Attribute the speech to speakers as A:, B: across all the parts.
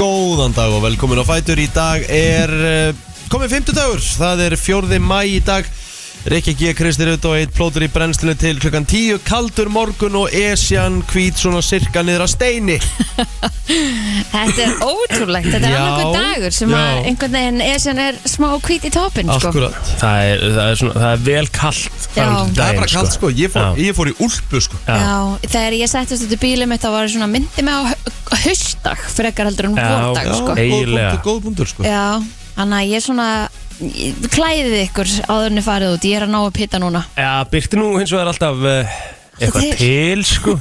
A: Góðan dag og velkomin á Fætur Í dag er eh, komið 50 dagur Það er 4. mæ í dag Rikki G. Kristir Ut og eitt plótur í brennslinu til klukkan 10 Kaldur morgun og Esjan hvít svona sirka niður að steini
B: Þetta er ótrúlegt, þetta er
A: Já,
B: annarkur dagur sem
A: já.
B: að einhvern veginn er sem er smá hvít í topin sko.
A: Akkurat
C: Það er, það er, svona, það er vel kallt
B: Já.
C: fram til
A: Það er
C: daginn,
A: bara kallt sko, ég fór, ég fór í úlpu sko
C: Já.
B: Já, þegar ég settist út í bílum mitt þá var ég svona myndi mig á hau- haustdag frekar heldur en
C: Já,
B: vordag
C: já.
B: sko.
C: Hey.
A: góð
C: Eiginlega.
A: punktur, góð punktur sko
B: Já, þannig að ég svona ég- klæðið ykkur áðurni farið út ég er að ná upp hitta núna
C: Já, byrti nú hins vegar alltaf uh, eitthvað
B: Til.
C: til, sko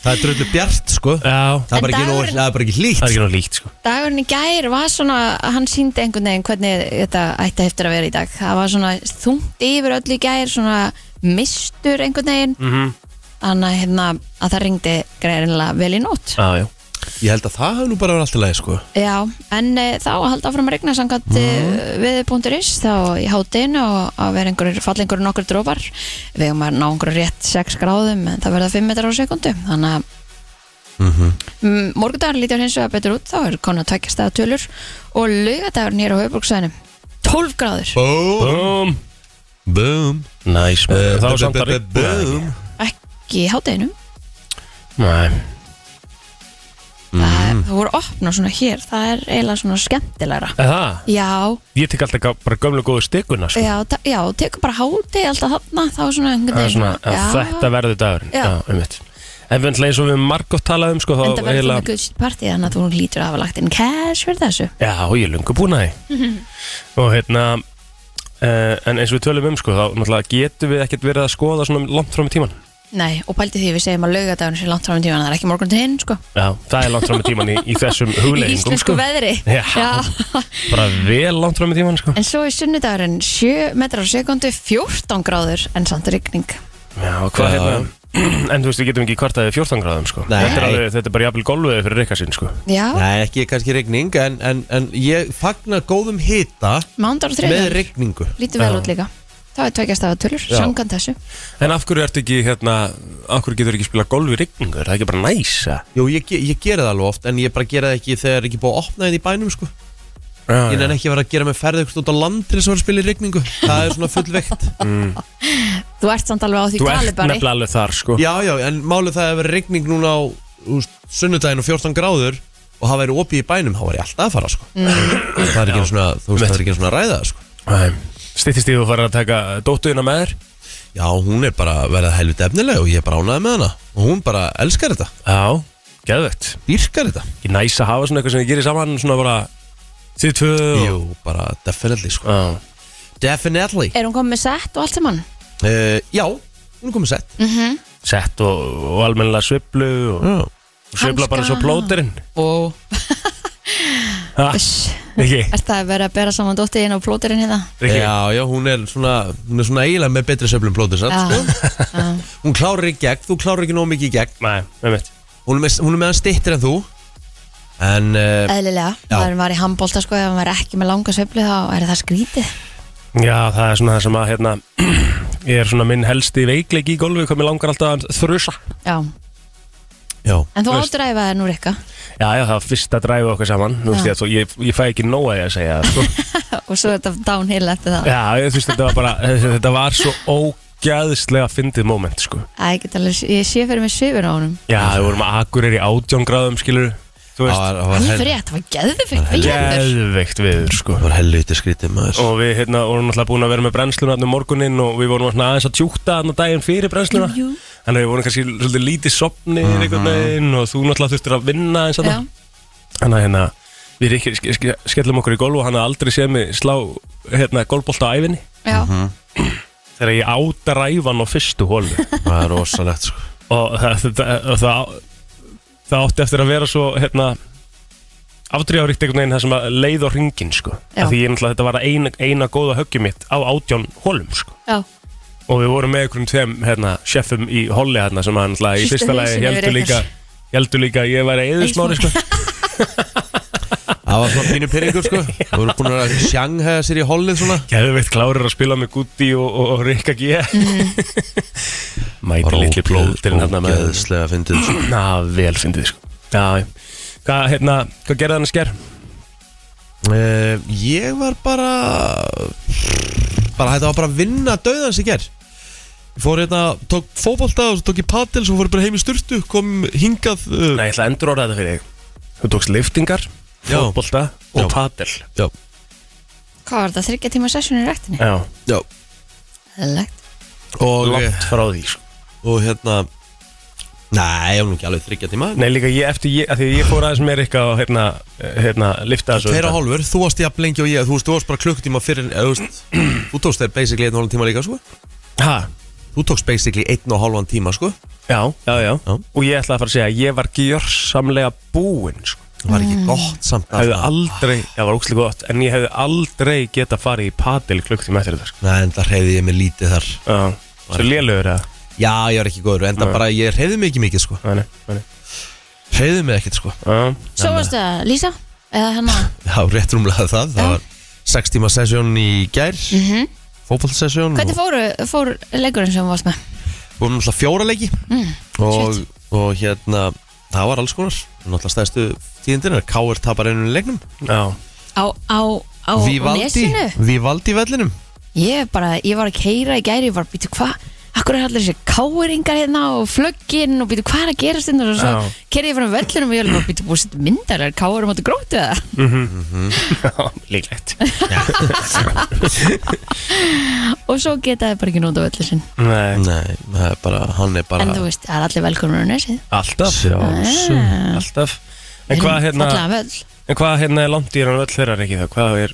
A: Það er dröldu bjart sko
C: Já,
A: Það er bara
B: En
A: ekki, nóg,
B: dagurinn-
A: það er bara ekki
C: það
A: hlýtt
C: er ekki náttúrulega líkt, sko
B: Dagurinn í gær var svona, hann síndi einhvern veginn hvernig þetta ætti eftir að vera í dag. Það var svona þungt yfir öll í gær, svona mistur einhvern veginn.
C: Mhm.
B: Þannig að, hérna, að það ringdi greinilega vel í nótt.
C: Já, já
A: Ég held að það hefur nú bara verið alltaf leið sko
B: Já, en e, þá að halda áfram að regna samkvæmt
C: Mhm.
B: mm. við.is þá í hátinu og að vera einhverjur falla einhverjur nokkur drópar við um að ná einhverjur rétt 6 gráðum en það verða 5 metrar á sekundu þannig að
C: Mhm.
B: mm morgundagur lítjar hins vegar betur út þá er konar að tvekja staða tölur og laugadagur nýra á höfbruksvæðinu 12 gráður,
A: Boom,
C: Búm
A: boom
C: Næs,
A: Eh,
C: maður. það
A: bu-
C: var samt
A: bu-
C: að
A: bu-
C: rigna
A: boom.
B: ekki í hátinu
C: Nei, Mhm.
B: það, það voru opna svona hér það er eiginlega svona skemmtilegra
C: Er það
B: Já,
C: Ég tek alltaf gá- bara gömlega góðu stikuna, sko
B: já, ta- já, tekur bara háti alltaf þarna, þá er svona einhvern
C: Það er
B: veginn
C: svona, já, þetta verður dagurinn
B: Já.
C: Já, einmitt En við eins og við margótt talaðum, sko, þá
B: En það verður þú
C: eiginlega-
B: með Gucci party þannig að þú lítur að hafa lagt inn cash fyrir þessu
C: Já, ég er lungu búin að því Og hérna Uh, en eins og við tölum um sko, þá náttúrulega getum við ekkert verið að skoða svona langt fram í tíman
B: Nei, og pældi því við segjum að laugadagun sé langt fram í tíman, það er ekki morgun til hinn sko
C: Já, það er langt fram í tíman í, í þessum
B: Í
C: hugleggingum
B: íslensku veðri
C: sko. Já. Bara vel langt fram í tíman sko
B: En svo er sunnudagurinn 7 metrar á sekundu 14 gráður en samt rigning
C: Já, hvað
A: Já.
C: hérna En þú veist, við getum ekki kvartaðið 14 gráðum sko
A: Nei.
C: þetta er, alveg, þetta er bara jafnvel golfið fyrir reyka sinn sko
B: Já,
A: Nei, ekki kannski regning en, en, en ég fagna góðum hita
B: mándar og
A: með
B: þriðar
A: regningu
B: Lítur vel
C: Já.
B: út líka Það er tvekja stafa tölur,
A: Já.
B: sangan þessu
C: En af hverju ertu ekki, hérna, af hverju getur ekki spila golf í rigningu? Er það ekki bara næsa?
A: Jú, ég, ge- ég gera það alveg oft en ég bara gera það ekki þegar er ekki búið að opna þetta í bænum sko.
C: Já,
A: Ég
C: já.
A: nenni ekki að vera að gera með ferð eitthvað út á land til þess að vera að spila í regningu Það er svona fullveikt
B: Þú ert samt alveg á því
C: Þú ert
B: galibari
C: nefnilega alveg þar sko
A: Já, já, en málið það að vera regning núna á úst, sunnudaginn og 14 gráður og það væri opið í bænum, þá var ég alltaf að fara sko. Það er ekki svona, þú veist, það er ekki svona að ræða það, sko.
C: Stittist í þú farin að taka dóttuðina með þér
A: Já, hún er bara verið helviti efnileg og ég er bara ánæði með hana og hún bara elskar þetta,
C: Já, geðvett
A: dýrkar þetta
C: Ekki næs að hafa svona eitthvað sem þið gerir saman svona bara Þið tvö og-
A: Jú, bara definitely sko.
C: Já,
A: Definitely
B: Er hún komið með sett og allt sem hann?
A: uh, Já, hún er komið sett
C: Mm. Sett og, og almennilega sviplu og,
A: Já.
C: og svipla bara svo
B: Hanska.
C: plóterinn
A: Og
C: Ha, Ekki,
B: Er það að vera að bera saman dóttiðin og plóterinn hérna?
C: ekki
A: Já, já, hún er svona Hún er svona eiginlega með betri söflum plóti satt, sko.
B: Já.
C: Ah.
A: Hún klárar í gegn, þú klárar ekki nóg mikið í gegn
C: Nei, með mitt
A: Hún er með, hún er með hann stittir en þú En uh,
B: Eðlilega,
A: Já.
B: maður var í handbólta sko ef maður er ekki með langa sveiflu þá er það skrítið
C: Já, það er svona það sem að hérna, ég er svona minn helsti veikleik í golfi hvað mér langar alltaf að þrusa
B: Já,
A: já
B: en þú
C: Þú veist-
B: ádræfa þér nú rikka
C: Já, já, það var fyrst að dræfa okkur saman Nú veist
B: Já.
C: ég að þú, ég, ég fæ ekki nóg að ég að segja það, sko.
B: og svo er þetta downhill eftir það
C: Já, ég þú veist þetta var bara þetta var svo ógæðslega fyndið moment, sko
B: Æ, ég get alveg, ég sé fyrir mig svifur á honum
C: Já, við vorum að akkur er í átjón gráðum, skilur Þú
A: Það
C: veist,
A: var, það var,
B: Alveg
A: hel,
B: rétt, það var geðvikt viður
C: geðveikt viður, sko
A: það var helviti skrítið maður
C: Og við hérna vorum náttúrulega búin að vera með brennsluna hann um morguninn og við vorum svona aðeins að tjúkta hann daginn fyrir brennsluna
B: Jú.
C: Þannig að við vorum kannski svolítið lítið sopnir einhvern veginn og þú náttúrulega þurftir að vinna eins og
B: Já,
C: það Þannig að hérna við ekki, ske, ske, skellum okkur í golf og hann hafði aldrei séð mig slá hérna golfbolt á æfinni
B: já,
C: Þegar ég átt að ræfa hann á fyrstu hólu
A: Það er rosalegt sko.
C: og það, það, það, það, það átti eftir að vera svo hérna afdrjáríkt einhvern veginn það sem að leið á ringin sko.
B: Já.
C: Af Því ég náttúrulega þetta var eina, eina góða höggjum mitt á átján hólum sko.
B: já
C: og við vorum með einhverjum tveim hérna, sjeffum í holli hérna sem hann í
B: Hristu
C: fyrsta lagi
B: hausinn
C: heldur
B: yfir
C: líka
B: ykkar.
C: heldur líka að ég væri eður smári sko.
A: Það var svona pínu pyrringur sko. Þú voru búin að sjanghæða sér í hollið svona
C: Geðveitt klárir að spila með Gutti og, og, og Rikka G Mæti litli blóðurinn hérna með
A: Ógeðslega fyndið sko.
C: Na, vel fyndið sko Já, já. Hvað, hérna, hvað gerði hann að sker?
A: Uh, ég var bara bara þetta var bara að vinna döðans í ger ég fór hérna, tók fótbolta og svo tók ég padel, svo fór ég bara heim í sturtu kom hingað uh,
C: Nei, ég ætla að endur orða þetta fyrir þig Þú tókst liftingar,
A: Já.
C: fótbolta og
A: Já.
C: padel
A: já,
B: Hvað var þetta, þryggja tíma session í rættinni?
C: Já,
A: já.
B: Eðlilegt.
A: Og, eh,
C: langt frá því sko.
A: og hérna nei, ég var nú ekki alveg þryggja tíma
C: Nei, líka ég eftir, ég, að því að ég fór aðeins meir eitthvað og hérna, hérna, lifta þessu
A: Tveir og hálfur, þú varst jafn lengi og ég Þú veist, þú varst bara klukkutíma fyrir eða, þú, veist, þú tókst þér basically einn og hálfan tíma líka sko.
C: Hæ?
A: Þú tókst basically einn og hálfan tíma sko.
C: Já, já, já,
A: Já.
C: Og ég ætla að fara að segja að ég var gjörsamlega búinn sko.
A: Það var ekki gott samt að
C: Hefði aldrei, það var ókslega gott En ég hefði aldrei geta farið í padel klukktíma eftir þetta sko.
A: Nei, en það reyði ég mig lítið þar
C: Já, svo lélugur það
A: Já, ég var ekki góður, en það
C: Nei.
A: bara, ég reyði mig ekki mikið sko.
C: Þannig, þannig
A: Reyði mig ekkert sko.
C: Já,
B: Svo varstu að Lísa? Eða hérna?
A: Já, rétt rúmlega það, það
B: Já.
A: var sex tíma sesjón í gær mm
B: Mhm.
A: Fótballsesjón
B: Hvernig fóru, fór leikurinn sem þú varst með?
A: Við vorum náttúrulega fjóra leiki
B: Mm,
A: og, og hérna, það var alls konar Náttúrulega stæðstu tíðindinar K.R. tapar einu leiknum
C: já
B: Á, á, á
A: Vivaldi,
B: nesinu?
A: Vivaldi vellinum
B: Ég bara, ég var að keira í gæri, ég var að býta hvað Akkur er allir þessi káringar hérna og flögginn og býtu hvað er að gerast hérna og svo
C: Já.
B: kerði ég frá völlunum og ég var bara býtu búið sitt myndar er kárum átti grótið það
C: Já, líklegt
B: og svo geta þið bara ekki nóta völlur sinn
C: Nei,
A: Nei, það er bara, hann er bara
B: en þú veist, það er allir velkomur á nesið
C: alltaf
A: Sjálfsögum
C: Alltaf En hvað hérna,
B: Fallega völl
C: en hvað hérna er langt í hann öll þeirra ekki þá? Hvað er,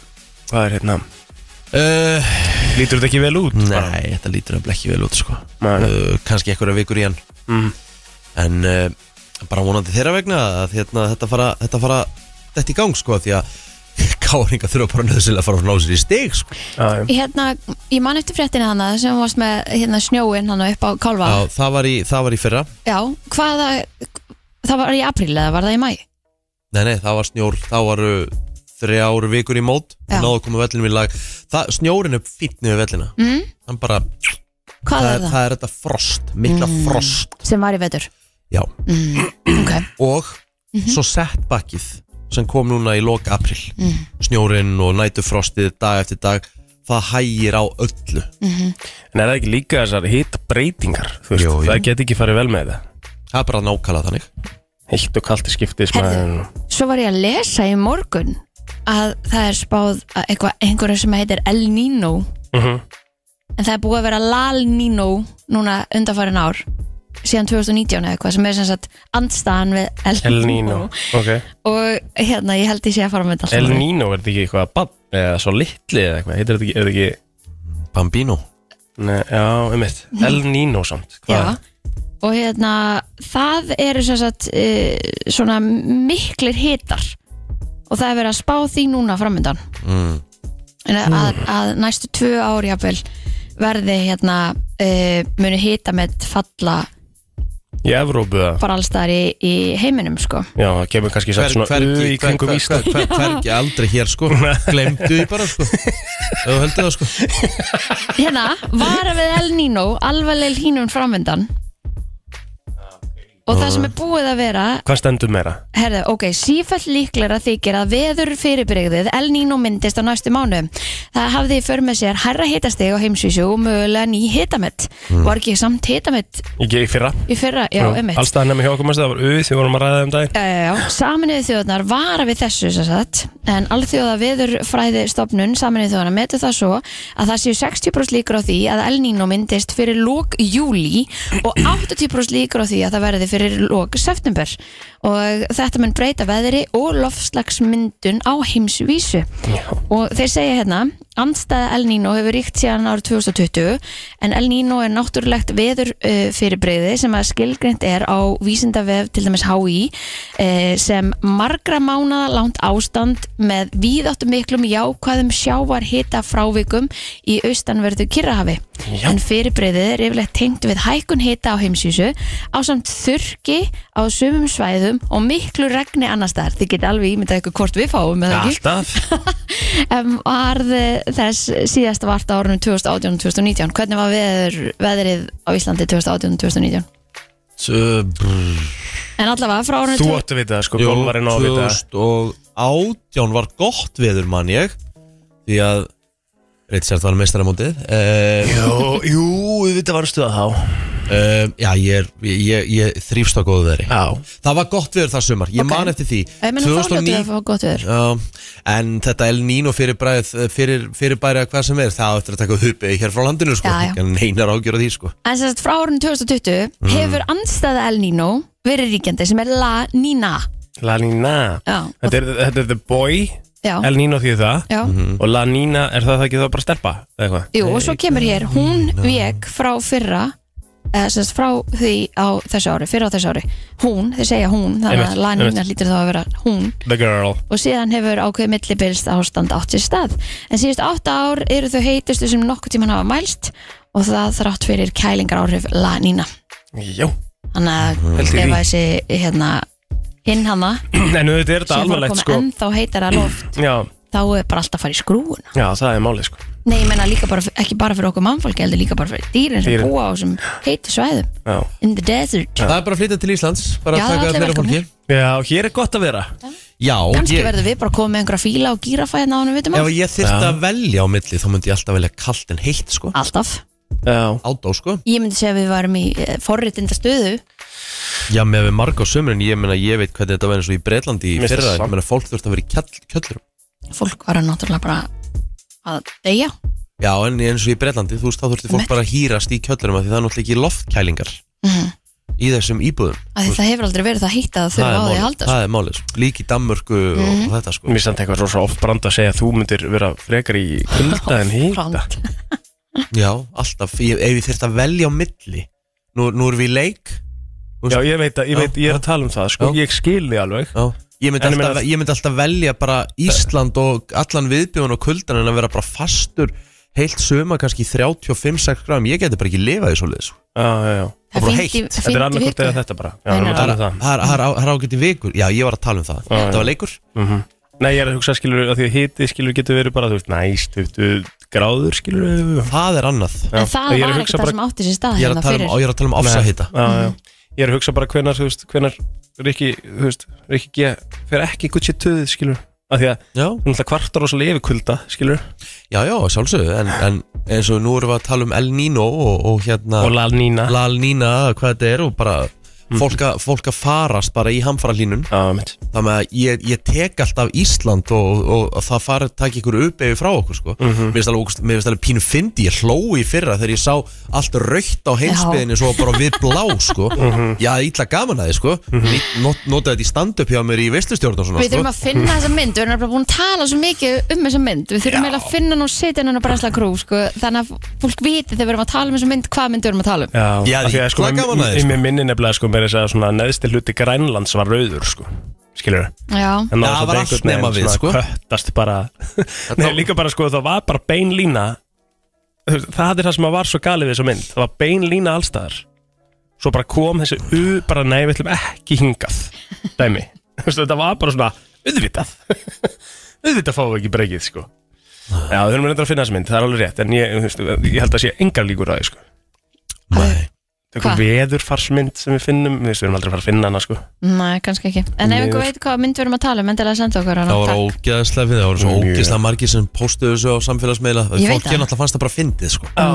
C: hvað er hérna,
A: uh,
C: lítur þetta ekki vel út? bara?
A: Nei, þetta lítur að blekki vel út sko
C: Nei, nei.
A: uh, Kanski einhverja vikur í hann
C: Mm.
A: en uh, bara vonandi þeirra vegna að hérna, þetta fara þetta fara þetta í gang sko því að káringa þurfa bara nöðsilega að fara að ná sér í stig sko.
C: Ah, Já, já.
B: Hérna, ég man eftir fréttina hana sem þú varst með hérna snjóinn hana upp á kálva
A: Já, það, var í, það var í fyrra
B: Já, hvaða það var í apríl eða var það í mæ
A: nei nei það var snjór þá var uh, þrjár vikur í mót
B: Já.
A: náðu að koma vellinum í lag það, snjórin er fýtt niður vellina
B: mm?
A: Hann bara,
B: Hvað
A: það,
B: var
A: er,
B: það?
A: það er þetta frost mikla frost
B: sem var í vetur
A: Já.
B: mm. Ok,
A: og svo setbackið sem kom núna í lok april
B: Mhm.
A: snjórin og nætufrostið dag eftir dag það hægir á öllu
C: En er það ekki líka þessar hýta breytingar? Þú veist,
A: Jú, jú.
C: það get ekki farið vel með það
A: það er bara nákvæmlega þannig
C: Heitt og kalt í sko, skiptis
B: Herðu. svo var ég að lesa í morgun að það er spáð að eitthvað, einhverju sem heitir El Nino
C: mm -hmm.
B: en það er búið að vera Lal Nino núna undanfærin ár síðan 2019 eða eitthvað sem er sem sagt andstaðan við El,
C: El Nino Ok
B: og hérna ég held ég sé að fara með þetta allt
C: El
B: saman.
C: Nino er þetta ekki eitthvað bann eða svo litli eða eitthvað Heitir þetta ekki, er þetta ekki
A: Bambino
C: Nei, já, um eitt El Nino samt sko. Hvað
B: Já, og hérna það eru sem sagt e, svona miklir hitar og það er verið að spá því núna framöndan
A: mm.
B: En að, að, að næstu tvö ár jafnvel verði hérna e, muni hita með falla
C: Í Evrópu það
B: bara allstaðar í, í heiminum sko
C: Já, það kemur kannski satt svona U í kringum
A: hver-
C: Ísland
A: hver- hver- hvergi aldrei hér sko glemdu því bara sko ef þú heldur það sko
B: hérna vara við El Nino alvarleg hlínun framöndan og það sem er búið að vera
C: Hvað stendur meira?
B: Herðu, ok, sífæll líklara þykir að veður fyrirbyrgðið El Nino myndist á næstu mánu. Það hafði í för með sér hærra hitastig á heimsvísu og mögulega ný hitamett. Var ekki samt hitamett
C: Ég ég fyrra
B: í fyrra? Já, um mitt.
C: Allstað nefnir hjá okkur mest, það var U því vorum að ræða um dag
B: Já, já, já. Saminuðu þjóðnar vara við þessu sem sagt, en alþjóða veðurfræði stopnun Saminuðu þjóðnar metur það svo að það séu 60% líkur á því að El Nino myndist fyrir lók júli og 80% líkur á því að það verði fyrir lók september og þetta mun breyta veðri og loftslagsmyndun á heimsvísu
C: Já.
B: og þeir segja hérna andstæða El Nino hefur ríkt síðan árið 2020 en El Nino er náttúrulegt veður uh, fyrirbreyði sem að skilgreynd er á vísindavef til dæmis HÍ uh, sem margra mánada langt ástand með víðáttum miklum jákvæðum sjávar hita frávikum í austanverðu Kirrahafi
C: Já.
B: en fyrirbreyðið er yfirlegt tengt við hækkun hita á heimsísu á samt þurki á sumum svæðum og miklu regni annars þar þið geta alveg ímyndað ykkur hvort við fáum eða ekki
C: Alltaf
B: um, varð þess síðasta vart á árunum 2018-2019 hvernig var veður, veðrið á Íslandi 2018-2019? En allavega frá árunni
C: Þú
B: tvö-
C: átt að vita það sko,
A: Jú,
C: golvarinn á að vita það
A: 2018 var gott veður mann ég Því að Richard var mestaramótið uh,
C: Jú, jú, þetta varstu það þá
A: uh, Já, ég, er, ég, ég, ég þrýfst á góðu veðri
C: Já
A: Það var gott veður það sumar, ég
B: Ok.
A: man eftir því
B: Ég meina þá hljótu við að
A: 2009
B: fá gott viður
A: Já, en þetta El Nino fyrir, bræð, fyrir, fyrir bæri að hvað sem er það á eftir að taka hupið hér frá landinu sko.
B: Já, já.
A: en neinar ágjör á því sko.
B: En sem sagt frá árunni 2020
C: Mm.
B: hefur andstæða El Nino verið ríkjandi sem er La Nina
C: La Nina
B: Já, og,
C: Þetta er, þetta er The Boy,
B: já,
C: El Mhm. Nino því það
B: já.
C: Og La Nina, er það ekki þá bara stelpa? eða eitthvað?
B: Jú, og svo kemur hér, hún vek frá fyrra eða sem sagt frá því á þessu ári, fyrra á þessu ári hún, þeir segja hún, þannig
C: Einmitt,
B: að La Nina
C: einmitt.
B: lítur þá að vera hún
C: The Girl
B: og síðan hefur ákveðið millibils ástand átt sér stað. En síðust átta ár eru þau heitustu sem nokkuð tíman hafa mælst og það þrátt fyrir kælingar áhrif La Nina.
C: Jú
B: Þannig að
C: Pældu í
B: ef
C: því.
B: að þessi hérna hinn hana
C: En auðvitað er þetta
B: sem fór að
C: alvarlegt
B: koma
C: sko
B: ennþá heitara loft
C: Já,
B: þá er bara alltaf að fara í skrúuna.
C: já, það er málið sko
B: Nei, ég menna líka bara, ekki bara fyrir okkur mannfólki heldur líka bara fyrir dýrin sem
C: Dýrin.
B: búa á sem heitu svæðum.
C: Já,
B: In the desert.
A: Það er bara að flytja til Íslands bara
B: Já,
A: að taka
B: allir
A: fleira
B: velkomnir.
A: fólki
C: já hér er gott að vera
A: Já,
B: Kanski
A: ég,
B: verður við bara að koma með einhverja fíla og gírafa hérna ánum vitum
A: ef
B: að.
A: ég þyrfti að velja á milli þá myndi ég alltaf velja kalt en heitt sko.
B: Alltaf.
C: Já,
A: Ádó sko
B: Ég myndi segja að við varum í forritinda stöðu
A: Já, með við marg á sömurinn, ég meina ég veit hvernig þetta var eins og í Breitlandi í
C: Mér finnst
A: fyrra
C: það
A: Ég
C: samt.
A: meina fólk þurft að vera í kjall, kjöllurum
B: fólk var að náttúrulega bara að deyja
A: Já, en eins og í Breitlandi, þú veist, þá þurfti fólk
B: Einmitt.
A: bara að hýrast í kjöllurum af Því það er náttúrulega ekki loftkælingar
B: Mhm.
A: í þessum íbúðum
B: að því það hefur aldrei verið það hýtt að þau
A: er
B: á því að
A: málið,
B: halda sko. Mhm.
A: það er málið sko. Lík í Danmörku og þetta sko
C: mér samt eitthvað svo ofbrand að segja að þú myndir vera frekar í
B: sko.
C: kulda en hýta
B: Front.
A: Já, alltaf, ég, ef ég þyrfti að velja á milli Nú, nú erum við í leik
C: Já, ég veit að, ég, veit, ég er að tala um það sko
A: Já.
C: Ég skil þig alveg
A: Já. Ég myndi,
C: En ég
A: alltaf,
C: meina-
A: ég myndi alltaf velja bara Ísland og allan viðbjörn og kuldan en að vera bara fastur heilt söma kannski í 35-6 gráðum ég geti bara ekki lifað í svoleiðis
C: Já, já, já
A: Það
B: það
A: bara
B: fínt í
A: heitt.
C: Þetta er
B: fínt í
C: annað hvort
B: viku.
C: eða þetta bara Já,
B: Nei,
C: við erum
B: nei.
C: að tala um það
A: Það er- það er á- það er ágætt í vikur Já, ég var að tala um það
C: Já,
A: Þetta
C: já.
A: var leikur
C: Mhm. Nei, ég er að hugsa skilur að því að hiti skilur getur verið bara, þú veist, næst, 20 gráður skilur
A: Það er annað
B: en það var ekkert það sem átti sér
A: Ég
B: stað
A: er
B: hérna
A: að tala um,
B: fyrir
A: og ég er að tala um ofsahita
C: Já, já.
B: Mhm.
C: Ég er að hugsa bara hvenar, þú veist, hvenar Rikki, þú veist, Rikki G fer ekki gutt sér töðið, skilur af því að
A: Já,
C: hún alltaf kvartar og svo lefi kulda, skilur
A: já, já sjálfsögðu en, en eins og nú erum við að tala um El Nino og, og hérna
C: og lal nína
A: Lal Nina, hvað þetta er og bara fólk, að, fólk að farast bara í hamfara
C: Já, mitt
A: þannig að ég, ég tek alltaf Ísland og, og, og það fari að taka ykkur upp eða frá okkur sko mér finnst alveg, ógeðslega- mér finnst alveg pínu fyndi, ég hló í fyrra þegar ég sá allt raukt á heimsbyðinni svo bara við blá sko ég hafði illa gaman að þið sko mm not, notaði þetta í stand-up hjá mér í veistlustjórn og svona sko
B: við þurfum að finna þessa mynd, við erum nefnilega búin að tala svo mikið um þessa mynd, við þurfum eiginlega að finna hann og setja hann á Bresla Krú, sko, þannig að fólk viti þegar við erum að tala um þessa mynd, hvað mynd við erum að tala um
C: Já,
A: Já,
C: af því
A: því-
C: að sko,
A: hvað gaman að þér,
C: í
A: sko?
C: mér minni nefnilega, sko, mér er að svona neðsti hluti Grænlands var rauður, sko skilur
B: já,
C: en
A: Já, það var allt nema við, sko.
C: köttast bara nei, líka bara, sko, það var bara bein lína Þú veist, það er það sem að var svo galið við þessu mynd það var bein lína allstaðar svo bara kom þessi u, bara nei, við ætlum ekki hingað dæmi, Þú veist, þetta var bara svona auðvitað auðvitað fáum við ekki breykið, sko Já, við höfum reynda að finna þessu mynd, það er alveg rétt en ég, þú veist, ég held að sé engar líkur að því, sko
A: Nei.
C: eitthvað
B: Hva?
C: veðurfarsmynd sem við finnum við veist, við erum aldrei að fara að finna hana sko
B: næ, kannski ekki en ef
C: Miður.
B: einhver veit hvað mynd við erum að tala um, endilega senda okkur hana,
A: það var
B: takk.
A: ógeðslega fyrir, það voru svo
C: Mjög.
A: ógeðslega margir sem postuðu þessu á samfélagsmeila
B: Ég veit
A: fólk
B: það.
A: hérna alltaf fannst það bara fyndið sko
C: Já,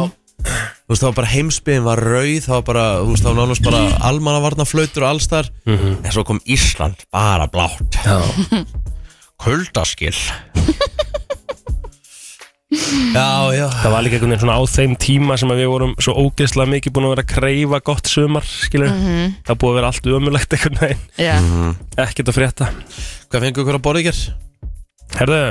A: þú veist, það var bara heimsbyðin var rauð það var bara, þú veist, það var nánast bara almannavarnaflautur og allstar
C: Mhm.
A: en svo kom Ísland bara blátt kuldaskill já, já
C: það var líka einhvern veginn svona á þeim tíma sem að við vorum svo ógeðslega mikið búin að vera að kreyfa gott sumar skilur, það er búið að vera allt ömulegt einhvern veginn,
B: Já.
C: ekkert að frétta
A: hvað fengur ykkur að borða ykkur?
C: Herðu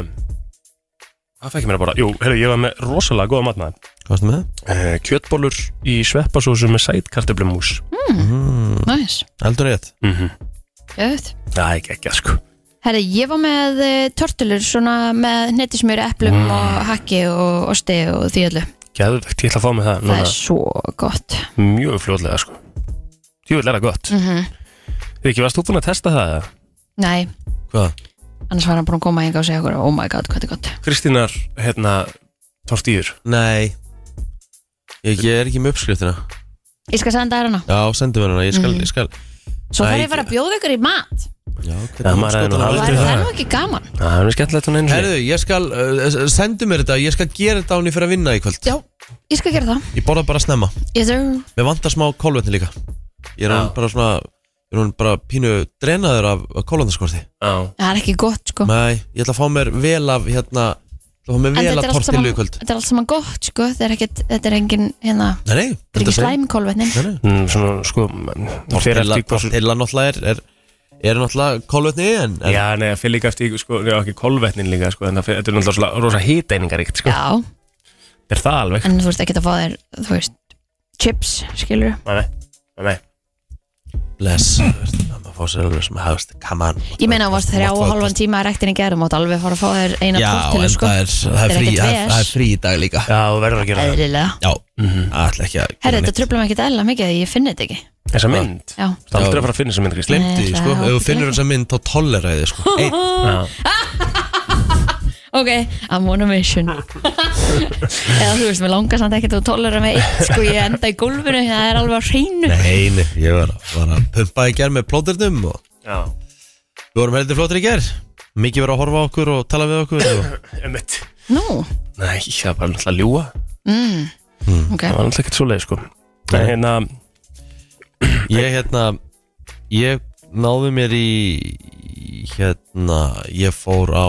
C: Hvað fekk ég mér að bara? Jú, herðu, ég var með rosalega góða matnaði
A: hvað varstu með það?
C: uh, Kjötbólur í sveppasósu með sætkartöflumús
A: Mhm.
B: Nice.
A: heldur rétt
C: mm -hmm.
B: Geðveikt.
C: Það er ekki ekki, sko
B: Herri, ég var með eh, törtulur svona með netismjöri, eplum
A: Mm.
B: og hakki og osti og því öllu.
C: Geðvegt, ég ætla að fá mig það
B: Það
C: núna
B: er svo gott.
C: Mjög fljótlega, sko Jú, er það gott
B: Mm -hmm.
C: Viki, varst þú búin að testa það? eða?
B: Nei,
A: hvað?
B: annars var hann búin að koma hinga og segja okkur, oh my god, hvað þetta er gott.
C: Kristínar, hérna, tortýr
A: nei ég, ég er ekki með uppskriftina
B: Ég skal senda þér hana
A: Já, sendu mér hana, ég skal, ég skal
B: Svo
C: Æ,
B: þarf ég að fara að bjóða ykkur í mat
A: Já,
C: Mm. Já, maður er nú
A: skotar-
C: aldrei-
B: Það er það nú ekki gaman
C: Það er nú skemmtilegt hún einu sinni.
A: Herðu, ég skal, uh, sendu mér þetta, ég skal gera þetta áni fyrir að vinna í kvöld
B: Já, ég skal gera það
A: Ég borða bara snemma
B: Yes, sir.
A: Mér vantar smá kólvetni líka Ég er
C: Já.
A: hann bara svona, ég er hann bara pínu drenaður af kólvetnaskorti
C: Já.
B: Það er ekki gott sko
A: Nei, ég ætla að fá mér vel af, hérna, ég ætla að fá mér vel
B: En þetta
A: af
B: er, allt
A: tortillu
B: saman,
A: í kvöld
B: þetta er allt saman gott sko Þetta er, ekkit, þetta er engin hérna,
A: Nei, nei,
B: þetta er
A: þetta
B: ekki slæm kólvetnin
A: Nei, nei
C: Mm, Svona, sko, fyrir
A: Tortilla,
C: eftir hvað
A: tortilla náttúrulega er, er, er náttúrulega kólvetni en, en
C: Já, nei, fyrir líka eftir, sko, já, ekki kolvetnin líka, sko, þannig að þetta er náttúrulega svona rosa híteiningaríkt, sko.
B: Já,
C: Er það alveg?
B: en þú veist ekki að fá þér Þú veist, chips, skilur
C: Nei, nei, nei.
A: bless maður fá sér alveg sem hafst, come on
B: Ég meina að varst þrjá og halvan tíma að rektin í gerum og alveg fara að fá þér eina
A: Já, en
B: tortilu sko
A: það er, það er,
B: Þetta er
A: frí,
B: ekkert
A: það er,
B: ves.
A: það er frí í dag líka
C: Já, þú verður að gera það.
B: Eðlilega
A: Já, það ætla ekki að
B: Herri, þetta trubla mig ekki eðla mikið, ég finn þetta ekki
C: Þessa mynd.
B: Já,
C: Það er aldrei að fara að finna þessa mynd, Kristi.
A: Glemdi
B: Nei,
A: því,
B: ætla
A: sko,
B: að-
A: ef þú finnur þessa mynd þá toleraði þið, sko Einn,
B: ok, I'm on a mission Eða þú veist, mér langar samt ekkert að tólera mig eitt, sko, ég enda í gólfinu það er alveg á hreinu
A: nei, nei, ég var, að- var að pumpa í gerð með plóternum og
C: Já,
A: við vorum heldur flóttir í gerð Mikið verið að horfa á okkur og tala við okkur og...
C: emmitt.
B: Nú,
C: Nei, það var náttúrulega ljúa.
A: Mm.
B: ok
C: Það var náttúrulega ekkert svoleið, sko. Nei, hérna,
A: Ég, hérna, ég náði mér í, hérna, ég fór á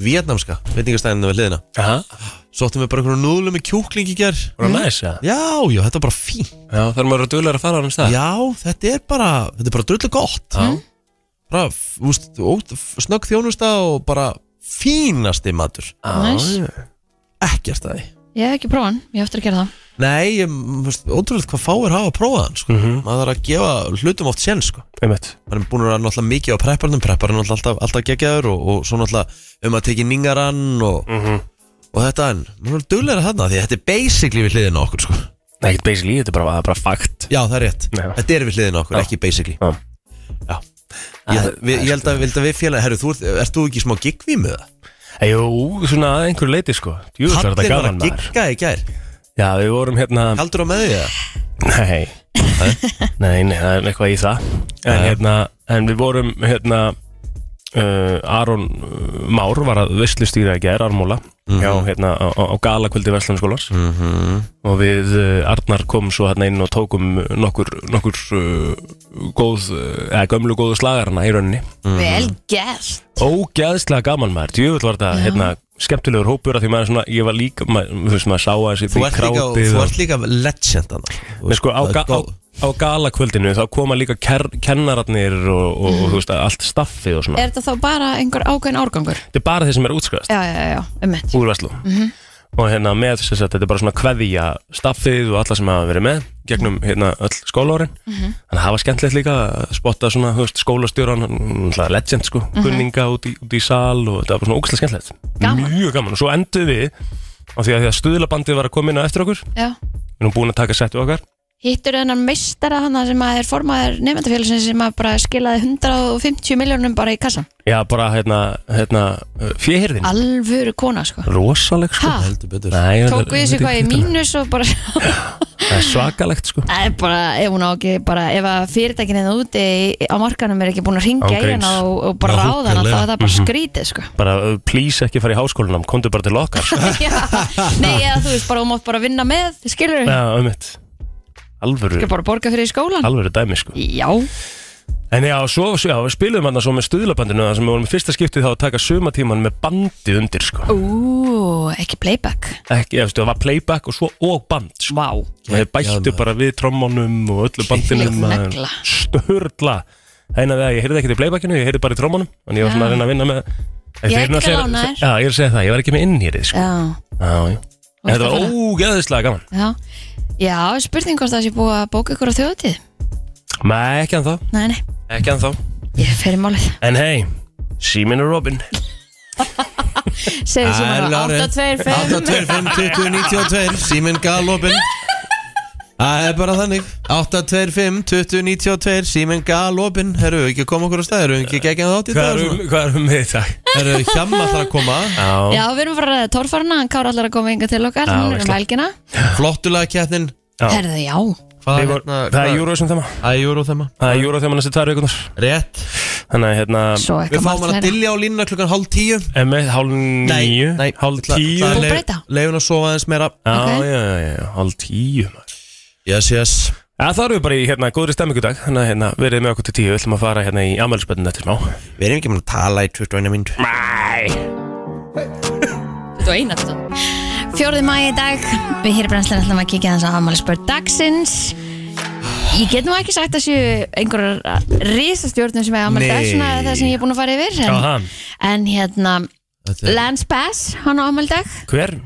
A: vietnamska veitingastæðinu við hliðina
C: aha,
A: Sóttum við bara einhverjum núðlum með kjúkling í gerð
C: var það næs, já?
A: Já, já, þetta er bara fín
C: Já, það er maður að duðlega að fara á hann stað.
A: Já, þetta er bara, þetta er bara drullu gott
C: Já.
A: Bara, f- úst, ótt- f- snögg þjónusta og bara fínasti matur
B: Næs.
C: já.
A: Ekkert að því
B: Ég hef ekki prófan, ég hef eftir að gera það
A: Nei, ég, m- veist, ótrúlega hvað fáir hafa að prófa hann sko. Maður þarf að gefa hlutum oft sén sko.
C: Mhm, Einmitt.
A: Maður er búin að vera náttúrulega mikið á prepparnum Prepparinn er náttúrulega alltaf, alltaf geggjaður og, og svo náttúrulega um að teki ningarann og,
C: Mhm.
A: og þetta en Maður er duglega þarna því að þetta er basically við hliðina á okkur sko.
C: Nei, ekkert basically, þetta er bara, það er bara fakt.
A: Já, það er rétt
C: Já.
A: Þetta er við hliðina á okkur,
C: Já.
A: ekki basically
C: Já.
A: Já. Ég, við, ég held að,
C: sko.
A: held að við félagi Herru, þú ert, ert þú ekki í smá giggví með það?
C: Eh, Jú, svona að einhverju leiti, sko. Jú, það er þetta
A: Allir var
C: gaman,
A: að
C: maður.
A: gigga í gær
C: Já, við vorum hérna...
A: Kaldur á með því það?
C: Nei Nei, nei, það er eitthvað í það En, hérna, en við vorum hérna, uh, Aron uh, Már var að vislustýra í gær Armóla já,
A: Mhm.
C: hérna, á, á á galakvöldi Vestlandskólas og við uh, Arnar kom svo hérna inn og tókum nokkur, nokkur uh, góð, uh, eða gömlu góðu slagarna í rauninni
A: Mm.
B: Vel gert
C: Ógæðslega gaman maður, djöfull var þetta hérna, skemmtilegur hópur að því maður svona, ég var líka, maður, þú veist maður sá að
A: Þú ert líka, þú ert líka legend annar
C: Nei, sko, á, ga á, á galakvöldinu þá koma líka ker, kennararnir og, og, og þú veist, allt staffið og svona
B: Er þetta þá bara einhver ákveðin árgangur?
C: Þetta er bara þeir sem er útskriðast
B: Já, já, já, já, um mitt
C: úr Vestló og hérna með þess að þetta er bara svona kveðja staffið og alla sem hafa verið með gegnum hérna öll skólaórin
B: Mhm.
C: þannig að það var skemmtilegt líka að spotta svona þú veist, skólastjóran, hann er legend sko
B: Mhm.
C: kunninga út í, út í sal og þetta var bara svona ógæðslega skemmtilegt
B: Gaman.
C: Mjög gaman og svo endur við á því að, því að stuðlabandið var að koma inn á eftir okkur
B: Já
C: við erum búin að taka settu okkar
B: Hittur þennan meistara hana sem að er formaður nefndafélagsins sem að bara skilaði 150 miljónum bara í kassan
C: Já, bara hérna, hérna fjöhirðin
B: Alvöru kona, sko
C: Rosaleg sko
B: Ha?
A: Heldur betur
C: Nei, þetta-
B: Tók við þessu
C: þetta
B: hvað í
C: er-
B: mínus og bara
C: Það er svakalegt sko
B: Það er bara, ef hún á ekki bara, ef að fyrirtækin eða úti í- á markanum er ekki búin að ringja í
C: Ángríns.
B: hana og, og bara
A: Nákvæmlega.
B: ráða hana, þá er það bara skrítið, sko.
C: Bara uh, please ekki fara í háskólanum Komdu bara til okkar sko.
B: Já, nei, eða þú veist, bara hún mátt bara vinna með, skilur hún,
C: Já, um mitt Alvöru,
B: ekki bara borga fyrir í skólan.
C: alvöru dæmi sko
B: Já,
C: En já, svo, svo já, við spilum hann svo með stuðlabandinu Það sem við vorum í fyrsta skiptið þá að taka sumatíman með bandi undir sko
B: ú, ekki playback,
C: Ekki, ég veistu, það var playback og svo og band sko
B: vá,
C: Og þeir bættu bara við trommunum og öllu bandinum
B: Þvílík negla.
C: Störla Þeina þegar ég heyrði ekkert í playbackinu, ég heyrði bara í trommunum En ég var svona að reyna að vinna með
B: Ég er
C: Þeir
B: ekki
C: náttúrulega-
B: lánaður.
C: Já, ég er að segja það, ég var ekki með inn hér sko.
B: já,
C: Já, já. En þetta
B: ert að
C: var
B: fara?
C: ógeðislega gaman
B: já, já, spurning hvort það sé búið að bóka ykkur á þjóðatíð,
C: Nei, ekki ennþá,
B: nei, nei,
C: ekki ennþá
B: ég fer í málið,
C: En hei, síminn og Robin
B: segðu sem bara 825,
A: 825-2092 Síminn galopin Það er bara þannig 825-2092 Síminn galopin Herru, ekki að koma okkur á stað Herru, ekki geggjað þátt í
C: Hvað
A: dag
C: erum hvað erum við í dag?
A: Herru, hjamma þar að koma
B: já, við erum bara að torfarna, hann kára allar að koma yngar til okkar,
C: Já,
B: hún er um
C: veistla.
B: helgina,
A: Flottulega keppnin
C: Já.
B: herðu, já,
A: Hvað
C: Við
A: er
C: vor-
A: hérna
C: Það er Eurovision þema
A: Það er júru þema
C: Það er Eurovision þema næstu tvær vikunar
A: Rétt
C: Þannig að hérna
B: Svo ekki
A: Við fáum
B: margt
A: hann að
B: meira.
A: dillja á línuna klukkan hálf tíu
C: Emmi, hálf níu
A: nei
C: Hálf tíu
B: það- Búið að breyta?
A: Leifun að sofa aðeins meira
C: Já,
B: Ok.
C: já, já, já, hálf tíu maður.
A: Yes, yes
C: Já, það erum við bara í hérna góðri stemmingu í dag Þannig að hérna verið með okkur til tíu Við ætlum að fara hérna í amælisböndin eftir smá
A: Við erum ekki með að tala í 21 minn
C: Mæ
B: Þetta var einast Fjórði maður í dag Við hér brennslan ætlum að kíkja þess að afmáli spörð dagsins Ég get nú ekki sagt að séu einhverjar risastjórnum sem er afmáli
A: Nei.
B: dag svona það sem ég er búin að fara yfir en,
C: Aha,
B: en hérna
A: Þetta er-
B: Lance Bass, hann á afmáli dag
C: hver?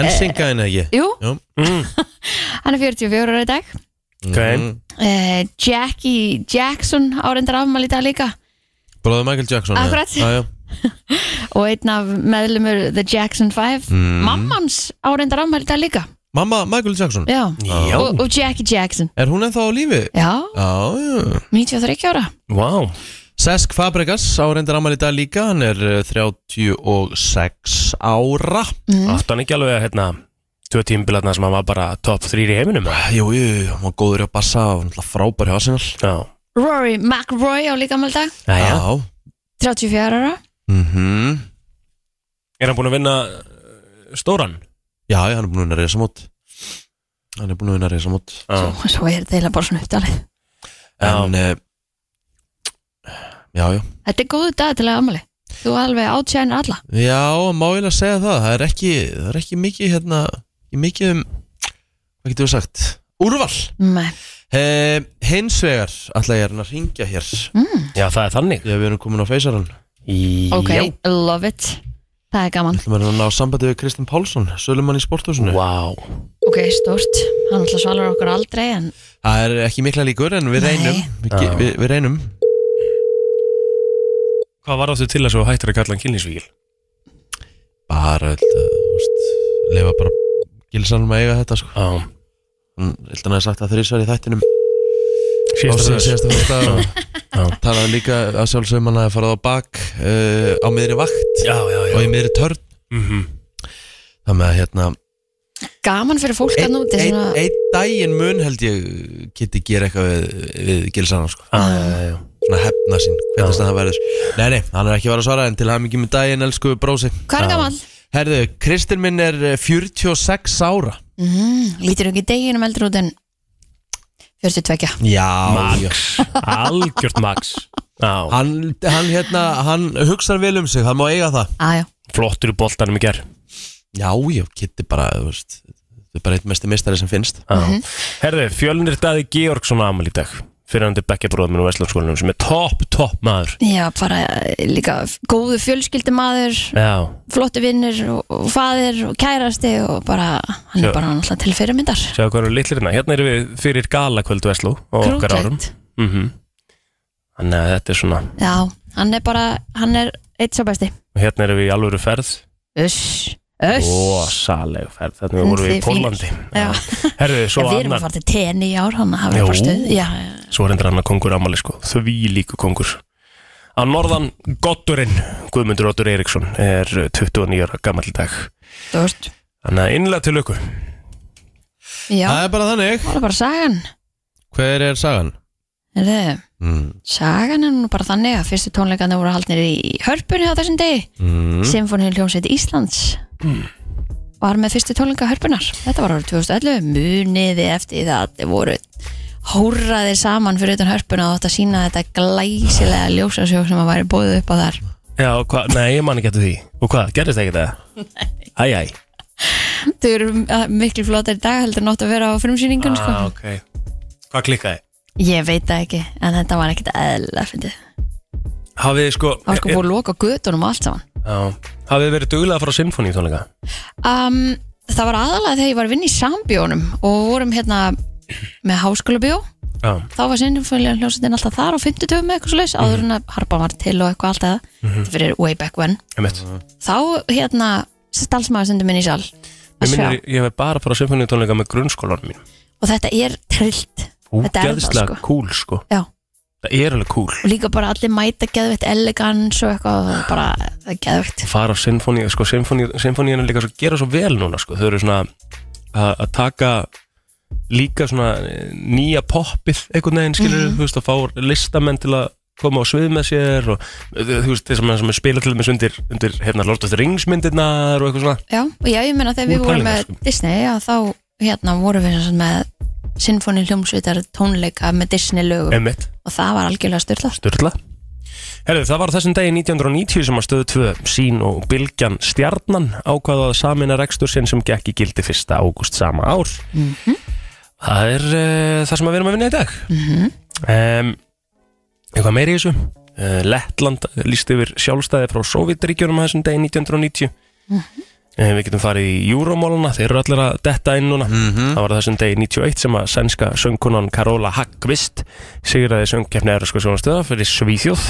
A: En syngaði henni ekki
B: Jú,
A: Jú
C: Mm,
B: hann er 44 ára í dag
C: ok
A: Mhm.
B: uh, Jackie Jackson áreindar afmáli í dag líka
A: Bróður Michael Jackson
B: Akkurat.
A: Já, já
B: og einn af meðlumur The Jackson 5 mm. Mammans áreindar afmáli í dag líka
A: Mamma Michael Jackson
B: Já,
C: Já,
B: Og, og Jackie Jackson
A: Er hún ennþá á lífi?
B: Já,
A: Já, já
B: 93 ára
C: vá
A: Sesk Fabregas á reyndar ámæli í dag líka Hann er eh, 36 ára
B: Mm.
C: Áttu hann ekki alveg að hérna Tvö tímbilarna sem hann var bara top 3 í heiminum eða?
A: Jú, jú, jú, hann var góður í að bassa og náttúrulega frábær hjá Arsenal
C: Já,
B: Rory McRoy á líka afmáli dag
C: já,
A: Já
B: 34 ára
A: Mhm.
C: Er hann búin að vinna eh, stóran?
A: Já, já, hann er búin að vinna reysamót Hann er búin að vinna reysamót
C: Já,
B: svo, svo er þetta eiginlega bara svona upptalið
C: já,
A: En, eh, já, já
B: Þetta er góðu dag til að amali Þú alveg átsjænir alla
A: Já, má ég að segja það Það er ekki, það er ekki mikið hérna Ekki mikið um Hvað getur við sagt? Úrval
B: Nei.
A: eh, Hins vegar ætla ég að reyna að ringja hér
C: Mm. já, það er þannig
A: Þegar við erum komin á feysarann
B: Ok,
C: Já,
B: love it Það er gaman
A: Ætlum að reyna að ná sambandi við Kristinn Pálsson Sölumann í sporthúsinu
C: vá
B: Ok, stórt Hann alltaf svalur okkur aldrei en
A: Það er ekki mikla líkur en við
B: Nei.
A: reynum við, ge-
C: Já.
A: við, við reynum
C: Hvað var áttu til að svo hættir að kalla hann kynlísvíkil?
A: Bara, eh, þetta Leifa bara Gilsanum að eiga þetta sko
C: Já,
A: Þannig að sagt það þrísvar í þættinum
C: síðast að
A: síðasta fyrsta
C: Já.
A: talaði líka að sjálfsögum hann að farað á bak uh, á miðri vakt
C: Já, já, já
A: og í miðri törn
C: Mhm.
A: þannig að hérna
B: gaman fyrir fólk að
A: einn
B: núti
A: ein,
B: svona...
A: ein daginn mun held ég geti gera eitthvað við, við gilsana sko
C: Já, já, já, já.
A: svona hefna sín, hvernig það verður nei nei, hann er ekki að vera að svara en til hann ekki með daginn elsku brósi
B: Hvað er gaman?
A: herðu, Kristinn minn er eh, 46 ára
B: Mm, lítur ekki deginum eldur út en 42
A: já, já.
C: Max, algjört Max Já,
A: Hann, hann hérna, hann hugsar vel um sig hann má eiga það
B: Aja,
C: flottur í boltanum í ger
A: já, já, kitti bara, þú veist þetta er bara eitt mestu mistari sem finnst
C: Mhm. Herðu, fjölnir daði Georgsson ámæli í dag fyrir hann til bekkjabróðum minn og Vestlunarskólanum sem er topp, topp maður
B: Já, bara eh, líka góðu fjölskyldumaður
C: Já,
B: flottu vinnur og, og faðir og kærasti og bara, hann
C: Já.
B: er bara náttúrulega til fyrirmyndar
C: sjáðu hvað eru litlirina Hérna erum við fyrir galakvöld Vestlú og okkar árum
B: Krútlegt.
C: mm Þannig að þetta er svona
B: Já, hann er bara, hann er eitt svo besti
C: Hérna erum við í alvöru ferð
B: Uss, uss
C: Rósaleg ferð, þannig að vorum við
B: Mm, Þið
C: í
B: fínir.
C: Pólandi
B: Já.
C: Herðu,
B: Já,
C: svo
B: við erum
C: annar
B: að fara til tenni í ár, hann hafa
C: Jú.
B: bara stuð Já, já.
C: Svo reyndir hann að kongur ámali sko Því líku kongur Á norðan Gotturinn Guðmundur Ottur Eriksson er uh, 29 ára gammal dag
B: þú veist
C: Þannig að innlega til ykkur
B: Já,
A: það er bara þannig
B: það er bara sagan
A: hver er sagan?
B: Heyrðu,
A: Mm.
B: Sagan er nú bara þannig að fyrstu tónleikandi voru haldnir í hörpunni á þessum degi
A: Mm.
B: Symfóníu hljómsveit Íslands var með fyrstu tónleika hörpunar þetta var árið 2011, muniði eftir það að þið voru hóraðir saman fyrir utan hörpuna og átt að sína þetta glæsilega ljósasjók sem að væri bóðið upp á þar
C: Já, og hvað, nei, ég man ekki eftir því Og hvað, gerðist ekki það? Æ, æ
B: Sko. þau eru uh, miklu flotar í dag heldur nátt að vera á frumsýningun sko.
C: Ah, ok Hvað klikkaði?
B: ég veit það ekki, en þetta var ekkit eðla fyndið,
C: Hafið þið sko
B: það var sko búið að loka götunum og allt saman
C: Já, hafið þið verið duglega að fara á symfóníu tónleika?
B: um, það var aðalega þegar ég var að vinna í sambjónum og vorum hérna með háskóla
C: Já,
B: þá var sinnfjölinlega hljómsveitin alltaf þar á 50 með eitthvað slags, áður en að harpa var til og eitthvað alltaf,
C: Mhm.
B: mm fyrir way back when
C: einmitt
B: þá hérna stalsmaður sendur minni í sal
C: Ég
B: að sjá,
C: minnir, ég hef bara að fara á symfóníu tónleika með grunnskólanum mín
B: og þetta er trillt Þetta er það,
C: Úgeðslega
B: sko.
C: cool sko
B: Já.
C: Það er alveg cool
B: og líka bara allir mæta geðveitt elegans og eitthvað, og bara það er geðveitt
C: fara á symfóníu sko, symfóníu- symfónían er líka svo gera svo vel núna sko, þau eru svona að að taka líka svona eh, nýja poppið einhvern veginn skilur
B: Mhm.
C: þú veist að fá listamenn til að koma á svið með sér og eh, þú veist þess að mann sem spila til þess undir, undir hérna Lord of the Rings myndirnar og eitthvað svona
B: Já, og já, ég meina þegar
C: Úr
B: við vorum
C: pælingar,
B: með
C: sko.
B: Disney já, þá hérna vorum við sem sagt með sinfóni hljómsveitar tónleika með Disney lögum
C: Emmett,
B: og það var algjörlega styrlast
C: Sturla Herðu, það var á þessum degi 1990 sem að stöðu tvö sín og bylgjan stjarnan ákvaða að samina rekstur sinn sem gekk í gildi 1. ágúst sama ár Það er uh, það sem að við erum að vinna í dag um, Eitthvað meira í þessu uh, Lettland líst yfir sjálfstæði frá Sovjetríkjunum á þessum degi 1990 Eh, Við getum farið í júrómáluna, þeir eru allir að detta inn núna Það var á þessum degi 91 sem að sænska söngkunan Karola Haggvist sigraði söngkeppni Erasku sjónastöða fyrir Svíþjóð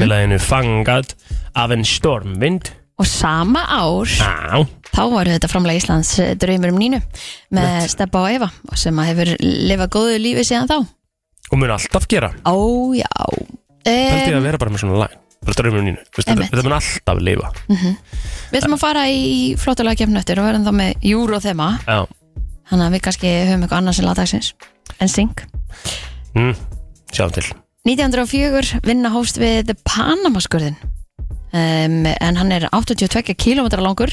C: með læginu Fangad af en stormvind
B: og sama ár
C: Á,
B: þá var þetta framlega Íslands eh, draumur um nínu með Steppa og Eva sem að hefur lifað góðu lífi síðan þá
C: og mun alltaf gera
B: Ó, já
C: Pældi ég
B: um,
C: að vera bara með svona læg bara strömmum nínu, Þú veist, þetta,
B: Einmitt.
C: þetta mun alltaf lifa
B: Við ætlum að fara í flottulega kemnöttur og verðum þá með júru og þema
C: Já,
B: þannig að við kannski höfum eitthvað annars en lagdagsins en synk
C: mm, sjáum til
B: 1904 vinna hófst við Panamaskurðin um, en hann er 82 km langur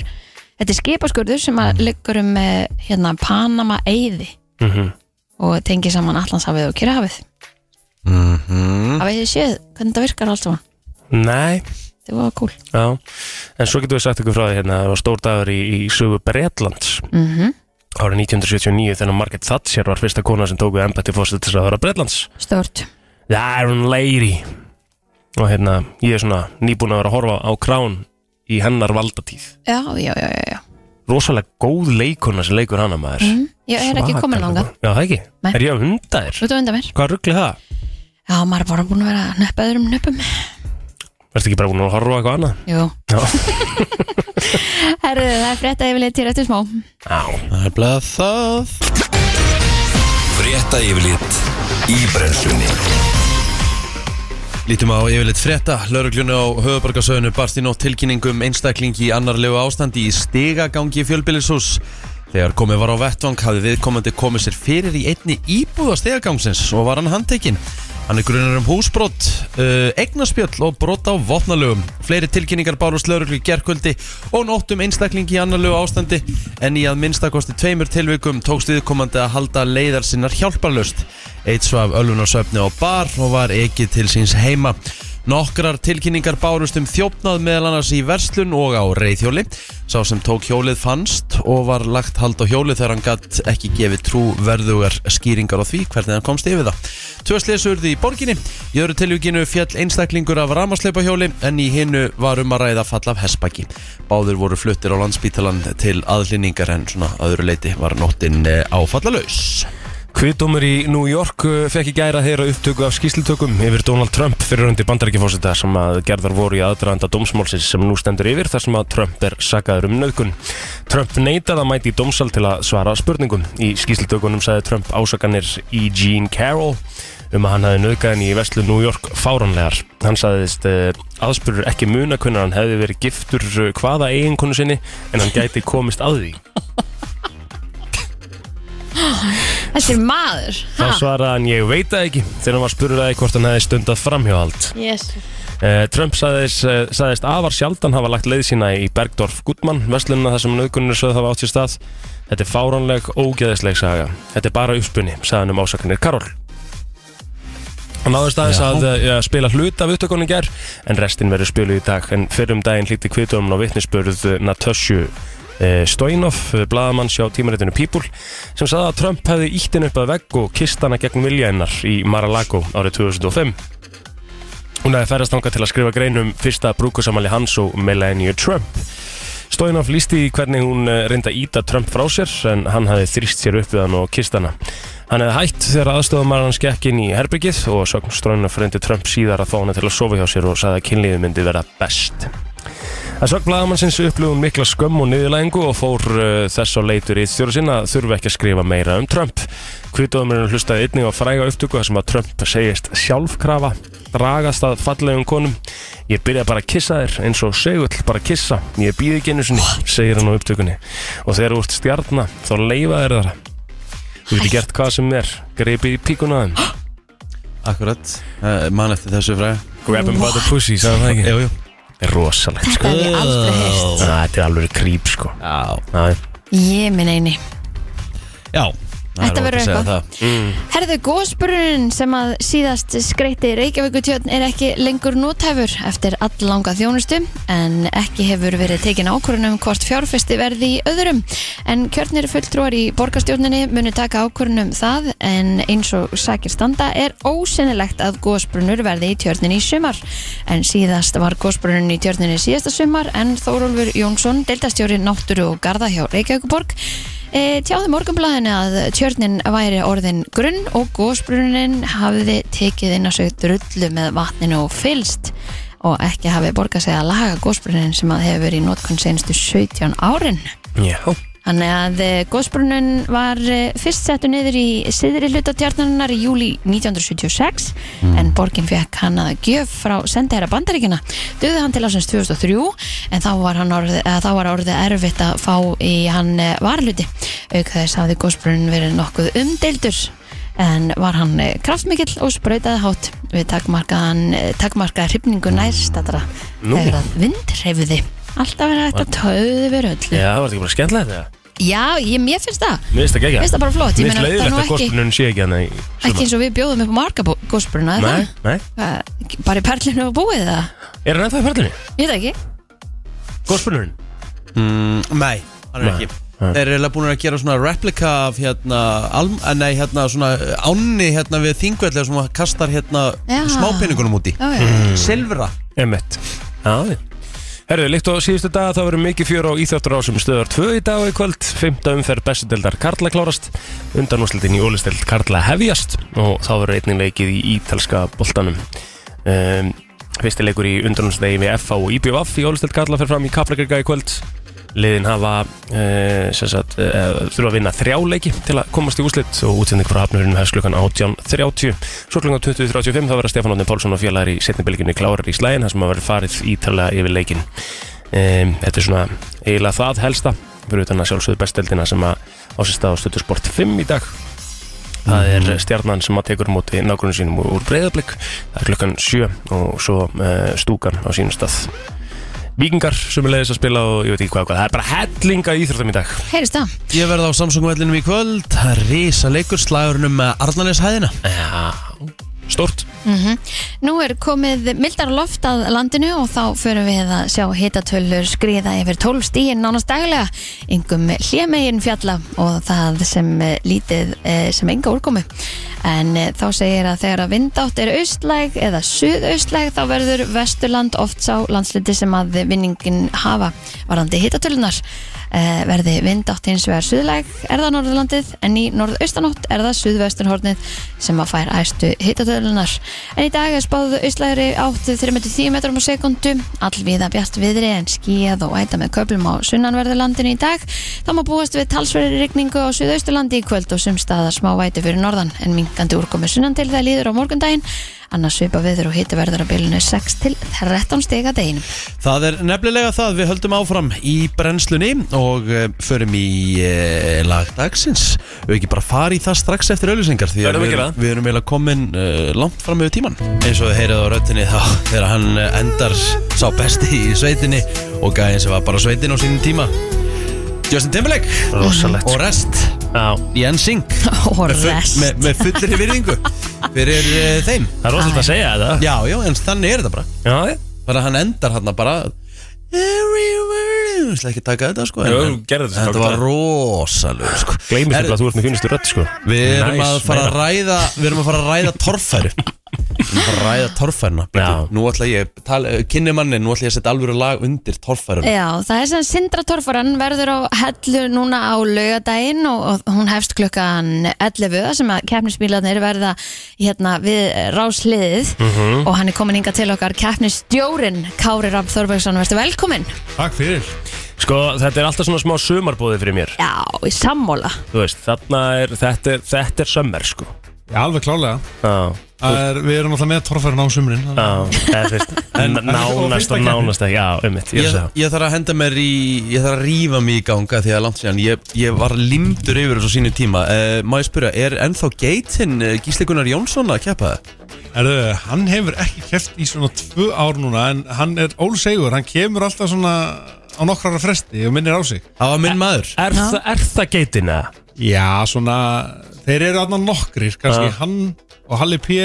B: þetta er skipaskurður sem að liggur um eh, hérna Panama eiði
C: mm
B: og tengi saman Allandshafið og Kyrrahafið mm -hmm. hafið þið séð hvernig þetta virkar allt saman
C: Nei,
B: þetta var cool
C: já En svo getum við sagt ykkur frá því hérna, það var stór dagur í, í sögu Bretlands
B: mm
C: árið 1979 þegar Margaret Thatcher var fyrsta kona sem tók við embætti fórsetisraðara Bretlands
B: stört
C: The Iron Lady og hérna, ég er svona nýbúin að vera að horfa á krán í hennar valdatíð
B: já, já, já, já, já.
C: rosalega góð leikona sem leikur hana maður
B: Mm. ég er ekki
C: Svaka
B: komin
C: leikkona.
B: langa
C: Já, það ekki,
B: Nei.
C: er ég að hunda þér?
B: út á undan mér
C: Hvað ruggli það?
B: já, maður er bara búin að vera að nöppa öðrum nöppum
C: Verstu ekki bara búin að horfa á eitthvað annað?
B: jú
C: Já.
B: herðu það er frétta yfirleitt til eftir smá
C: Já,
A: Það er bleið það
D: Frétta yfirlit í brennslunni
A: Lítum á yfirleitt frétta. Laurugljónu á höfubarkasöðinu barst í nótt tilkynningum einstakling í annarlegu ástandi í stigagangi fjölbýlishús. Þegar komið var á vettvang hafði viðkomandi komið sér fyrir í einni íbúða stigagangsins og var hann handtekinn. Hann er grunar um húsbrott, uh, eignaspjöll og brott á vopnalögum. Fleiri tilkynningar bárust lauruglu gerkvöldi og nótt um einstakling í annarlegu ástandi en í að minnstakosti tveimur tilvikum tókst viðkomandi að halda leiðar sinnar hjálparlust. Eitt svaf ölunarsöfni á bar og var ekki til síns heima. Nokkrar tilkynningar bárust um þjófnað meðal annars í verslun og á reyðhjóli. Sá sem tók hjólið fannst og var lagt hald á hjólið þegar hann gatt ekki gefið trúverðugar skýringar á því hvernig hann komst yfir það. Tvö slesurði í borginni. Í öðru tilvíkinu fjall einstaklingur af ramasleipa en í hinnu var um að ræða fall af hespaki. Báður voru fluttir á landsbítalan til aðlýningar en svona að öðru leiti var nóttin eh, áfallalaus.
C: Kviðdómur í New York uh, fekk í gæra að heyra upptöku af skýslutökum yfir Donald Trump fyrir hundi bandarækjafósita sem að gerðar voru í aðdraðanda dómsmálsins sem nú stendur yfir þar sem að Trump er sakaður um nöðkun. Trump neitað að mæti í dómsal til að svara spurningum. Í skýslutökunum sagði Trump ásakanir E. Jean Carroll um að hann hafi nöðgæðin í veslu New York fáranlegar. Hann sagðist uh, aðspurur ekki muna hvernig hann hefði verið giftur uh, hvaða eiginkonu sinni en hann gæti komist að því.
B: Þessi maður
C: Þá svaraði hann ég veit það ekki þegar hann var spurður að því hvort hann hefði stundað framhjóðald.
B: yes.
C: Eh, Trump sagðist, eh, sagðist afar sjaldan hafa lagt leið sína í Bergdorf Gutmann, vestlunna þar sem nöðgunnir sögð hafa átt sér stað. Þetta er fáránleg, ógeðisleg saga. Þetta er bara uppspunni, sagði hann um ásakanir Karol. Hann náðist aðeins
A: Já.
C: að eh, ja, spila hlut af upptökunni í gær en restin verður spiluð í dag en fyrrum daginn hlíti kvitum og vitnisspurð Natasju eh, Stoinov blaðamann sjá tímaritinu People sem sagði að Trump hefði ítt henni upp að vegg og kist hana gegn vilja hennar í Mar-a-Lago árið 2005 Hún hefði ferðast þangað til að skrifa grein um fyrsta brúkusamali hans og Melania Trump Stoinov lísti hvernig hún eh, reyndi að íta Trump frá sér en hann hefði þrýst sér upp við hann og kist hana Hann hefði hætt þegar aðstofumar hans gekk inn í herbyggið og sögn stróinu frendi Trump síðar að fá hann til að sofa hjá sér og sagði að kynlífið myndi vera best. Að sögn blagamannsins upplifum mikla skömm og niðurlæðingu og fór uh, þess á leitur í þjóru sinna að þurfa ekki að skrifa meira um Trump. Kvítóðumurinn hlustaði einnig á fræga upptöku þar sem að Trump segist sjálfkrafa, dragast að fallegum konum. Ég byrja bara að kissa þér eins og segull bara að kissa. Ég býð ekki einu sinni, segir hann á upptökunni. Og þegar þú ert stjarnar þá leifa þér þar. Þú getur gert hvað sem er Greipið í píkuna á þeim
A: Akkurat, uh, mann eftir þessu fræði
C: Grab him by the pussy, sagði það ekki
A: Jú, jú
C: Það er rosalegt sko
B: Þetta hef ég aldrei heist
C: Æ, Þetta er alveg creep sko
A: Já,
C: Æ.
B: Ég minn eini
A: já Það er
B: Þetta
A: óhætt
B: verður
A: að segja
B: eitthvað.
A: það.
C: Mm.
B: Herðu, góðspurinn sem að síðast skreyti Reykjavíkutjörn er ekki lengur nótæfur eftir alllanga þjónustu en ekki hefur verið tekin ákvörunum hvort fjárfesti verði í öðrum en kjörnir fulltrúar í borgarstjórninni munu taka ákvörunum það en eins og sækir standa er ósennilegt að góðspurinn verði í tjörninni í sumar en síðast var góðspurinn í tjörninni síðasta sumar en Þórólfur Jónsson, deildastjóri náttúru og garda hjá Reykjavíkuborg E, tjáði morgunblæðinu að tjörnin væri orðin grunn og gósbrunin hafði tekið inn á sig drullu með vatninu og fylst og ekki hafi borgað sig að laga gósbrunin sem að hefur verið í notkunn senstu 17 árin.
C: Já
B: Þannig að góðsbrunun var eh, fyrst settu niður í siðri hluta tjarnarinnar í júli 1976
C: Mm.
B: en borgin fekk hann að gjöf frá sendaherra bandaríkina. Döði hann til ásins 2003 en þá var, hann orðið, eða, þá var orðið erfitt að fá í hann eh, varluti. Auk þess hafði góðsbrunun verið nokkuð umdeildur en var hann eh, kraftmikill og sprautaði hátt við takmarkaðan, takmarkaði hrifningu nærstatara
C: Nú.
B: þegar að vind hreyfiði. Alltaf er hægt að töðu við öllu.
C: Já, var þetta ekki bara skemmtilegt það?
B: Já, ég, mér finnst það
C: Mér finnst það gegja
B: Mér finnst það bara flott, ég
C: Mér finnst
B: meina, það er
C: leiðilegt
B: nú
C: að
B: ekki-
C: gospelun sé ekki hann í
B: Ekki eins og við bjóðum upp á marga gósbruna
C: Nei, nei
B: Bara í perlinu og búið það
C: Er hann ennþá í ferðinni?
B: Ég veit það ekki
C: Gospelun
A: Mm, Nei, hann er
C: Nei.
A: ekki Þeir eru eiginlega búin að gera svona replika af hérna, alm, eh, nei, hérna svona eh, ánni hérna við þingvelli sem að kastar hérna
B: Já.
A: smápenningunum út í
B: Já, já.
C: Hmm.
A: Silfra
C: Emmett Já, já Herðu, líkt á síðustu dag þá verður mikið fjör á Íþjóttur ásum stöðar 2 í dag og í kvöld 5. umferð bestudeldar Karla klárast undanúslitin í ólisteld Karla hefjast og þá verður einnig leikið í ítalska boltanum um, Fyrsti leikur í undanúslitegi við FA og IBVF í ólisteld Karla fer fram í Kaplagrega í kvöld Liðin hafa uh, sagt, uh, þurfa að vinna þrjá leiki til að komast í úslit og útsending frá hafnurinn hefst klukkan 18.30 Svo klukkan 20.35 þá verða Stefán Ótni Pálsson og félagar í setnibylginni klárar í slægin þar sem að verður farið ítalega yfir leikin um, Þetta er svona eiginlega það helsta fyrir utan að sjálfsögðu besteldina sem að ásista á stötu sport 5 í dag Það er stjarnan sem að tekur á móti nágrunum sínum úr breyðablík Það er klukkan 7 og svo uh, stúkan á sínum stað Víkingar sem er leiðis að spila og ég veit ekki hvað, og hvað. Það er bara hellinga íþróttum í dag
B: Heyrist það
A: Ég verð á Samsung-vellinum í kvöld Það er Rísa leikur slagurinn um Arnaneshæðina
C: Stort
B: Mhm. Nú er komið mildar loft að landinu og þá förum við að sjá hitatölur skriða yfir 12 stíin nánast daglega yngum hljemegin fjalla og það sem eh, lítið eh, sem enga úrkomi en eh, þá segir að þegar að vindátt er austlæg eða suðaustlæg þá verður vesturland oft sá landsliti sem að vinningin hafa varandi hitatölunar Eh, verði vindátt hins vegar suðlæg er það norðurlandið en í norðaustanótt er það suðvesturhornið sem að fær æstu hittatölunar en í dag er spáðu austlægri áttu 3-10 metrum á sekundu allvíða bjart viðri en skíð og æta með köplum á sunnanverðu landinu í dag þá má búast við talsverði rigningu á suðausturlandi í kvöld og sumstaðar smá væti fyrir norðan en minkandi úrkomi sunnan til það líður á morgundaginn annars svipa viður og hitti verður á bylunu 6 til 13 stiga deginum
A: Það er nefnilega það við höldum áfram í brennslunni og uh, förum í uh, lagdagsins og ekki bara fara í það strax eftir auðlýsingar því að
C: Verðum að
A: við,
C: gera það.
A: við erum eiginlega komin uh, langt fram yfir tíman eins og þið heyrið á röttinni þá þegar hann eh, endar sá besti í sveitinni og gæðin sem var bara sveitin á sínum tíma Justin Timberlake
C: Rosalegt
A: og rest
C: Já,
A: í NSYNC
B: og
A: Með full-
B: rest
A: með, með fullri virðingu fyrir uh, þeim
C: það er rosalega að segja þetta
A: Já, já, en þannig er þetta bara
C: Já, já
A: bara hann endar hann bara everywhere ég ætla ekki að taka þetta sko
C: Jú,
A: en,
C: gerðu þetta,
A: en þetta
C: tók
A: var
C: þetta.
A: rosalegu sko
C: Gleimist
A: Er-
C: þetta að þú ert með fínustu rödd sko
A: við erum
C: Nice,
A: að fara að
C: meira.
A: ræða við erum að fara að ræða torfæru við erum að fara að ræða torfæruna
C: Já.
A: nú ætla ég tala, kynni manni nú ætla ég að setja alvöru lag undir torfæruna
B: Já, það er sem Sindra Torforan verður á hellu núna á laugadaginn og, og hún hefst klukkan 11 þar sem að keppnisbílarnir verða hérna við rásliðið og hann er komin hinga til okkar keppnisstjórin Kári Rapp Þorbergsson, verður velkomin
E: Takk fyrir
C: Sko, þetta er alltaf svona smá sumarbóði fyrir mér
B: Já, í sammóla
C: Þú veist, þarna er, þetta er, þetta er sömmer sko
E: Já, alveg klálega
C: Já
E: Það er, við erum alltaf með torfærin á sumrin þannig að-
C: Já, eða þú veist,
E: En- en- og
C: nánast
E: fyrsta
C: og
E: keppni.
C: nánast ekki, já, um mitt, ég
A: Ég,
C: sé það
A: ég þarf að henda mér í Ég þarf að rífa mig í ganga því að langt síðan Ég, ég var limdur yfir þessu á sínu tíma uh, Má ég spyrja, er ennþá geitin uh, Gísli Gunnar Jónsson að keppa það?
E: Erðu, hann hefur ekki keft í svona tvö ár núna en hann er ólsegur, hann kemur alltaf svona á nokkrar fresti og minnir á sig
A: Það var minn maður
C: Er, það, er það geitin eða?
E: Já, svona, þeir eru aðna nokkrir kannski,
C: Já.
E: hann og Halli P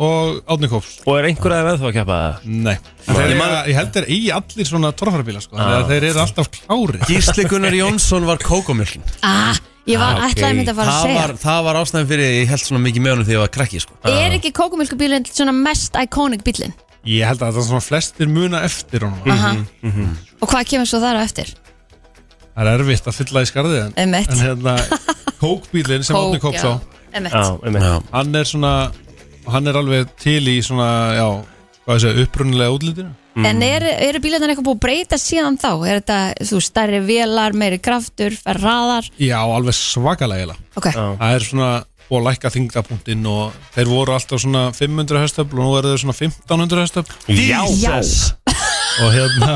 E: og Átni Kóps
C: Og er einhver aðeins að keppa það?
E: Nei, þeir, ég, ég held þeir í allir svona torfærabíla sko, þannig að þeir eru alltaf klári
A: Gísli Gunnar Jónsson var kókomjöln
B: Ah, ég var
C: Ah, ok.
B: ætlaði mynd að fara að
A: það
B: segja
A: var, það var ástæðan fyrir ég held svona mikið með honum þegar ég var krakki sko.
B: Er ekki kókumilkubílinn svona mest iconic bílinn?
E: Ég held að það er svona flestir muna eftir honum
B: Aha. Og hvað kemur svo þar á eftir?
E: Það er erfitt að fylla í skarðið en,
B: Einmitt.
E: en hérna, kókbílinn sem Átni Kóps á
C: Já,
B: Emmett
C: um mitt
E: hann er svona hann er alveg til í svona já, hvað ég segja, upprunnilega útlítinu
B: En eru er bílarnir eitthvað búið að breyta síðan þá? Er þetta, þú, stærri vélar, meiri kraftur, fer raðar?
E: já, alveg svakalega eiginlega.
B: Ok,
C: Já.
E: það er svona og lækka þingdapunktinn og þeir voru alltaf svona 500 höstöfl og nú eru þeir svona 1500 höstöfl
C: Já,
B: Já.
E: og hérna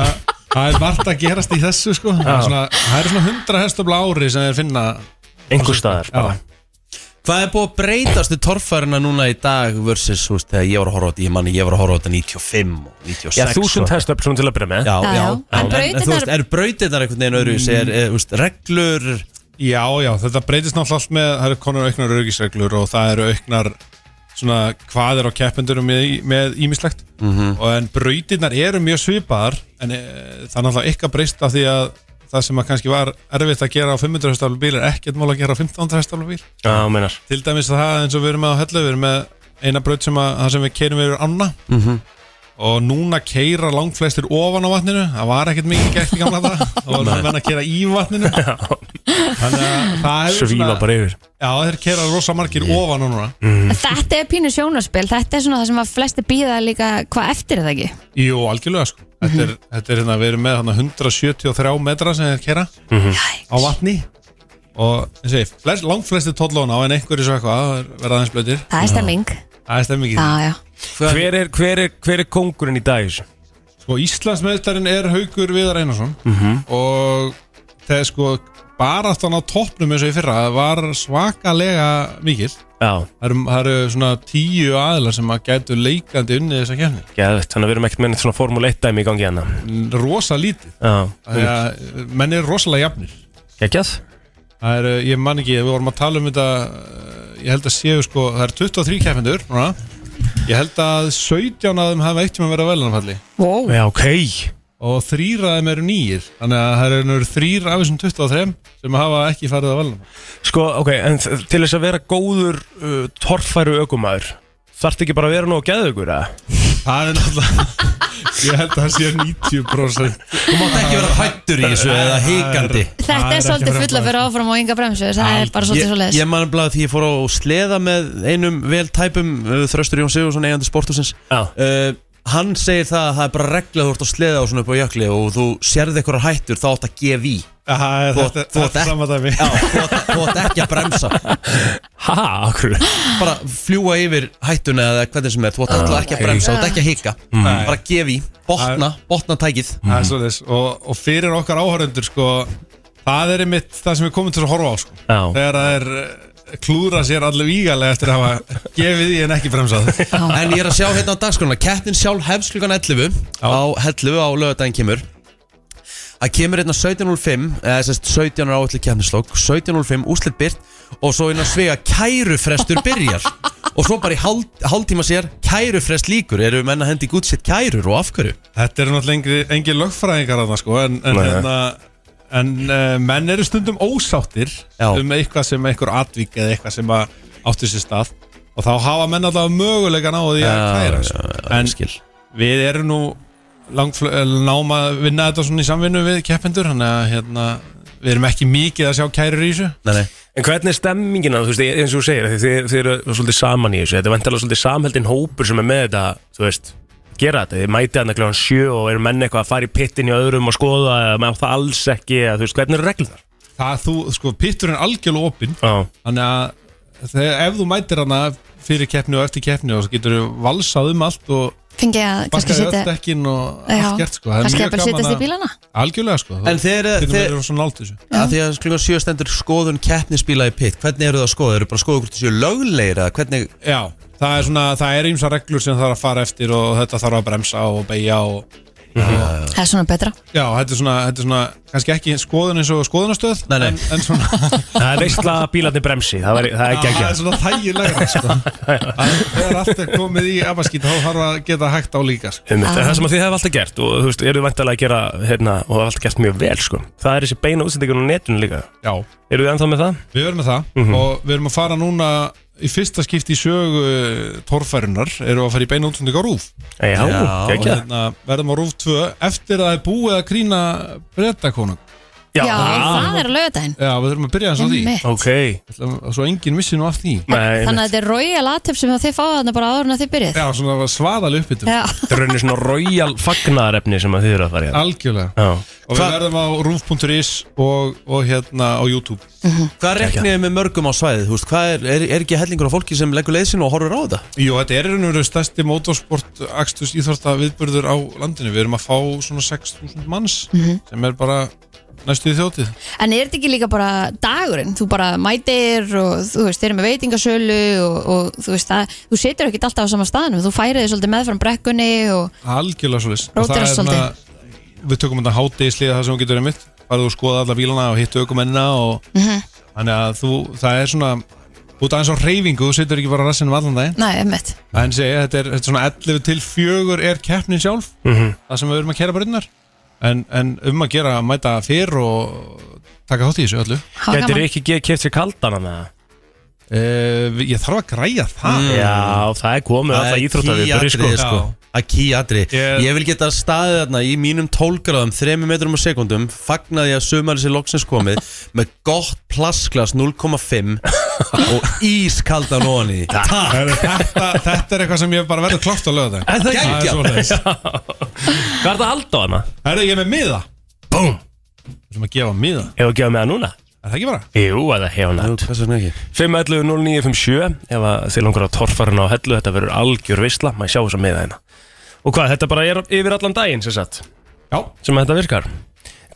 E: það er margt að gerast í þessu sko það er
C: Já.
E: svona, það eru svona 100 höstöfl á ári sem þeir finna
C: einhver staðar bara
E: já,
A: Hvað er búið að breytast við torfærina núna í dag versus þú veist, þegar ég var að horfa á þetta ég manni ég var að horfa á þetta 95 og 96
C: Já, þúsund
A: og-
C: hestöp svona til að byrja með
A: sko. Já,
B: Já,
A: já,
B: já.
A: en, en
B: En
A: þú veist,
B: brautirnar-
A: er brautirnar einhvern veginn öðru mm. er, er, þú veist, reglur
E: já, já, þetta breytist náttúrulega allt með það eru konar auknar örgisreglur og það eru auknar svona hvað er á keppendurum með- með ímislegt og en brautirnar eru mjög svipaðar en e, það er náttúrulega eitthvað breyst af því að það sem að kannski var erfitt að gera á 500 höstöfl bíl er ekkert mál að gera á 1500 höstöfl bíl
C: Já, meinar
E: til dæmis það eins og við erum með á hellu við erum með eina braut sem, að, það sem við keirum yfir ána og núna keira langflestir ofan á vatninu það var ekkert mikið gætt í gamla það það var það menn að keira í vatninu þannig að það er
C: Svíla bara yfir
E: já þeir keira rosa margir ofan á núna
B: þetta er pínu sjónarspil Þetta er svona það sem að flesti býða líka hvað eftir er það ekki
E: jú algjörlega sko þetta er, þetta er hérna við erum með hérna, 173 metra sem þeir keira á vatni og eins og ég, segi, flest, langflestir tóllón á en einhverjir svo eitthvað verða aðeins blöytir
B: Það er stemming
E: það er stemmingið
B: Já, já
C: Hver er, hver er, hver er kongurinn í dag? í þessu?
E: Sko Íslandsmeðstarinn er Haugur Viðar Einarsson og þegar sko baráttan á toppnum eins og í fyrra var svakalega mikil
C: Já,
E: það eru, það eru svona tíu aðlar sem að gætu leikandi unni þessa kefni
C: geðvægt, þannig að við erum ekkert með neitt svona Formule 1 dæmi í gangi hérna
E: rosa lítið
C: Já,
E: þannig að menn er rosalega jafnir
C: geggjað
E: það eru, ég man ekki, við vorum að tala um þetta ég held að séu sko, það eru 23 kefendur núna. ég held að 17 af þeim hafa eitt sem að vera velanfalli
B: wow.
C: Já, ok
E: og þrýr af þeim eru nýjir þannig að það eru þrýr af þessum 23 sem hafa ekki farið að velna
C: Sko, ok, en þ- til þess að vera góður uh, torfæru ökumæður Þarftu ekki bara að vera nóg geðugur, eða?
E: Það er náttúrulega Ég held að það sé 90%
A: þú mátt ekki vera hættur í þessu eða hikandi
E: Það
B: Þetta
E: er
B: er
E: ekki
B: svolítið
E: sko. verið að
B: fulla fyrir
E: blæða þessu.
B: áfram og ynga bremsu Það er bara
A: Ég,
B: svolítið svolítið
A: ég man bara því ég fór á sleða með einum vel tæpum uh, Þröstur Jón Sigurðsson eigandi sportusins
C: Já
A: uh, hann segir það að það er bara regla að þú ert að sleða á svona upp á jökli og þú sérði einhverjar hættur þá átt að gefa í Þú-
E: Þetta
A: þú
E: þetta
A: átt
E: er sama dæmi
A: Já, þú átt- þú átt ekki að bremsa
C: Ha, okkur
A: bara fljúa yfir hættuna eða hvernig sem er þú átt alltaf ekki að bremsa, þú átt ekki að hika bara gefa í, botna, botna tækið
E: Mm. Það er svoleiðis og, og fyrir okkar áhörundur sko, Það er einmitt það sem við komum til að horfa á sko.
C: Já.
E: Þegar það er eh, klúðra sér allir vígalega eftir að hafa gefið í en ekki bremsað
A: en ég er að sjá hérna á dagskrona kettin sjálf hefst klukkan 11 á hellu á lögadaginn kemur það kemur hérna 17.05 eða sérst 17 er áallir keppnislokk 17.05 úslit byrt og svo hérna svega kærufrestur byrjar og svo bara í hál, hálftíma sér kærufrest líkur, eru menn að hendi gútt sétt kærur og af hverju?
E: Þetta eru náttúrulega engri, engin lögfræðingar þarna, sko, En, en,
C: Nei.
E: hérna, en uh, menn eru stundum ósáttir
A: Já.
E: Um eitthvað sem einhver atvík Eða eitthvað sem að áttu sér stað Og þá hafa menn allavega mögulegan á því að kæra sko. En
A: skil
E: Við erum nú langfl- eh, náum að vinna þetta svona í samvinnu við keppendur þannig að hérna, við erum ekki mikið að sjá kærur í þessu
A: nei, nei.
C: En hvernig er stemmingina, þú veist, eins og þú segir þið, þið, þið eru svolítið saman í þessu, þetta er vantilega svolítið samheldin hópur sem er með þetta, þú veist gera þetta, þið mætið hann að kláðan sjö og eru menn eitthvað að fara í pittin í öðrum og skoða eða maður á það alls ekki, eða, þú veist, hvernig er reglum þar?
E: Það þú, sko, pitturinn er algjörlega opinn
C: Já,
E: þannig að þegar, ef þú mætir hana fyrir keppni og eftir keppni og svo getur þú valsað um allt og
B: Fengi að kannski
E: bakkaði öll
B: setja
E: dekkin og
B: Já,
E: allt gert sko. Það er
B: kannski
E: mjög
B: að bara
E: gaman
B: setjast í
E: að-
B: bílana
E: Algjörlega sko.
A: En þeir,
E: Getur
A: þeir,
E: verið svo nált þessu.
A: að því að klukkan sjö stendur skoðun keppnisbíla í pitt, hvernig eru það að skoða? Eru bara að skoða hvort það séu löglegir eða hvernig
E: Já, það er svona, það er ímsa reglur sem þarf að fara eftir og þetta þarf að bremsa og beigja og
B: Það er svona betra
E: Já, þetta er svona, þetta er svona kannski ekki skoðun eins og skoðunastöð
A: Nei, nei.
E: En, en svona,
C: Það er veistla að bílarnir bremsi Það, væri- það er ekki
E: það er svona þægilegra sko. Að Þegar allt er komið í abaskýt þá þarf að geta hægt á líka sko.
C: Einmitt, en það
B: Ah.
C: sem að þið hefði alltaf gert og þú veist, eru vantalega að gera hérna, og það hefði alltaf gert mjög vel sko. það er þessi beina útsendingun á netinu líka
E: Já, Mhm.
C: eru þið ennþá með það?
E: við verum með það og við erum að fara núna í fyrsta skipti í sögu torfærunar erum við að fara í beina útsending á RÚF
C: Já,
A: Já,
E: og
C: ekki
E: hérna, verðum á RÚF 2 eftir að það er búið að grína brettakónung
B: Já, það er lögudaginn
E: Já, við þurfum að byrja eins á því
B: Einmitt.
C: Ah, ok
E: Ætlum- svo enginn missi nú af því
C: Nei,
B: Þannig að þetta er royal atöp sem þið fáið þarna bara áður en að þið byrjið
E: Já, svona svaðal uppbytum
B: Já.
C: þetta er raunin svona royal fagnaðarefni sem að þið eru að fara í hérna.
E: Algjörlega
C: Já.
E: Og við
A: Hvað-
E: verðum á roof.is og, og hérna á YouTube
A: Hvað reknið með mörgum á svæðið? Húst? Hvað er, er, er ekki hellingur á fólki sem leggur leiðsinn og horfur á þetta?
E: Jú, þetta er einhvern veginn stærsti motorsport axtus íþorta viðburður á landinu Við erum að fá svona 6.000 manns
B: Mhm.
E: sem er bara næstu í þjótið
B: En er þetta ekki líka bara dagurinn? Þú bara mætir og þú veist, þeir eru með veitingasölu og, og þú veist, það, þú setur ekkert alltaf á sama staðnum, þú færið þig svolítið meðfram brekkunni og
E: Algjörlega svolítið
B: Róterast svolítið.
E: hérna- Við tökum þetta hátíðislið það sem þú getur einmitt Farðu og skoða alla bílana og hittu aukumennina og Þannig að þú, það er svona Út aðeins á reyfingu, þú setur ekki bara rassinum allan daginn
B: næ, emmitt.
E: En segja, þetta er, þetta er svona 11 til 4 er keppnin sjálf Það sem við erum að kæra brunnar en, en um að gera að mæta fyrr og taka þátt í þessu öllu
C: Gætir þið ekki keft sér kaldan hana?
E: uh, Ég þarf að græja það
C: Mm. Já, það er komið
A: Mm. Það
C: alltaf
A: er
C: íþróttað við
A: key atriði,
C: sko.
A: sko. að kýjadri
E: Ég-
A: Ég vil geta staðið þarna í mínum 12 gráðum 3 metrum á sekundum fagnaði að sömari sér loksins komið með gott plastglas 0,5 og ískaldan ofan í Takk
E: þetta, þetta er eitthvað sem ég bara verður klátt að löða
C: En það
E: Það er
A: Geggjað.
E: svoleiðis
C: Hvað er það hald á hana?
E: Herðu, ég er með miða
C: Búm!
E: Við erum að gefa miða
C: Hefur að gefa með það núna?
E: Er það ekki bara?
C: Jú, eða hefur
A: Jú,
C: hann
A: Hvers vegna ekki?
C: 511-0957 ef að þið langar að torfarinn á hellu þetta verður algjör veisla, maður sjá þess að miða hérna og hvað, þetta bara er yfir allan daginn sem sagt,
E: Já
C: sem að þetta virkar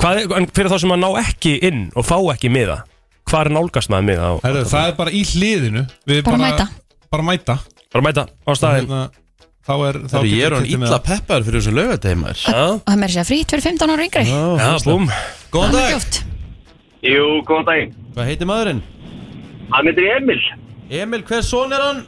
C: hvað, er- en fyrir þá sem að ná ekki inn og fá ekki miða hvað er nálgast maður miða á,
E: Herðu, það er bara í hliðinu Við
B: Bara mæta.
E: Bara mæta
C: bara mæta á staðinn
E: hérna, Þá er þá
A: Það eru
E: getur
A: ég er hann
E: keypt með
A: illa peppar fyrir þessu laugadeimar
C: Já,
B: Og það meir sér frítt fyrir 15 ára yngri.
C: já, búm
A: Góðan
B: Það er
A: dag,
B: gjóft.
F: Jú, góðan daginn.
A: hvað heitir maðurinn?
F: Hann heitir Emil
A: Emil, hvers son er hann?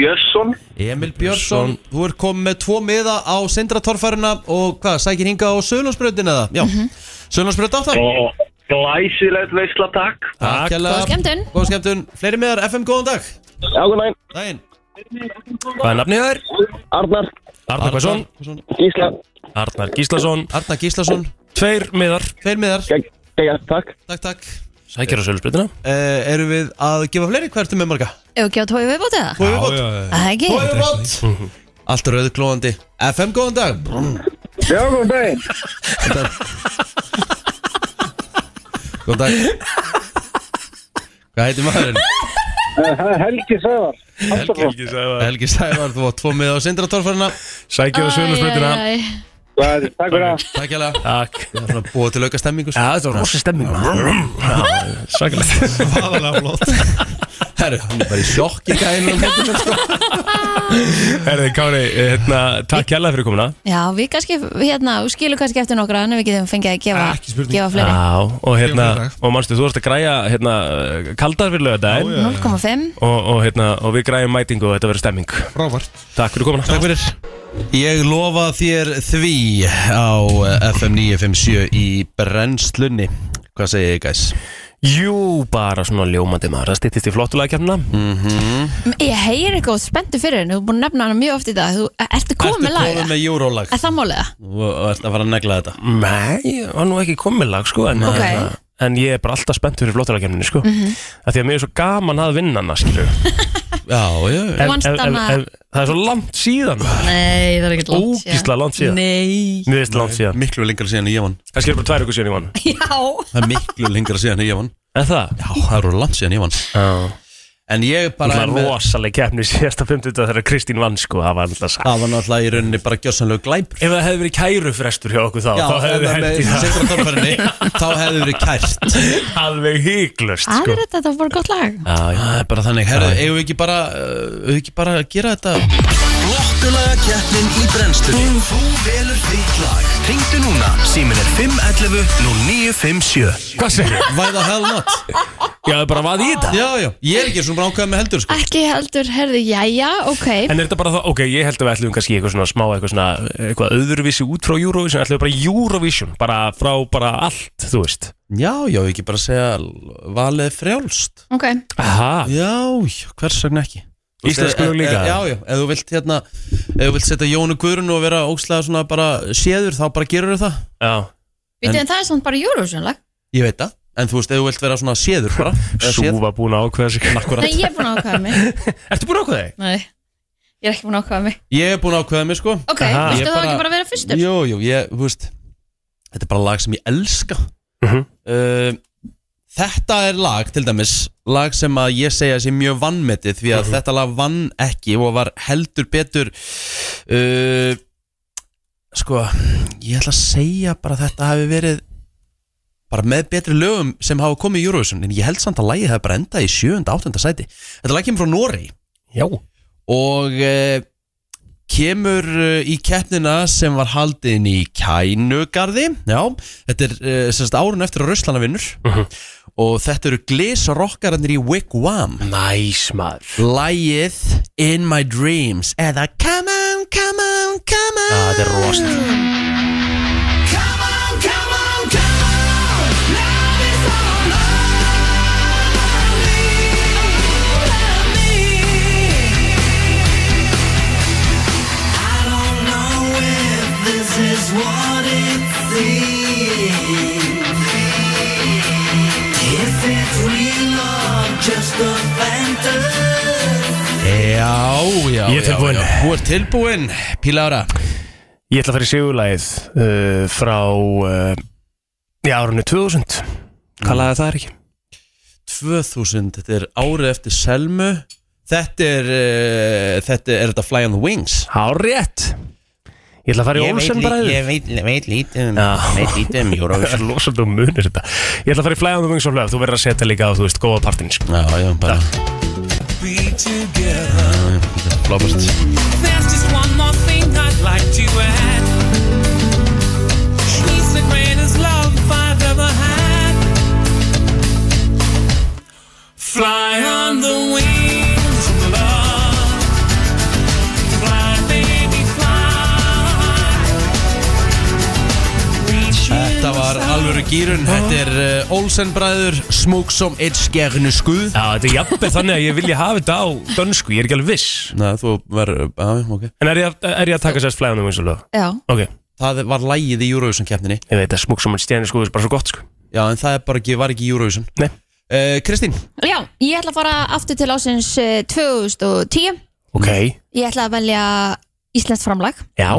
F: Björnsson.
A: Emil Björnsson, þú ert komið með tvo miða á sindratorfæruna og hvað, sækir hinga á Sölundsbröðin eða? Já, mm -hmm.
B: Mhm.
A: Sölundsbröð áttan
F: Og glæsilegt veisla, takk.
A: Takk hérlega.
B: Góða skemmtun.
A: Góða skemmtun, fleiri miðar, FM, góðan dag
G: Já, góð næn,
A: Daginn
C: hvað er nafnið þær?
G: Arnar,
C: Arnar Kvæsson,
G: Gísla,
C: Arnar Gíslason
A: Arna Gíslason,
C: tveir miðar,
A: tveir miðar
G: gegja, takk.
A: Takk, takk
C: sækjur á sölusbrytina
A: uh, Erum við að gefa fleiri hvertu með marga?
B: Ef við gjóðum tóið viðbótið það?
A: Hvað
E: Já, já, já.
B: Það er ekki.
A: er bótt? Allt rauðglóðandi FM, góðan dag
G: Já, góð næn.
A: Góðan dag Hvað heitir maðurinn?
G: Það er Helgi Sævar. Hafsarson.
A: Helgi Sævar, þú átt tvo miða á sindratorfæruna
C: sækjur á sölusbrytina
B: Æ, æ, æ.
G: Hvað er- Takk fyrir það.
A: Takk hérlega
C: takk,
A: Það er svona búið til auka stemmingu sko.
C: já, þetta var rosa stemming sækjulegt
E: það. Aðalega flott
A: Herru, hann er bara í sjokki gæðinu um hérna sko.
C: Herði Kári,
E: eh,
C: hérna, takk hérlega fyrir komuna
B: Já, við kannski, hérna, þú skilur kannski eftir nokkra en við getum fengið að
E: Ekki
B: gefa,
E: spurning.
B: gefa fleiri.
C: Já, og hérna,
E: Ég var í dag.
C: og mannstu, þú varst að græja hérna, eh, kaldar fyrir lögadaginn
E: Já, já.
B: 0,5.
C: og, og hérna, og við græjum mætingu og þetta verður stemming.
E: Frábært
C: Takk fyrir komuna.
A: Takk fyrir Ég lofa þér því á eh, FM 957 í brennslunni Hvað segir ég, gæs?
C: Jú, bara svona ljómandi maður, það styttist í flottulega kemna.
B: Ég heyri eitthvað spenntu fyrir henni, þú er búin að nefna hana mjög oft í dag. Þú, e, ertu komið með
A: Ertu
B: laga?
A: komið með júrólag
B: Er það málega?
A: og og ert að fara að negla þetta
C: Nei, ég var nú ekki komið lag, sko, en,
B: Ok. Mhm.
C: hérna, en ég er bara alltaf spennt fyrir flottulega kemninu, sko. Mm Því að mér er svo gaman að vinna hana, skilju.
A: Já, já, já
B: Vannst hana-
C: Það er svo langt síðan,
B: Nei, það er ekkert langt síðan.
C: ógísla langt síðan.
B: Nei.
C: Mér veist langt síðan.
A: Miklu lengra síðan en ég vann
C: Kannski er bara tvær ykkur síðan í vann.
B: Já.
A: Það er miklu lengra síðan en ég vann
C: En það?
A: Já, það eru langt síðan ég vann
C: Já.
A: En ég bara
C: Það
A: er
C: var
A: með-
C: rosaleg keppni síðasta 50 þegar Kristín vann sko, það var alltaf sagt
A: Það var náttúrulega í rauninni bara gjössanlega glæpur
C: Ef það hefði verið kærufrestur hjá okkur þá
A: Já,
C: þá hefði
A: ef
C: við hendt í
A: með
C: það
A: Sindra Torfarinni Þá hefði verið kært
C: Alveg hygglust
B: Það
C: sko
B: er þetta, þetta var bara gott lag
A: Það er bara þannig Herðu, eigum við ekki bara uh, Eigum við ekki bara að gera þetta
D: Flottulaga keppnin í brennstunni Þú velur þitt lag Ringdu núna, símin er 511 0957
C: Hvað segir þú?
A: Why the hell not
C: Já, það er bara vaði í þetta
A: Já, já Ég er ekki svona bara ákveða með heldur sko
B: Ekki heldur, herði, jæja, ok
C: En er þetta bara það, ok, ég held að við ætlum kannski eitthvað svona smá eitthvað svona, eitthvað öðruvísi út frá Eurovision, ætlum við bara Eurovision bara frá bara allt, þú veist
A: Já, já, ekki bara segja Valið frjálst
B: Ok,
C: Aha,
A: Já, já, hvers vegna ekki
C: Íslensku
A: Þú veist,
C: líka?
A: e- e- Já, já, ef þú vilt hérna Ef þú vilt setja Jónu Guðrun og vera ókslega svona bara séður Þá bara gerur það
C: já,
B: býttu en það er samt bara Eurovision lag
A: Ég veit það En þú veist, ef þú vilt vera svona séður bara eða séð,
C: súfa búin að ákveða sig
A: akkúrat.
B: Nei, ég er búin að ákvæða mig
C: Ertu búin að ákveða þig?
B: Nei, ég er ekki búin að ákvæða mig
A: Ég hef búin að ákveða mig sko
B: Ok,
C: Aha.
B: viltu
A: Ég
B: þá
A: bara-
B: ekki bara vera fyrstur?
A: Jú, jú, ég, þú veist Þetta er bara lag sem ég elska
C: Mhm.
A: uh, Þetta er lag, til dæmis Lag sem að ég segja sé mjög vannmetið Því að þetta lag vann ekki Og var heldur betur uh, Sko Ég ætla að segja bara að þetta hafi verið Bara með betri lögum Sem hafa komið í Eurovision En ég held samt að lagið hafi bara endað í 7. 8. sæti Þetta lag kemur frá Noregi
C: Já
A: og eh, kemur eh, í keppnina sem var haldin í Kænugarði já, þetta er eh, semst árun eftir að Rauslana vinnur
C: Mhm.
A: og þetta eru glísarokkarannir í Wigwam
C: Næs maður
A: Lægið In My Dreams eða Come on, come on, come on
C: Já, Ah, þetta er rosalega
A: Já, já,
C: Ég er tilbúinn.
A: já, já. Þú ert tilbúin, Pílára
C: Ég ætla að fara í sigurlægið uh, frá uh, í árunni 2000 Hvað lagði það er ekki?
A: 2000, þetta er árið eftir Selmu Þetta er, uh, þetta er, er þetta Fly on the Wings
C: Há rétt Ég ætla að fara í Olsen bara
A: veit, veit lítið
C: Já. veit
A: lítið um
C: Það er losandi og munir þetta Ég ætla að fara í flæðan og vings og hlöf Þú verður að setja líka á, þú veist, góða partin sko.
A: Já, já, bara Blómast
H: There's just one more thing I'd like to add. She's the greatest love I've ever had. Fly on the wings of love. Fly, baby, fly. Reach
A: Þetta var alvöru gýrun Þetta er uh, Olsen bræður Smúk som eitt skegnu skuð
C: Já, þetta er jafnvel þannig að ég vilja hafa þetta á dönsku Ég er ekki alveg viss
A: Nei, þú verður, já, ok
C: En er ég, að- er ég að taka sérst flæðan og vings og hlöf?
B: Já,
C: Ok,
A: Það var lægið í Eurovision keppninni
C: ég veit að smúk sem hann stjæni sko, það er bara svo gott sko.
A: Já, en það er bara ekki, var ekki í Eurovision
C: Nei.
A: Eh, Kristín
B: já, ég ætla að fara aftur til ásins eh, 2010
C: Ok,
B: Ég ætla að velja Íslands framlag
C: já,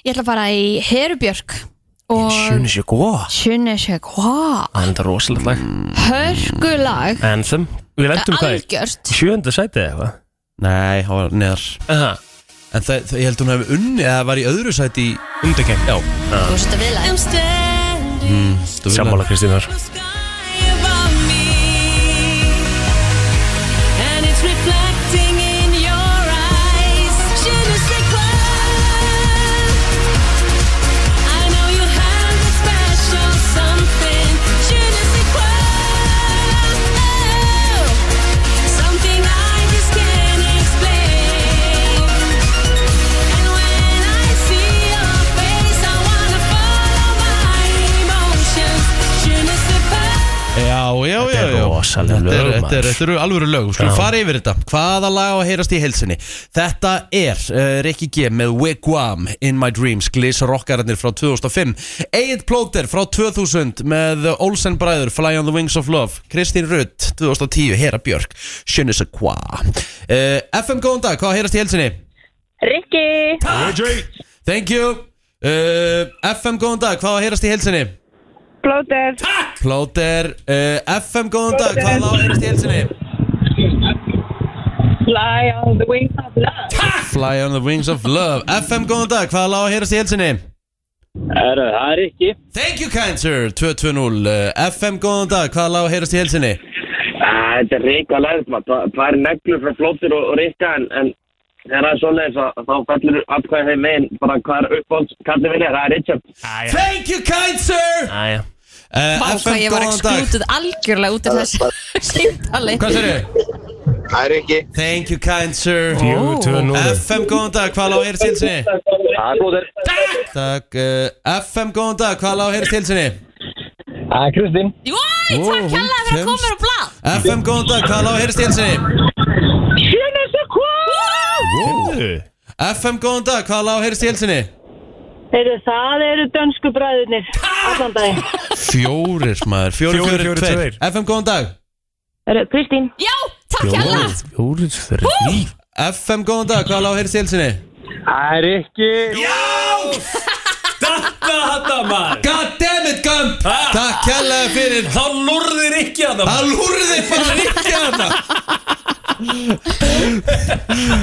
B: Ég ætla að fara í Herubjörg og
C: sjöni sér góða
B: Sjunisjök, hvað?
C: Það er þetta rosalegt lag
B: Hörgulag
C: Anthem, við lendum hvað í
B: Algjört
C: sjönda sæti eða eitthvað
A: Nei, það var neðar
C: Aha,
A: En það, það, ég held hún hefði unni eða var í öðru sæti í
C: Undergang Já,
B: Þú veist að vilja
H: I'm standing
A: Þú vinnur.
C: sammála Kristín þar
H: the sky above me. And it's reflecting in your eyes. Je ne sais quoi. I know you have a special something. Je ne sais quoi. Oh, something I just can't explain. And when I see your face, I wanna follow my emotions. Je ne sais pas.
A: Já, já, já,
C: Þetta er
A: já. Þetta
C: rosaleg
A: er-
C: lög,
A: Þetta er-
C: maður.
A: þetta eru alvöru lög, við skulum fara yfir þetta Hvaða lag á að heyrast í heilsinni? Þetta er uh, Rikki G með Wigwam In My Dreams, Gliss Rockararnir frá 2005 Egil Plóter frá 2000 með Olsen Bræður, Fly on the Wings of Love Kristín Rutt, 2010, Hera Björk Sjönnisa Kva uh, FM góðan dag, hvað á að heyrast í heilsinni?
I: Rikki,
A: Thank you uh, FM góðan dag, hvað á að heyrast í heilsinni?
I: Blóter,
A: eh, Plóter, uh, FM góðan dag, hvað á að heyrast í heilsinni?
I: Fly on the wings of love.
A: Fly on the wings of love FM, góðan dag, hvaða lág að heyrast í helsinni?
G: Herru, það er ekki.
A: Thank you kind sir, 220 eh, FM, góðan dag, hvaða lág að heyrast í helsinni?
F: Þetta er reyka læðið, maður. Það er neglur frá flóttir og, og reyka, en, en þegar það er svoleiðis að þá fellur atkvæðið þeim megin, bara hvað er uppáhalds, kallið vilja, það er Richard.
C: Æja,
A: Thank you kind sir
C: æja
A: uh,
B: Vá, hvað
A: FM,
B: ég var
A: góðan dag
B: exklútið algjörlega út af þessu símtali
A: Hvað sér þið?
F: Það er ekki.
A: Thank you kind sir
C: Jú, tvö núl
A: FM, góðan dag, hvaða lág að heyrast í helsinni?
F: Það er góður.
A: Takk, uh, FM, góðan dag, hvaða lág að heyrast í helsinni?
G: Það er Kristín.
B: Jói,
A: Ó,
B: takk
A: hún
B: hella fyrir að
A: kemst.
B: koma mér á blad
A: FM, góðan dag, hvaða lág að heyrast í helsinni? FM, góðan dag, hvaða lág að heyrast í helsinni?
I: Heyrðu, það eru dönsku bræðurnir allan daginn.
A: Fjórir maður, fjórir,
C: Fjórir,
A: fjórir,
C: fjórir,
A: tveir FM, góðan dag
I: Heyrðu, Kristín,
B: Já, takk hella
C: Fjórir, þrý
A: FM, góðan dag, hvað lág heyrst í helsinni?
G: Það er ekki.
C: Þetta þetta maður
A: God damn it, Gump
C: Ah.
A: Takk kærlega fyrir
C: Þá lúrðir ekki að það
A: Það lúrði þig bara rikki hana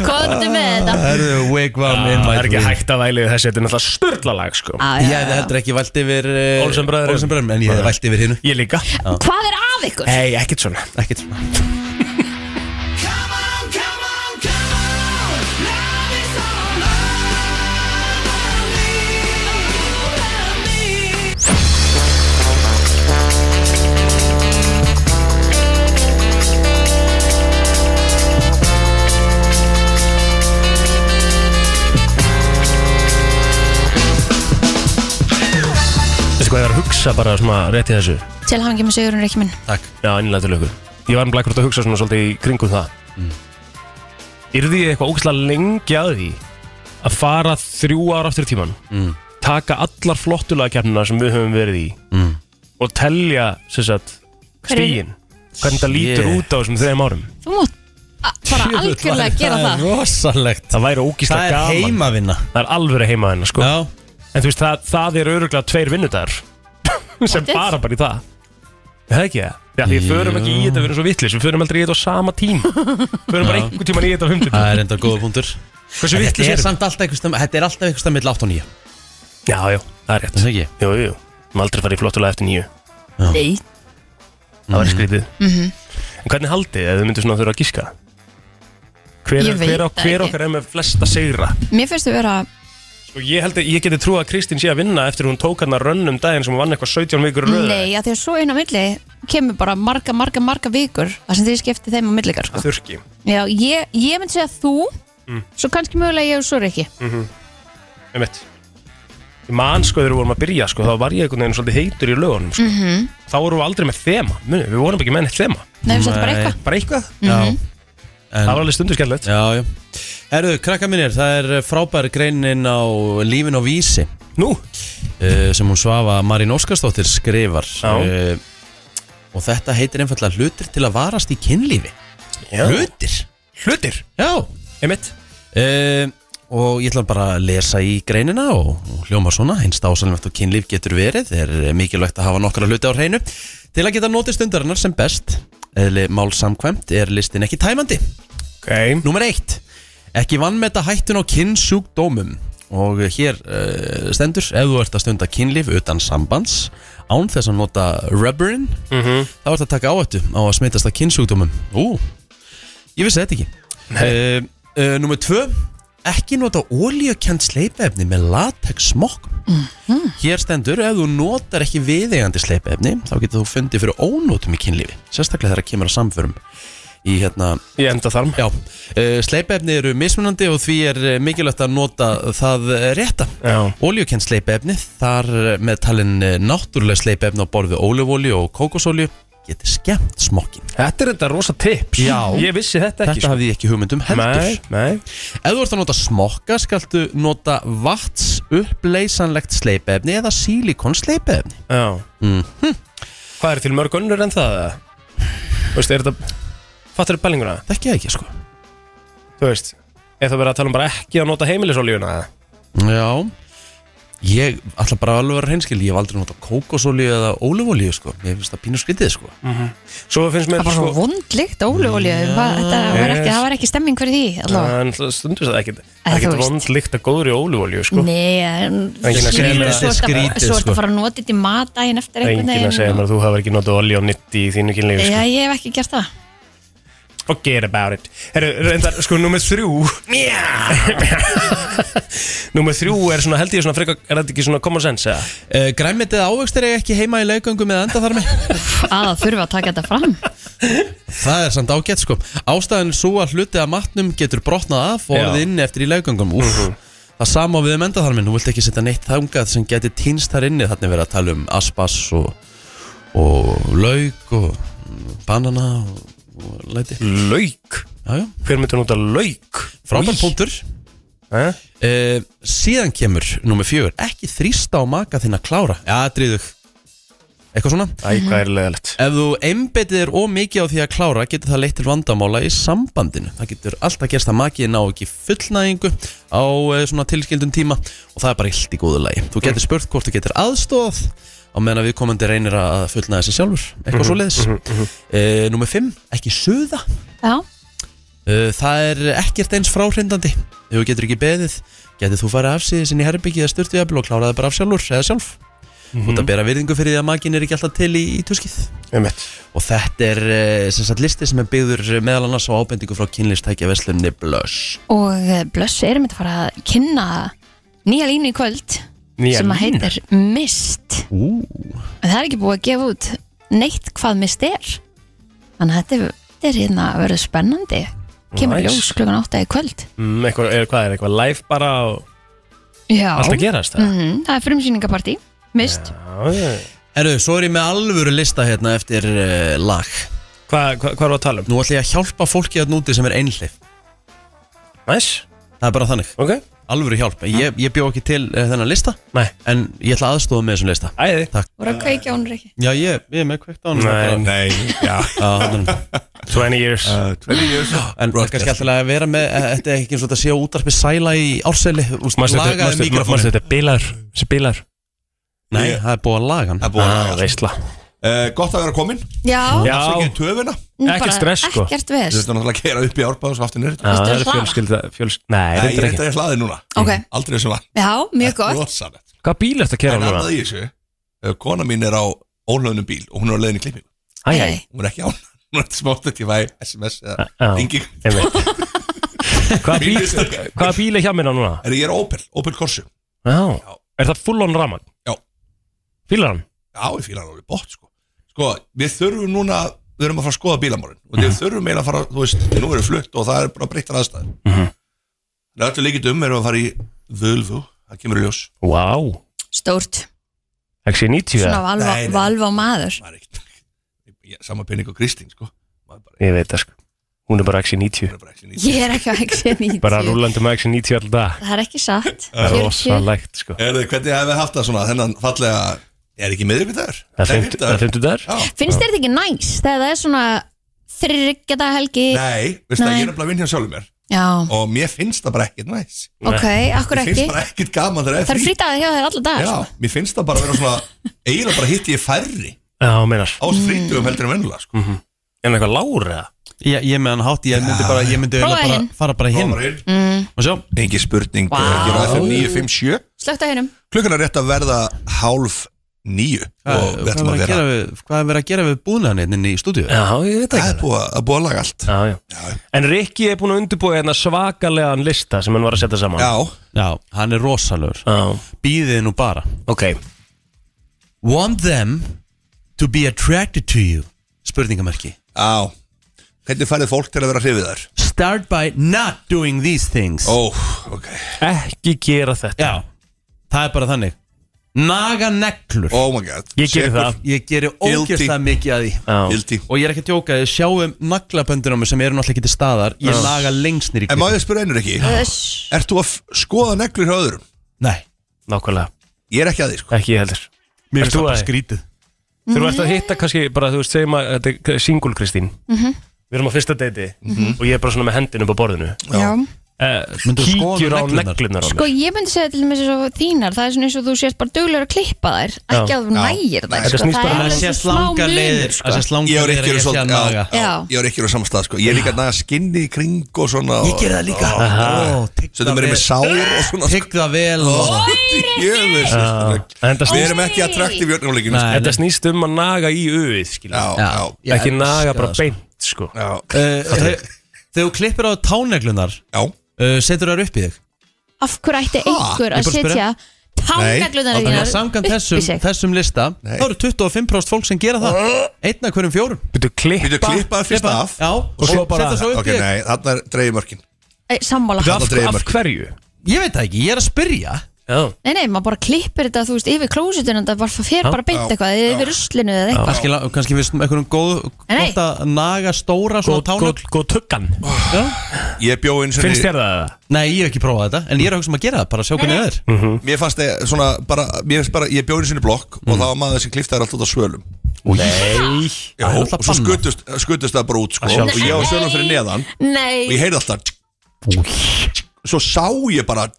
B: Kóttu með þetta
A: Það eru wake one in
C: Ah, Það
A: my
C: er ekki
A: dream
C: hægt að væli við þessi Þetta er náttúrulega störla lag sko
B: Á,
A: Ég
B: já,
A: hefði
B: já.
A: heldur ekki vælt yfir eh,
C: Olsen bræðrum.
A: Olsen bræðrum, en ég hefði vælt yfir hinn
C: Ég líka
A: Ah.
B: Hvað er af
A: Eh.
B: ykkur?
C: Nei, ekkert svona
A: Ekkert svona
C: Veistu hvað ég var að hugsa bara svona rétt í þessu
B: Til hangi með Sigurinn Rikki minn
A: Takk
C: Já, einlega til ykkur Ég var um blækvort að hugsa svona svolítið í kringum það mm. Yrði ég eitthvað ógæslega lengi að því Að fara þrjú ára aftur í tíman mm. Taka allar flottulega sem við höfum verið í mm. Og telja, sem sagt,
B: Hver er-
C: stíin Hvernig það lítur
A: Shit.
C: út á þessum þreim árum
B: Þú mátt a- bara algjörlega gera
A: er
B: það
A: rosalegt
C: Það væri ógíslega
A: Það er
C: gaman Sko.
A: heimavinna
C: Það er alveg heima hennar sko
A: Já,
C: En þú veist það, það er öruglega tveir vinnudagar Sem
B: Pottet.
C: bara bara í það Er Það ekki það? Já, því við förum ekki í þetta við erum svo vittlis Við förum aldrei í þetta á sama tíma Förum bara einhvern tíman í þetta á fymtutum
A: það er enda góða punktur
C: Hversu
A: Þetta
C: vittlis
A: er
C: er það?
A: samt alltaf einhvers staðar- Þetta er alltaf einhvers stað mill 8 og 9
C: Já, já, það er rétt
A: Það er ekki
C: Jú, jú, jú Má aldrei fara í flottulega eftir nýju
B: Nei
C: Það
A: Mhm.
C: var skrítið
B: Mhm.
C: En hvernig haldið ef þið myndu svona þurfa að gíska? Hver,
B: Ég veit
C: hver, á-
B: það
C: hver
B: ekki.
C: okkar er með flesta segra?
B: Mér finnst þú vera
C: Sko, ég held að ég geti trú að Kristín sé að vinna eftir hún tók hann að rönnum daginn sem hún vann eitthvað 17 vikur í röð.
B: Nei, að því að svo inn á milli kemur bara marga, marga, marga vikur Það sem þið skipti þeim á millikar sko.
C: Þurrki.
B: Já, ég, ég myndi segja þú
A: Mm.
B: Svo kannski mögulega ég og svo Rikki
C: Einmitt. Ég man sko þegar við vorum að byrja sko, þá var ég einhvern veginn svolítið heitur í lögunum sko.
B: Mhm.
C: Þá vorum við aldrei með þema, muni, við vorum ekki með neitt þema
B: Nei, við setjum bara
A: Nei.
B: eitthvað
C: Bara eitthvað,
B: Mhm.
A: Já
C: það var alveg stundu skemmtilegt
A: Já, já Herðu, krakka mínir, það er eh, frábær greinin á lífin og vísi
C: Nú,
A: uh, sem hún svafa Marín Óskarsdóttir skrifar
C: Já.
A: uh, og þetta heitir einfallega hlutir til að varast í kynlífi Hlutir?
C: hlutir,
A: Já
C: einmitt
A: uh, Og ég ætla bara að lesa í greinina og, og hljóma svona, einst ásalmvægt og kynlíf getur verið, er mikilvægt að hafa nokkra hluti á hreinu. Til að geta notið stundarinnar sem best, eðli mál samkvæmt, er listin ekki tæmandi.
C: Ok,
A: Númer eitt Ekki vannmeta hættun á kynnsjúkdómum Og hér uh, stendur Ef þú ert að stunda kynlíf utan sambands Án þess að nota rubberin Þá ert að taka áhættu á að smitast af kynnsjúkdómum Ú, ég vissi þetta ekki uh, uh, Númer tvö Ekki nota ólíukjönd sleipefni með latex smokk Hér stendur, ef þú notar ekki viðegandi sleipefni Þá getur þú fundið fyrir ónótum í kynlífi Sérstaklega þegar að kemur að samförum Í hérna
C: ég enda þarm
A: Já, uh, sleipefni eru mismunandi og því er eh, mikilvægt að nota það eh, rétta.
C: Já.
A: Oljukent sleipefni, þar eh, með talin eh, náttúruleg sleipefni á borð við ólífólju og kókosolju, getur skemmt smokkin.
C: Þetta er þetta rosa tips
A: Já.
C: Ég vissi þetta ekki sko.
A: Þetta hafði ég ekki hugmyndum heldur.
C: Nei, nei
A: Ef þú ert að nota smokka, skaltu nota vats uppleysanlegt sleipefni eða sílikon sleipefni.
C: Já
A: Mhm.
C: Hvað er til mörg önnur en það? eða? Þú veist, er þetta Fattur upp bælinguna?
A: Það ekki ekki, sko.
C: Þú veist, er það verið að tala um bara ekki að nota heimilisolíuna? eða?
A: Já. Ég ætla bara alveg að vera hreinskil Ég hef aldrei notað kókosolíu eða ólífolíu sko. Mér finnst það pínu skrítið sko.
C: Svo finnst mér
B: Það
C: sko-
B: var svo vondlikt óleolíu Það var ekki- það var ekki stemming fyrir því allavega.
C: En það stundur það ekkert
B: En
C: Það
B: þú
C: ekkert
B: veist.
C: vond líkt að góður í ólífolíu sko.
B: Nei, en
C: Enginn að segja
B: svo
C: mér að þetta er
B: ertu bara-
C: skrítið,
B: svo ertu
C: sko.
B: að fara að nota þetta í matægin eftir einhvern
C: Engin að segja
B: veginn
C: mér
B: og-
C: að þú hafa ekki notað olí og nitti í þínu kynlífi
B: Já,
C: sko.
B: ég hef ekki gert það
C: Forget about it Herru, reyndar, sko, nummer þrjú Nummer þrjú er svona, held ég svona frekar Er þetta ekki svona common sense eða?
A: uh, Græmmet eða ávöxtir er ekki heima í leiköngu með endaþarmi
B: að það þurfa að taka þetta fram
A: Það er samt ágætt sko Ástæðan er svo að hluti að matnum getur brotnað af og
C: Já.
A: orðið inni eftir í leikungum Úf, Það sama á við um endaþarminn Þú vilt ekki setja neitt þangað sem geti týnst þar inni Þannig verið að tala um aspas og, og lauk og mm, banana og, og læti
C: Lauk?
A: Já, já
C: Hver myndur nota lauk?
A: Frábær
C: Í.
A: punktur
C: Eh?
A: uh, Síðan kemur nummer fjögur Ekki þrýsta á maka þinn að klára Já, dríðug Eitthvað svona
C: Æ, hvað er leðalegt
A: Ef þú einbetið er ómikið á því að klára getur það leitt til vandamála í sambandinu Það getur alltaf gerst að makiðin á ekki fullnægingu á eh, svona tilskildum tíma og það er bara illt í góðu lagi Þú getur spurt hvort þú getur aðstóð á meðan að viðkomandi reynir að fullnæða sér sjálfur eitthvað svo leiðis Númer 5, ekki suða
B: Já,
A: Eh, Það er ekkert eins fráhrindandi Ef þú getur ekki beðið getur þú farið afsýðis inn í herbyggið eða styrtu og kláraði bara af sjálfur eða sjálf mm Út að bera virðingu fyrir því að makin er ekki alltaf til í, í tuskið
C: Einmitt.
A: og þetta er eh, sem sagt listi sem er byggður eh, meðal annars á ábendingu frá kynlistækja veslunni Blush
B: og eh, blöss erum þetta að fara að kynna nýja línu í kvöld
A: Nýja
B: sem að
A: línu?
B: heitir Mist
A: Ú.
B: en það er ekki búið að gefa út neitt hvað Mist er þannig að þetta er, þetta er hérna að vera spennandi kemur
C: Nice.
B: nice. ljós klukkan 8 í kvöld
C: mm, eitthvað, er, Hvað er eitthvað live bara og...
B: Já.
C: Allt að gerast, það?
B: Mhm, það er frumsýningapartí, Mist
A: Herru, svo er ég með alvöru lista hérna eftir uh, lag
C: Hvað hva, hva er það að tala um?
A: Nú ætla ég að hjálpa fólki að núti sem er einhlif
C: Næs
A: Það er bara þannig
C: okay.
A: Alvöru hjálp Ég, ég bjó ekki til uh, þennan lista
C: Nei.
A: En ég ætla aðstofa með þessum lista
C: Æði
A: Takk
B: voru að kveikja honur ekki
A: Já, ég, ég er með kveikt á hann
C: Nei,
J: Nei, já
A: Já,
C: 20 years
J: uh, 20 years
A: en það er kannski alltaf að vera með eh, Þetta er ekki eins og þetta sé á útarpi sæla í árseli úst,
C: Manstu þetta-
A: Lagaði
C: manstu- manstu
A: mikrofónin
C: þetta bilar Þessi bilar
A: Nei, það er búið að laga hann
J: Það er búið að ræða.
C: Veistla
J: Eh, Gott að vera komin
B: Já,
C: Ah, Já.
J: Afsakið töfuna
B: nú
C: ekkert
B: bara
C: stress, sko.
B: Ekkert
J: Þú
B: veist
J: veist náttúrulega að kera upp í árbáðs og aftur nýr
C: Já, Ah, Það
B: að
C: er
B: hlaða?
C: fjölskylda fjölsk... Nei,
J: Ég
C: reyndar
J: reyndi
C: ekki
J: að ég hlaði núna
B: Ok,
J: Aldrei sem var
B: já, mjög
J: Sko.
B: gott
J: Rósalett
C: Hvað bíl ertu að
J: En
C: kera núna?
J: annað í þessu eh, Kona mín er á ólöfnum bíl Og hún er á leiðinni í klippingu
C: Æ, æ,
B: Nei.
J: Hún er ekki án Hún er smátt að ég væði SMS eða
C: já
J: Ingi
C: einmitt. Hvaða bíl,
J: Bílstjóri.
C: hvaða bíl er hjá mér á núna?
J: Er ég er á Opel, Opel Corsu
C: Já. Er það full on raman?
J: Já.
C: Fílar hann?
J: Já, ég fíla hann alveg bótt sko Sko, við þurfum núna Við þurfum að fara að skoða bílamorinn Og
C: Mhm.
J: við þurfum eiginlega að fara, þú veist Nú erum flutt og það er bara breyttar aðstæður mm
C: Mhm.
J: Það er öllu líkit um erum við að fara í Völvu, það kemur í ljós
C: Vá. Wow.
B: Stórt,
C: XC90
B: svona
C: eða?
B: valva,
J: Nei, nei.
B: valva maður
J: Maður er ekkert- Ég- Sama pening og Kristín, sko Maður bara-
C: Ég veit það sko. Hún er bara XC90.
J: maður er bara ekki nýtt.
B: Ég er ekki á ekki 90
C: Bara rúlandi með XC90 alltaf dag.
B: Það er ekki satt
C: Það er
B: 40
C: rosalegt sko.
J: Erðu, hvernig hefði haft það svona, þennan fallega Er ekki miðvíkudagur?
C: Það er 50 það er 50 dagar?
J: Já,
B: Finnst þér þetta ekki næs þegar það er svona þriggja dag helgi
J: nei, veist það,
B: Nei.
J: ég er nefnilega að vinna hjá sjálfum mér
B: Já,
J: Og mér finnst það bara ekkert næs
B: ok,
J: Mér
B: akkur ekki
J: finnst bara ekkert gaman þegar
B: Það er frítagið hjá þér alla dagar
J: Já,
B: sko.
J: mér finnst það bara að vera svona Eiginlega bara hitti ég færri
C: Já, meinar.
J: á þessu frítugum heldur en vennulega sko.
C: En eitthvað lágur eða?
A: Ég, ég með hann hátt, ég myndi bara, ég myndi
B: Prófa
A: eiginlega bara,
B: hinn.
A: fara bara hinn
J: mm.
A: og sjá
J: Engi spurning
B: Vá.
J: wow. Hér á FM 957
B: Slögt á hinnum
J: Klukkan er rétt að verða hálf níu Og
A: Hvað
J: við
A: er
J: ætlum að
A: verið að
J: vera
A: gera við- hvað er verið að gera við búnaðan hérna inn í stúdíu?
C: Já, ég veit það
J: Það er
C: ekki.
J: búið að- að búið að laga allt
C: Já, já. En Rikki er búin að undirbúa hérna svakalegan lista sem hann var að setja saman.
J: Já,
A: Já, hann er rosalur
C: Já.
A: Býðið nú bara
C: Ok.
A: Want them to be attracted to you Spurningamarki
J: já Hvernig færið fólk til að vera hrifið þar?
A: Start by not doing these things
J: Ó, ok
C: Ekki gera þetta.
A: Oh. Já, það er bara þannig Naga neglur
J: Oh my god
C: Ég gerir
J: Sekur.
C: það.
A: Ég geri
J: Guilty.
A: ógjörsta mikið að því
C: Já.
J: Guilty
A: Og ég er ekki að tjóka, ég sjáum naglaböndin á mig sem eru náttúrulega ekki til staðar Ég naga lengst nýr í
J: En má ég spyrja einur ekki
B: Þess-
J: Ert þú að f- skoða neglur hjá öðrum?
A: Nei,
C: Nákvæmlega.
J: Ég er ekki að því sko
C: Ekki ég heldur.
A: mér
C: Ert
A: finnst
C: þú
A: það bara
C: að-
A: skrítið
C: Þú ert að hitta kannski bara, þú veist, segjum að þetta er single Kristín Við erum á fyrsta deiti og ég er bara svona með hendin upp á borðinu
B: Já,
C: uh,
A: Mhm. Eh, Myndirðu skoða
C: kíkjur á
A: neglurnar?
C: neglunar á mér.
B: Sko ég myndi segja til með svo þínar Það er svona eins og þú sést bara duglegur að klippa þær Ekki
C: Já.
B: að þú nægir þær
C: Þetta
B: sko.
C: snýst
B: Það
C: bara
B: er
C: um að
B: alveg
C: sé
B: þessi smá
A: slangar leiðir,
B: munur
A: að
B: sko.
A: sé slangar
J: Ég er ekki
A: leiðir
J: úr
A: að
J: svolítið-
A: ésja
J: já,
A: naga.
J: já,
B: Já.
J: Ég er ekki úr samstað sko. Ég er líka að naga skinni í kring og svona
A: Ég gerði það líka.
J: Söndum erum við sár og svona sko.
A: Tygg það vel og
J: Jöfus
C: En þetta
J: Við
C: snýst,
J: erum ekki attraktiv í öllumleikinu
A: Nei.
C: þetta snýst um að naga í auðið skilja.
J: Já,
A: Já.
J: já,
A: Ég
C: Ekki
A: elska
C: naga bara
A: það, sko.
C: beint sko.
J: já
A: Eh, þegar- Þegar þú klippir á táneglunar
J: Já,
A: uh, Setur þar upp í þig
B: Af hverju ætti
A: Ég
B: einhver að
A: bara spyrja.
B: setja Tánaglunar
A: Þannig að
B: þínar
A: samkvæmt
B: upp í
A: þessum,
B: sig?
A: þessum lista
J: Nei.
A: þá eru 25% fólk sem gera það Einna hverjum fjórum
C: Byrju, klipp,
J: við klippaði fyrst
A: Klippa-
J: af
A: Já, og
C: svo
A: svo
C: bara-
A: setja svo upp
J: Ok,
A: í þig
J: nei, þarna er dreigjumörkin
B: Ei, Sammála
J: Þú-
C: af,
J: Þarna dregur
C: af
J: mörk.
C: hverju
A: Ég veit það ekki, ég er að spyrja
C: Já.
B: Nei, nei, maður bara klippir þetta, þú veist, yfir klósutun Það bara fer bara beint
J: Já.
B: eitthvað, yfir ruslinu eða eitthvað
A: Kannski, la- kannski við sem einhverjum góð
B: Nei.
A: gott að naga stóra svona Ah,
C: Góð- góð-
A: tánögl
C: góð tuggan
J: Ég bjó eins
C: finnst þér það eða?
A: Nei, ég hef ekki prófað þetta En ég er að hugsa um að gera það, bara að sjá hvernig það er
J: Mér fannst það svona bara, mér finnst bara, ég bjó einu sinni í blokk
A: Mm.
J: og það var maður sem kliftaði allt út á svölum
C: Nei
J: Já,
A: er
J: og
A: náttúrulega
J: svo
A: bannað.
J: skutust, skutust það bara út sko, og ég var svölum fyrir neðan og ég
B: Nei,
J: heyrði alltaf svo sá ég bara
B: af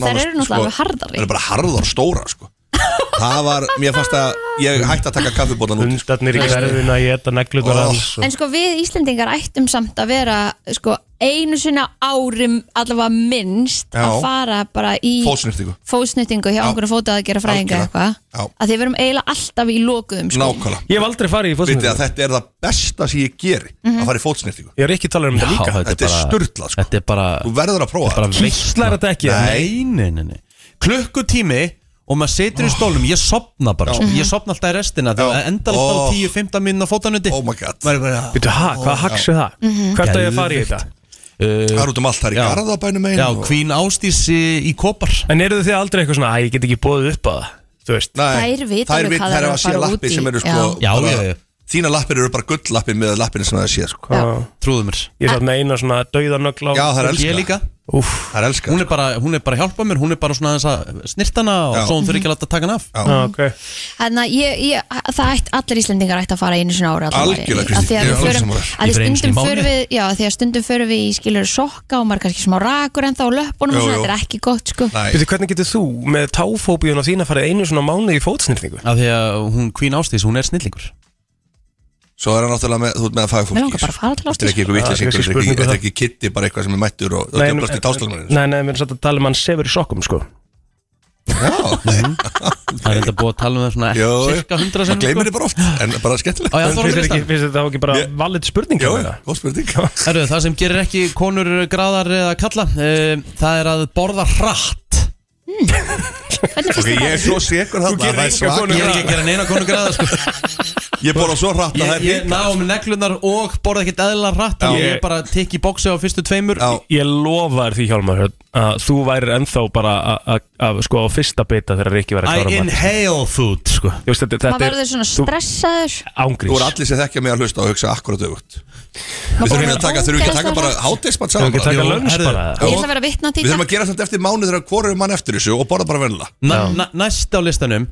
J: Bara
B: þær
J: nánast, sko,
B: eru náttúrulega alveg
J: þær eru
B: harðari
J: bara harðar stóra sko. það var, mér fannst að ég hætti að taka kaffibótan út
C: Hundarnir í
B: Veistu.
C: hverfuna Ég ætta
J: Oh.
C: neglunar hans og-
B: En sko við Íslendingar ættum samt að vera sko einu sinna árim allavega minnst
J: Já.
B: að fara bara í
J: fótsnýrtingu
B: fótsnýttingu hjá einhverju fótaðagjara fræðinga
J: Algjörlega.
B: eitthvað
J: Já.
B: að því við erum eiginlega alltaf í lokuðum sko.
J: nákvæmlega,
C: Ég hef aldrei farið
J: vitið
C: í fótsnýttingu
J: að þetta er það besta sem ég geri
B: Mhm.
J: að fara í fótsnýrtingu
C: Ég er ekki talað um þetta líka
J: þetta er sturlað sko.
A: Þetta er bara
J: þú verður að prófa
A: bara
J: þetta
C: Kíslar þetta ekki
A: Nei, nei, nei, nei. Klukkutími og maður setur í stólum Ég sopna bara, sko. ég sopna alltaf í restina Það
J: Ah. Já.
A: endar alltaf
J: Oh.
A: á 10-15 minna fótanuti
J: oh my god,
A: Maður er bara
C: Býtu, hæ, hvað haks er það? Hvert að ég að fara í
A: Geðveikt.
C: þetta?
J: það er út um allt það er í
A: Já.
J: garðabænum einu
A: Já, kvín ástís í, í kopar
C: En eru þið aldrei eitthvað svona, æ, ég get ekki bóðið upp á það Þú veist,
J: Nei,
B: Þær vita alveg hvað
J: þær hafa
B: þær eru að
J: séð
B: fara
J: lappir
B: út í.
J: sem eru sko
A: Já. Já,
J: bara-
A: já, já.
J: Þína lappir eru bara gulllappir með lappinu sem það sé sko.
B: Já.
A: Trúðu mér
C: ég satt með eina svona dauðanögl á
J: Já, það er
A: Ég
J: elskað
A: líka
C: Úff,
J: Það er elskað
A: Hún er bara, hún er bara að hjálpa mér, hún er bara svona þess að snirtana og
J: Já.
A: svo hún þurfi ekki að láta taka hann af
C: á, Ah, ok
B: Þannig að ég, ég, það ætt, allir Íslendingar ætti að fara einu sinna ára
J: Algjörlega,
B: Kristín,
J: Kristín, ég
B: ég
J: er
B: er
J: alveg
B: alveg
J: sammála.
A: Ég fer einu sinni í
B: stundum förum
A: mánuði.
B: við, já, af því að stundum förum við í skilur sokka og maður er kannski smá rakur en þá löpunum
J: Jú,
B: og svona,
J: jú.
B: þetta er ekki gott sko
J: Nei,
C: Býtu, hvernig getur þú með táfóbíuna þína farið einu svona mánuð í fótsnýrningu?
A: Af því að hún kvín ástís, hún er snillingur
J: svo er hann náttúrulega með, þú ert með að fagfólki
B: Mér langar bara að fara til
J: Þetta er
B: Ásdísar.
J: ekki eitthvað
C: Það
J: vittlisingur,
C: er kannski
J: þetta er
C: spurning
J: ekki-
C: um
J: þetta er
C: það.
J: ekki kitti bara eitthvað sem er mættur og það er blast í dástalmaninu
C: nei, nei, við erum satt að tala um að hann sefur í sokkum, sko Mhm.
A: Það er enda búið að tala um það
J: Jó,
A: svona cirka hundra
J: maður
A: sem
J: gleymir þið bara oft, en bara skemmtilegt
A: Á, já,
C: En
A: þú erum
C: finnst þér
A: við
C: ekki-
A: listan
C: finnst þér það ekki bara
J: Ég-
C: valið spurning
J: Jó,
C: á
J: já,
C: þetta?
J: góð spurning
A: Herru, það sem gerir ekki konur gráðar eða kalla e, Það er að borða hratt
J: Ok, ég er svo sekur þarna
C: gerir
J: það er
C: enga
J: svak-
C: konu
A: Ég er ekki að gera neina konur gráðar sko.
J: Ég bóla svo hratt að
A: Ég,
J: það er
A: ég ná um neglunar og borða ekkert eðla hratt
J: Já.
A: Ég, ég bara tikk í bóksi á fyrstu tveimur
J: Já.
C: Ég lofa þér því, Hjálmar, að þú værir ennþá bara að- að- að, sko, á fyrsta beta þegar Rikki væri að
A: I
C: klára mat.
A: inhale food sko.
C: Þú veist, þetta-
B: Maður
C: þetta er
B: verður svona stressaður
J: Þú
C: ángriðs
J: eru allir sem þekkja mig að hlusta og hugsa akkurat auðvögt Við
B: Maður
J: þurfum
B: borðar
J: ekki að taka, þurfum ekki að
B: ógeðslega
J: taka bara
B: hratt.
J: hátismat
C: Þú
J: saman
C: ekki að
J: bara.
C: taka
A: Jú,
C: löns
A: herðu.
C: bara
B: Ég ætla að vera vitna til
J: Við þurfum
B: þetta
J: að gera þetta eftir mánuð þegar hvorum mann eftir þessu og borða bara vennilega
A: na, na, Næst á listanum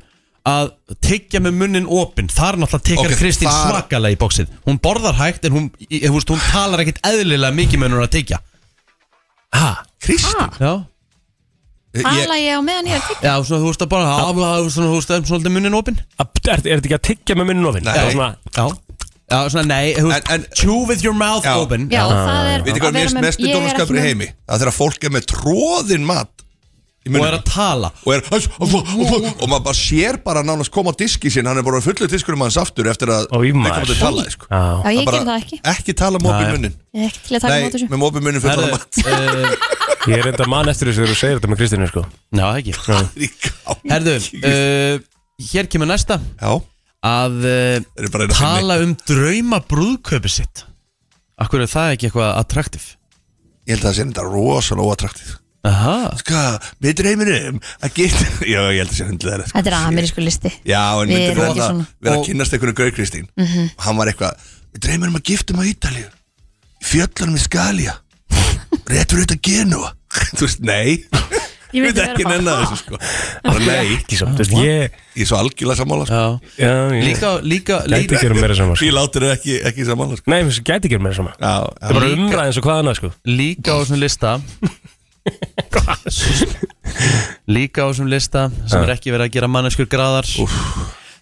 A: að tyggja með munnin opinn Þar náttúrulega tyggjar
J: Ok,
A: Kristín
J: þar-
A: svakalega í bóksið Hún borðar hægt en hún, í- þú veist, hún talar ekkert eðlilega mikið með hún er að tyggja
J: Kristín
A: Já,
J: Ég-
B: Tala ég á meðan ég er að tyggja?
A: Já svona, þú veist að bara afla, svona, þú veist að svolítið munnin opinn
C: Að- Er er þetta ekki að tyggja með munn ofinn?
J: Nei.
A: Já, já svona nei þú veist,
J: En- en-
A: Chew with your mouth
J: Já.
A: open
B: Já, það er
J: Vitið
B: að
J: hvað
B: vera
J: mér
B: með-
J: mestu
B: ég er ekki
J: dónaskapur í
B: með-
J: heimi Það er þegar fólk er með tróðin mat í
A: Og
J: munninum.
A: er að tala
J: og er og maður bara sér bara nánast koma á diski sinn, hann er bara fullu diskurum hans aftur eftir að
C: Ó, í maður.
J: viðkomandi talaði sko.
B: Já, ég
J: bara
B: ger það ekki
J: ekki tala með
A: Nei.
J: opið munnin
B: Ég er ekki til að taka
J: nei,
B: mót þessu
J: með opið munnin fullan af mat
A: uh,
C: Ég er enda mann eftir þessu þegar þú segir þetta með Kristínu sko
A: Já, það ekki
J: Í gangi.
A: Herðu, uh, hér kemur næsta
J: já,
A: Að uh,
J: þeir eru bara einu
A: tala um drauma brúðköpi sitt Akkur er það ekki eitthvað attraktiv
J: ég held að það sé þetta rosalega Sko, óatraktið
A: Aha
J: hvað, við dreyminum að geta já, ég held að það sé sko. hundlega þeirra
B: Þetta er amerísku listi
J: já, en
B: Við
J: myndi
B: erum ekki
J: verða
B: svona.
J: verða
A: Og-
J: að kynnast einhverju Grau Kristín og hann var eitthvað, við dreyminum að giftum á Ítalíu í fjöllunum í Skalja rétt fyrir þetta Genua þú veist, nei Ég
K: myndi
J: myndi
K: vera
J: ekki
K: bara,
J: nenni
K: ha?
J: þessu sko Bara
K: hverju
J: nei
C: Ekki samt,
J: Ah,
C: þú veist, ég
J: Ég er svo algjörlega sammála sko
C: Já, já.
A: Líka- líka-
C: Gæti ekki verið meira saman, sko.
J: Ég látir þau ekki, ekki sammála sko
C: Nei, mér finnst gæti ekki verið meira saman
J: Já,
C: Það er bara
A: Líka-
C: umræð eins og hvað annað sko
A: Líka á þessum lista Líka á þessum lista sem er ekki verið að gera manneskur graðar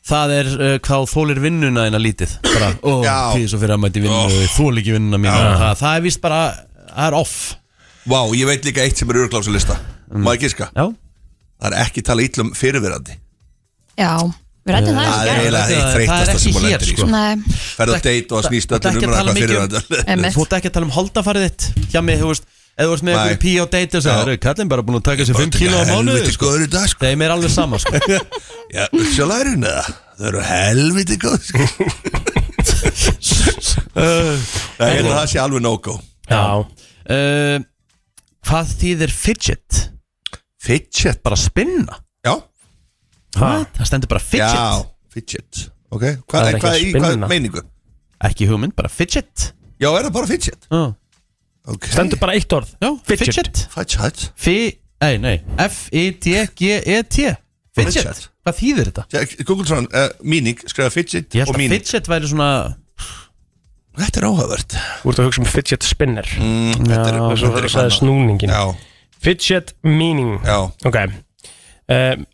A: Það er uh, hvað þólir vinnuna en lítið bara, ó,
J: Já.
A: því svo fyrir að mæti vinnu oh. þól ekki vinnuna mín það, það er víst bara, það er off
J: Vá, ég veit líka eitt sem er örglásu lista Má ég giska?
A: Já
J: Það er ekki tala ítlum fyrirverandi
B: Já, við rættum það
J: Það er eiginlega eitt
A: Það
B: eins og gerð.
A: er
J: þreytasta
A: ekki
J: sem hún
A: hér,
J: lendir í
A: sko.
J: sko
B: Nei,
J: Ferð á date og að snýst
A: Þú ert
J: öllum
A: ekki
J: um
A: að tala
J: ræða
A: mikið um-
J: fyrirverandi
B: Einmitt.
A: Þú ert ekki að tala um holdafarið þitt Hjá mig, þú veist, eða þú ert með
J: Nei.
A: einhverju pí á date og
J: Já.
A: segja, kallin bara búin að taka sér 5 kíló Um á mánuði
J: Helviti
A: sko.
J: góður í dag sko
A: Þeim er alveg sama, sko
J: Já, sjálfærinu það Það eru helviti góð sko Eh, Það er það sé alveg no-go
C: Já,
A: uh, Hvað þýðir fidget?
J: Fidget
A: Bara spinna?
J: Já,
A: What? Það stendur bara fidget
J: já, fidget Ok,
C: Það
J: hvað
C: er
J: er,
C: ekki
J: hvað,
C: að
J: í, hvað er
C: spinna.
J: meiningu?
A: Ekki hugmynd, bara fidget
J: Já, er það bara fidget?
A: oh.
J: Ok,
C: stendur bara eitt orð
A: Já, fidget,
J: fidget
A: Fi, ei, nei, F-I-D-G-E-T E Fidget,
J: Fidget.
A: hvað þýðir þetta?
J: Jack- Google svona, uh, míning, skrifa fidget
A: Ég
J: og
A: held að
J: míning
A: fidget væri svona
J: Þetta er áhugavert
C: Þú ert að hugsa um fidget spinner
J: mm, Þetta er
A: Já,
C: Og svo
J: þetta er
C: það er
J: eitthvað
C: snúningin
J: annað.
C: Fidget meaning
J: Já, já
C: Ok um,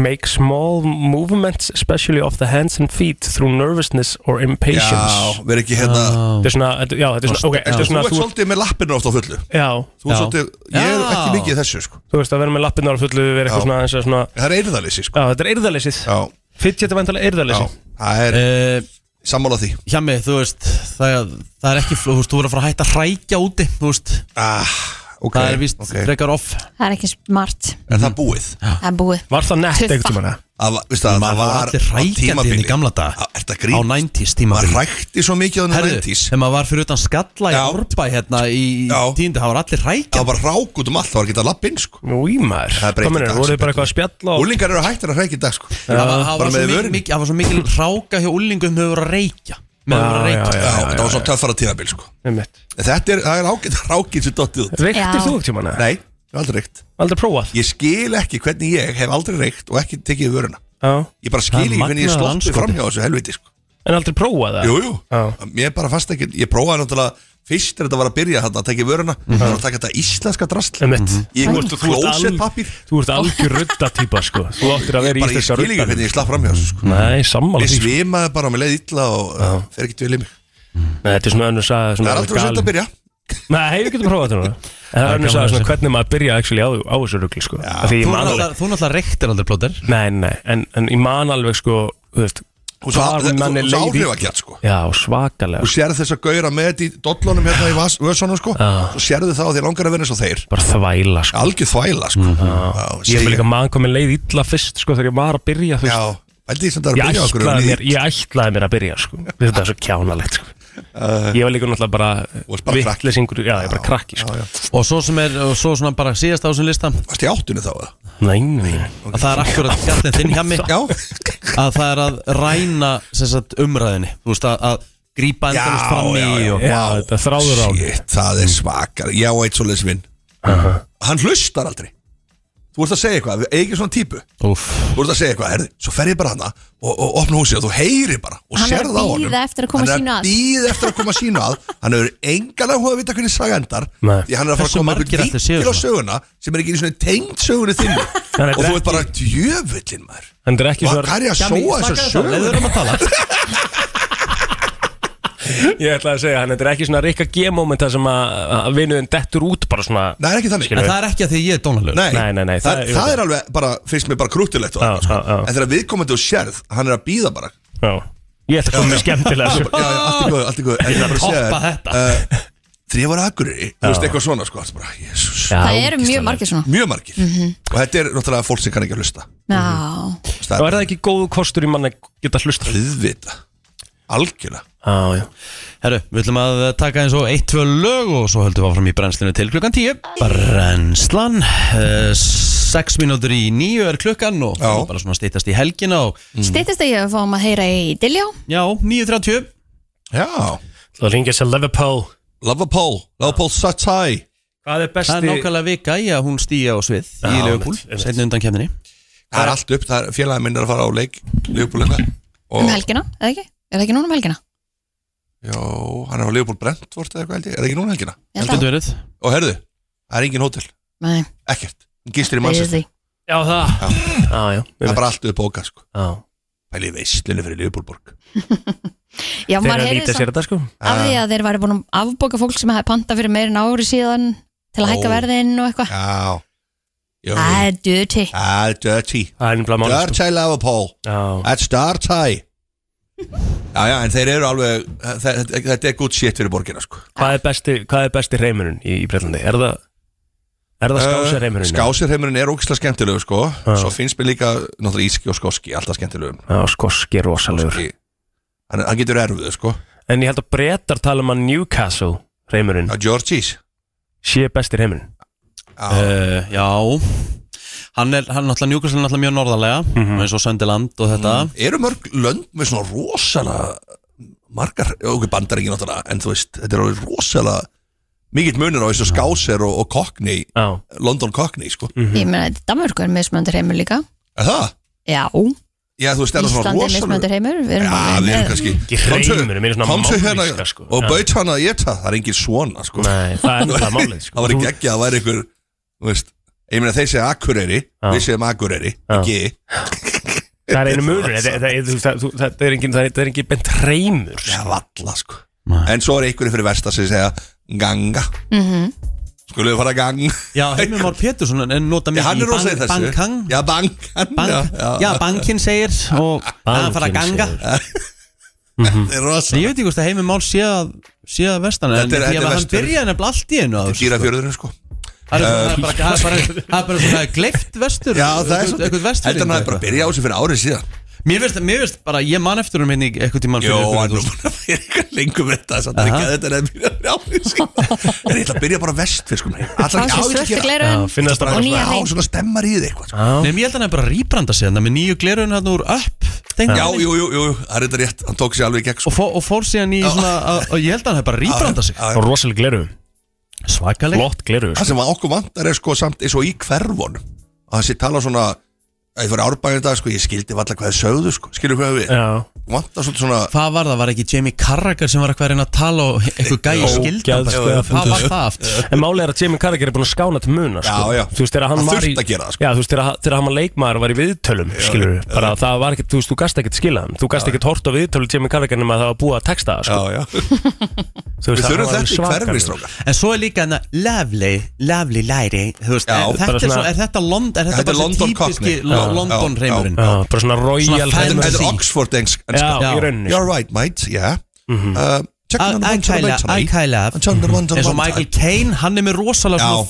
C: Make small movements Especially of the hands and feet Through nervousness or impatience
J: Já, verð ekki hérna
C: Þetta er svona þetta- Ah. Já, þetta er svona Ok, þetta er
J: Þú
C: svona
J: ert
C: þú,
J: svolítið með lappinu oft á fullu
C: Já,
J: Þú ert
A: Já.
J: svolítið, ég er
A: Já.
J: ekki mikið í þessu sko
C: þú veist að vera með lappinnar á fullu Verið
J: Já.
C: eitthvað svona aðeins að svona
J: Það er eyrðalýsi sko
C: Já, þetta er eyrðalysið
J: Já,
C: Fidget er vantilega
J: já,
C: eyrðalysið
J: það er
A: uh,
J: sammála því
A: Hjá mig, þú veist það, það er ekki, þú veist, þú verður að fara að hætta að hrækja úti Þú veist,
J: ah, okay,
A: það er víst
J: ok.
A: frekar off
B: það er ekki smart
J: Er það búið?
B: Það er búið
C: Var það nett
B: Tuffa.
C: einhvern tímann? eða?
J: Að, veistu, að það
A: Maður
J: var
A: var
J: Ah,
A: allir hrækjandi inn í gamla dag
J: Er það
A: Á
J: grín?
A: 90s
J: Maður
A: tímabili
J: hrækti svo mikið á þennan
A: Herðu,
J: 90s
A: þegar maður var fyrir utan skalla í
J: Já.
A: árbæ hérna í
J: Já.
A: tíndi, það var allir hrækjandi
J: Það var bara rák út um allt, það var ekki að lappa inn sko
C: Új maður
J: Það breytir
C: Kominir,
J: dags-
C: voruð þið bara eitthvað að spjalla og...
J: Úlingar eru hættir að hrækja í dag sko
A: Það var, það
J: Bara
A: var,
J: með
A: svo mikil,
J: vörunni.
A: mikil, það var svo mikil hráka hjá úlingum með að vera að reykja með
C: Já,
A: að vera að
C: já,
A: reykja
J: Já, það var svona töffara tíðabil sko
C: Einmitt.
J: En Þetta er, það er ágætt rákið sem dottið út
C: Reyktir
B: Já.
C: þú einhvern tímann? eða?
J: Nei, ég hef aldrei reykt
C: Aldrei prófað?
J: Ég skil ekki hvernig ég hef aldrei reykt og ekki tekið vöruna
C: Já
J: Ég bara skil
A: Það er
J: ekki hvernig ég
A: magnaður
J: sloppið
A: andskoti.
J: framhjá þessu helviti sko
C: En aldrei prófað það?
J: Jú, jú,
C: Já.
J: mér bara fast ekki Ég prófaði náttúrulega fyrst þegar þetta var að byrja þarna að tekja vöruna Það var að taka þetta íslenska drasl
C: Mhm. Einmitt.
J: Ég
C: Þú
J: kom
C: ert- þú ert al-
J: klósett pappir
C: Þú ert algjör rudda típa sko Þú áttir að vera í
J: Bara ég
C: íslenska
J: skil ekki
C: rudda
J: hvernig ég slapp framhjá þessu sko
C: Nei, sammála
J: Ég
C: því sko.
J: svimaði bara með leið illa og uh, fer ekki dvel í mig
C: Nei, Þetta er svona önnur saga
J: Það
C: svona
J: er aldrei að setja
C: galin-
J: að byrja
C: Nei, við getum prófað þetta núna En það er önnur saga svona hvernig maður byrja actually á, á þessu rugli sko Af Því
A: Þú
C: ég man
A: náttúrulega-
C: alveg
A: þú náttúrulega reyktir aldrei plóter
C: Nei, nei, en, en ég man alveg sko Þú veist
J: Hún sá
C: Hvar manni leið illa.
J: áhrifagjart sko
C: Já, svakalega sko.
J: Þú sérð þess að gauðra með þetta í dollunum hérna í vas- vössunum sko
C: Já.
J: Svo sérðu það á því langar að vera eins og þeir
C: Bara þvæla sko
J: Algjör þvæla sko Já,
C: Ég hef
J: segi-
C: líka mann komið leið illa fyrst sko Þegar ég var að byrja þú
J: Já,
C: veist
J: veldi því sem það er
C: Ég
J: að byrja okkur um
C: ætlaði,
J: nýtt.
C: mér, ég ætlaði mér að byrja sko. Þetta er svo kjánalegt sko. Ég var líka náttúrulega
J: Uh, varst
C: bara
J: bara krakki.
C: vittlesingur Já, ég er bara krakki sko.
A: og svo sem er, og svo svona bara síðast á þessum lista
J: Varst í áttinu þá eða?
C: Nei, nei, nei.
A: að það er akkurat gætið þinn hjá mig að það er að ræna sem sagt, umræðinni, þú veist að, að grípa endalist fram í og
C: Já, þetta er þráður á
J: Shit, það er svakar Já, eitt svo leysvinn Hann hlustar aldrei Þú ert að segja eitthvað, eigi ekki svona típu
A: Úff.
J: Þú ert að segja eitthvað, herði, svo fer ég bara hana og, og opna húsið og þú heyri bara og
B: Hann er að
J: sérð á honum
B: bíða eftir að koma sínu
J: Hann er
B: að.
J: að býða eftir að koma sínu að Hann hefur engan áhuga að vita hvernig saga endar
C: Nei.
J: Því hann er að fara að
A: Hversu
J: koma upp
A: margir ætli séu
J: vinkil á
A: svona?
J: söguna sem er ekki einu svona tengd sögunni þinni
C: Hann er
J: Og þú ert
C: ekki-
J: bara djöfullin maður
C: En þetta er ekki
J: Hvað
C: svo
J: er ég að
A: Hjami,
J: sóa þessu
A: slakaðu þá,
J: söguna?
A: leiður um að tala
C: Ég ætlaði að segja, hann þetta er ekki svona Rikka G-moment þar sem að, að vinuðin dettur út bara svona
J: Nei, það er ekki þannig
A: en það er ekki að því ég er dónalögur
J: Nei,
C: Nei, nei, nei,
J: það,
C: það-
J: það, er alveg bara, finnst mér bara krúttilegt og
C: Já,
J: annað, sko.
C: já, já.
J: En þegar viðkomandi og sérð, hann er að býða bara Já,
C: Já, ég ætla að koma með skemmtilega
J: já,
C: sko.
J: allt í góðu, allt í góðu En ég er bara að segja
A: toppa þetta.
J: þér, uh, Þegar ég var aðgurir, þú veist eitthvað svona sko, allt bara, Jesus,
C: Já,
B: Það eru mjög
C: ógeðslega.
B: margir svona
J: Mjög margir
B: Mhm.
J: Og þetta er náttúrulega fólk sem kann ekki að hlusta
B: Já,
C: Og er það ekki góðu kostur í manna geta hlusta Já,
J: Viðvita, algjörlega
C: já
A: Herru, við ætlum að taka eins og eitt, tvö lög og svo höldum við áfram í brennslinu til klukkan 10 Brennslan eh, Sex mínútur í nýju er klukkan og
J: Já.
A: bara svona stýttast í helgina og
B: stýttist að ég að fáum að heyra í um Dilljá
A: já, 9.30
J: Já,
C: Það ringið sér Liverpool
J: Love a Paul, Love a Paul Satai
C: Hvað Hvað er besti-
A: Það er nákvæmlega vika í að hún stíja á svið í
J: Já,
A: Leopold,
J: einmitt, einmitt.
A: setni undan kemni
J: Það er allt upp, það er félagið minn er að fara á leik Leopold eitthvað
B: um
J: og,
B: helgina, eða ekki? Er það ekki núna um helgina?
J: Jó, hann er að fara Leopold Brentvort eða eitthvað held ég Er það ekki núna helgina?
B: Ég held að. Getur
A: verið
J: Og herðu, það er engin hótel
B: Nei.
J: Ekkert, hún gistir í mannsins
B: Busy. Já, það.
J: Það er bara allt upp bóka sko Pæli veistlinu fyrir Leopoldborg
B: Já,
J: Þeir
B: maður
J: að
B: heyrði
J: nýta sér
B: samt
J: þetta, sko.
B: Af því að þeir væri búin að afbóka fólk sem hefði panta fyrir meirinn ári síðan til að
J: Ó.
B: hækka verðin og eitthvað
J: Já Jú.
B: Það er duti
J: Það er dirty
C: málið, sko.
J: Dirty Leopold That's dirty Já, já, en þeir eru alveg þe- þe- Þetta er good shit fyrir borgina sko
C: Hvað er besti, hvað er besti reymurinn í, í Breitlandi? Er það, er það skásarreymurinn?
J: Eh, Skásirheimurinn er ógislega skemmtilegu sko Svo finnst mér líka náttúrulega íski og skoski Alltaf skemmtilegum
C: Já, skoski er rosalegur
J: Hann, hann getur erfið, sko
C: En ég held að brettar tala um að Newcastle reymurinn
J: Já, Georgies
C: Sé besti reymurinn
A: uh, Já Hann er, hann er náttúrulega njúkast hann er náttúrulega mjög norðarlega
J: Mhm.
A: eins og Söndiland og þetta
J: Eru mörg lönd með svona rosalega Margar, okkur bandar ekki náttúrulega En þú veist, þetta er alveg rosalega Mikill munur á þessu skásir og, og kokni London kokni, sko
C: Mm.
B: Ég meina, þetta Danmörku er mismöndur heimur líka
J: Er það?
B: Já,
J: Já, þú veist, er það svona
B: Íslandi er
J: rosalega
B: mismöndur heimur Við erum
J: Já,
B: alveg
J: við
B: með-
J: erum kannski
C: Ekki hreimur, við erum svona
J: Komstu hérna
C: mállýska, sko.
J: og
C: Já.
J: baut hann að geta Það er engin svona sko.
C: Nei, það er nefnilega málið, sko.
J: Það var
C: Þú-
J: ekki ekki að það væri einhver þú veist, Ég meina þeir segja Akureyri Við segjum Akureyri, ekki
C: Það er einu munur Þetta þetta- þetta- þetta- þú- þetta er engin, það er engin bent reymur Já,
J: valla, sko En svo er einhverju fyrir versta sem segja Ganga,
B: Mhm.
J: skulum við fara að gang
A: Já, Heimir Már Pétursson en nota
J: Já,
A: mikið
J: hann
A: í
J: er rosa í þessu
A: Bankang
J: Já, Bankang
A: Bank,
J: já,
A: já, bankinn segir og hann fara að ganga
J: Þetta er rosa
A: Ég veit ekki hvort að Heimir Már sé að sé að vestan en
J: Þetta er- þetta
A: því að
J: er
A: hann
J: Vestfjörður.
A: byrjaði nefnilega allt í einu
J: Þetta
A: á
J: er
A: þessu, sko.
J: dýrafjörðurinn, sko
A: Það er- það er bara- það er bara- það er bara svona gleift vestur
J: Já, það er
A: eitthvað- eitthvað
J: svolítið
A: vestfirðing
J: Þetta er bara að byrja á þessu fyrir árið síðan
A: Mér veist, mér veist bara, ég man eftir um henni eitthvað tímann
J: Jó, hann er búin að fyrir eitthvað lengur með þetta samt
A: Aha.
J: ekki að þetta er að byrja fyrir árið síðan En ég ætla að byrja bara vestfiskum
A: Fá sér svörtu gleraugun og nýja hreim.
J: Já, svona stemmar í þig eitthvað sko.
A: Nei, ég held að hann er bara að rýbranda sig þannig með nýju glerun hann úr upp
J: Já, jú, jú, jú, það er þetta rétt, hann tók sér alveg í gegn sko.
A: og, fó, og fór síðan í svona að- og ég held að hann er bara að rýbranda sig
J: Og
C: rosalega gleru
A: Svakaleg
C: Flott gleru
J: Það sem okkur vantar er sko samt eins og í hverfun að það sé tala svona að ég fyrir árbæðin dag sko, ég skildi valla hvað þið sögðu sko, skilur hvað við
C: Já.
J: Vantar svolítið svona
A: Hvað var það? Var ekki Jamie Carragher sem var eitthvað að reyna að tala og eitthvað gæi skildan bara? Hvað var það aftur?
C: En málið er að Jamie Carragher er búin að skána til muna sko.
J: Já, já.
C: Þú veist, þegar hann
J: Hann
C: var í
J: þurfti að gera það, sko.
C: Já, þú veist, þegar hann- þegar hann var leikmaður og var í viðtölum skilur við, bara það var ekkert, þú veist, þú gast ekkert skilað hann. þú gast ekkert hort á viðtölu Jamie Carragher nema að það var búið að texta það, sko.
J: Já, já
C: Þú veist,
J: Við
C: hann
J: þurfum
C: var
J: þetta í
C: svakalegur.
J: hverfi, strákar.
A: En svo er líka hann að lovely, lovely læri Þú veist,
J: Já,
A: er, þetta
J: bara
A: er, svo,
J: svona-
A: er þetta London, er þetta
J: Þetta er
A: bara þessi
J: London
A: típiski
J: cockney.
A: lo-
J: Já,
A: London
J: já,
A: reymurinn
J: já.
C: bara svona royal
J: Þetta þetta er
A: fantasy.
J: Oxford engsk
A: Já, í rauninni,
J: You're
C: sko.
J: right, mate, yeah
C: Mhm.
J: Uh, check
A: I-
J: on the
A: I
J: one to the
A: kinda-
J: right
A: I
J: tonight.
A: kinda have.
J: And turn the one to the
A: eins
J: one
A: og Michael Caine, hann er með rosalega svona
C: Já.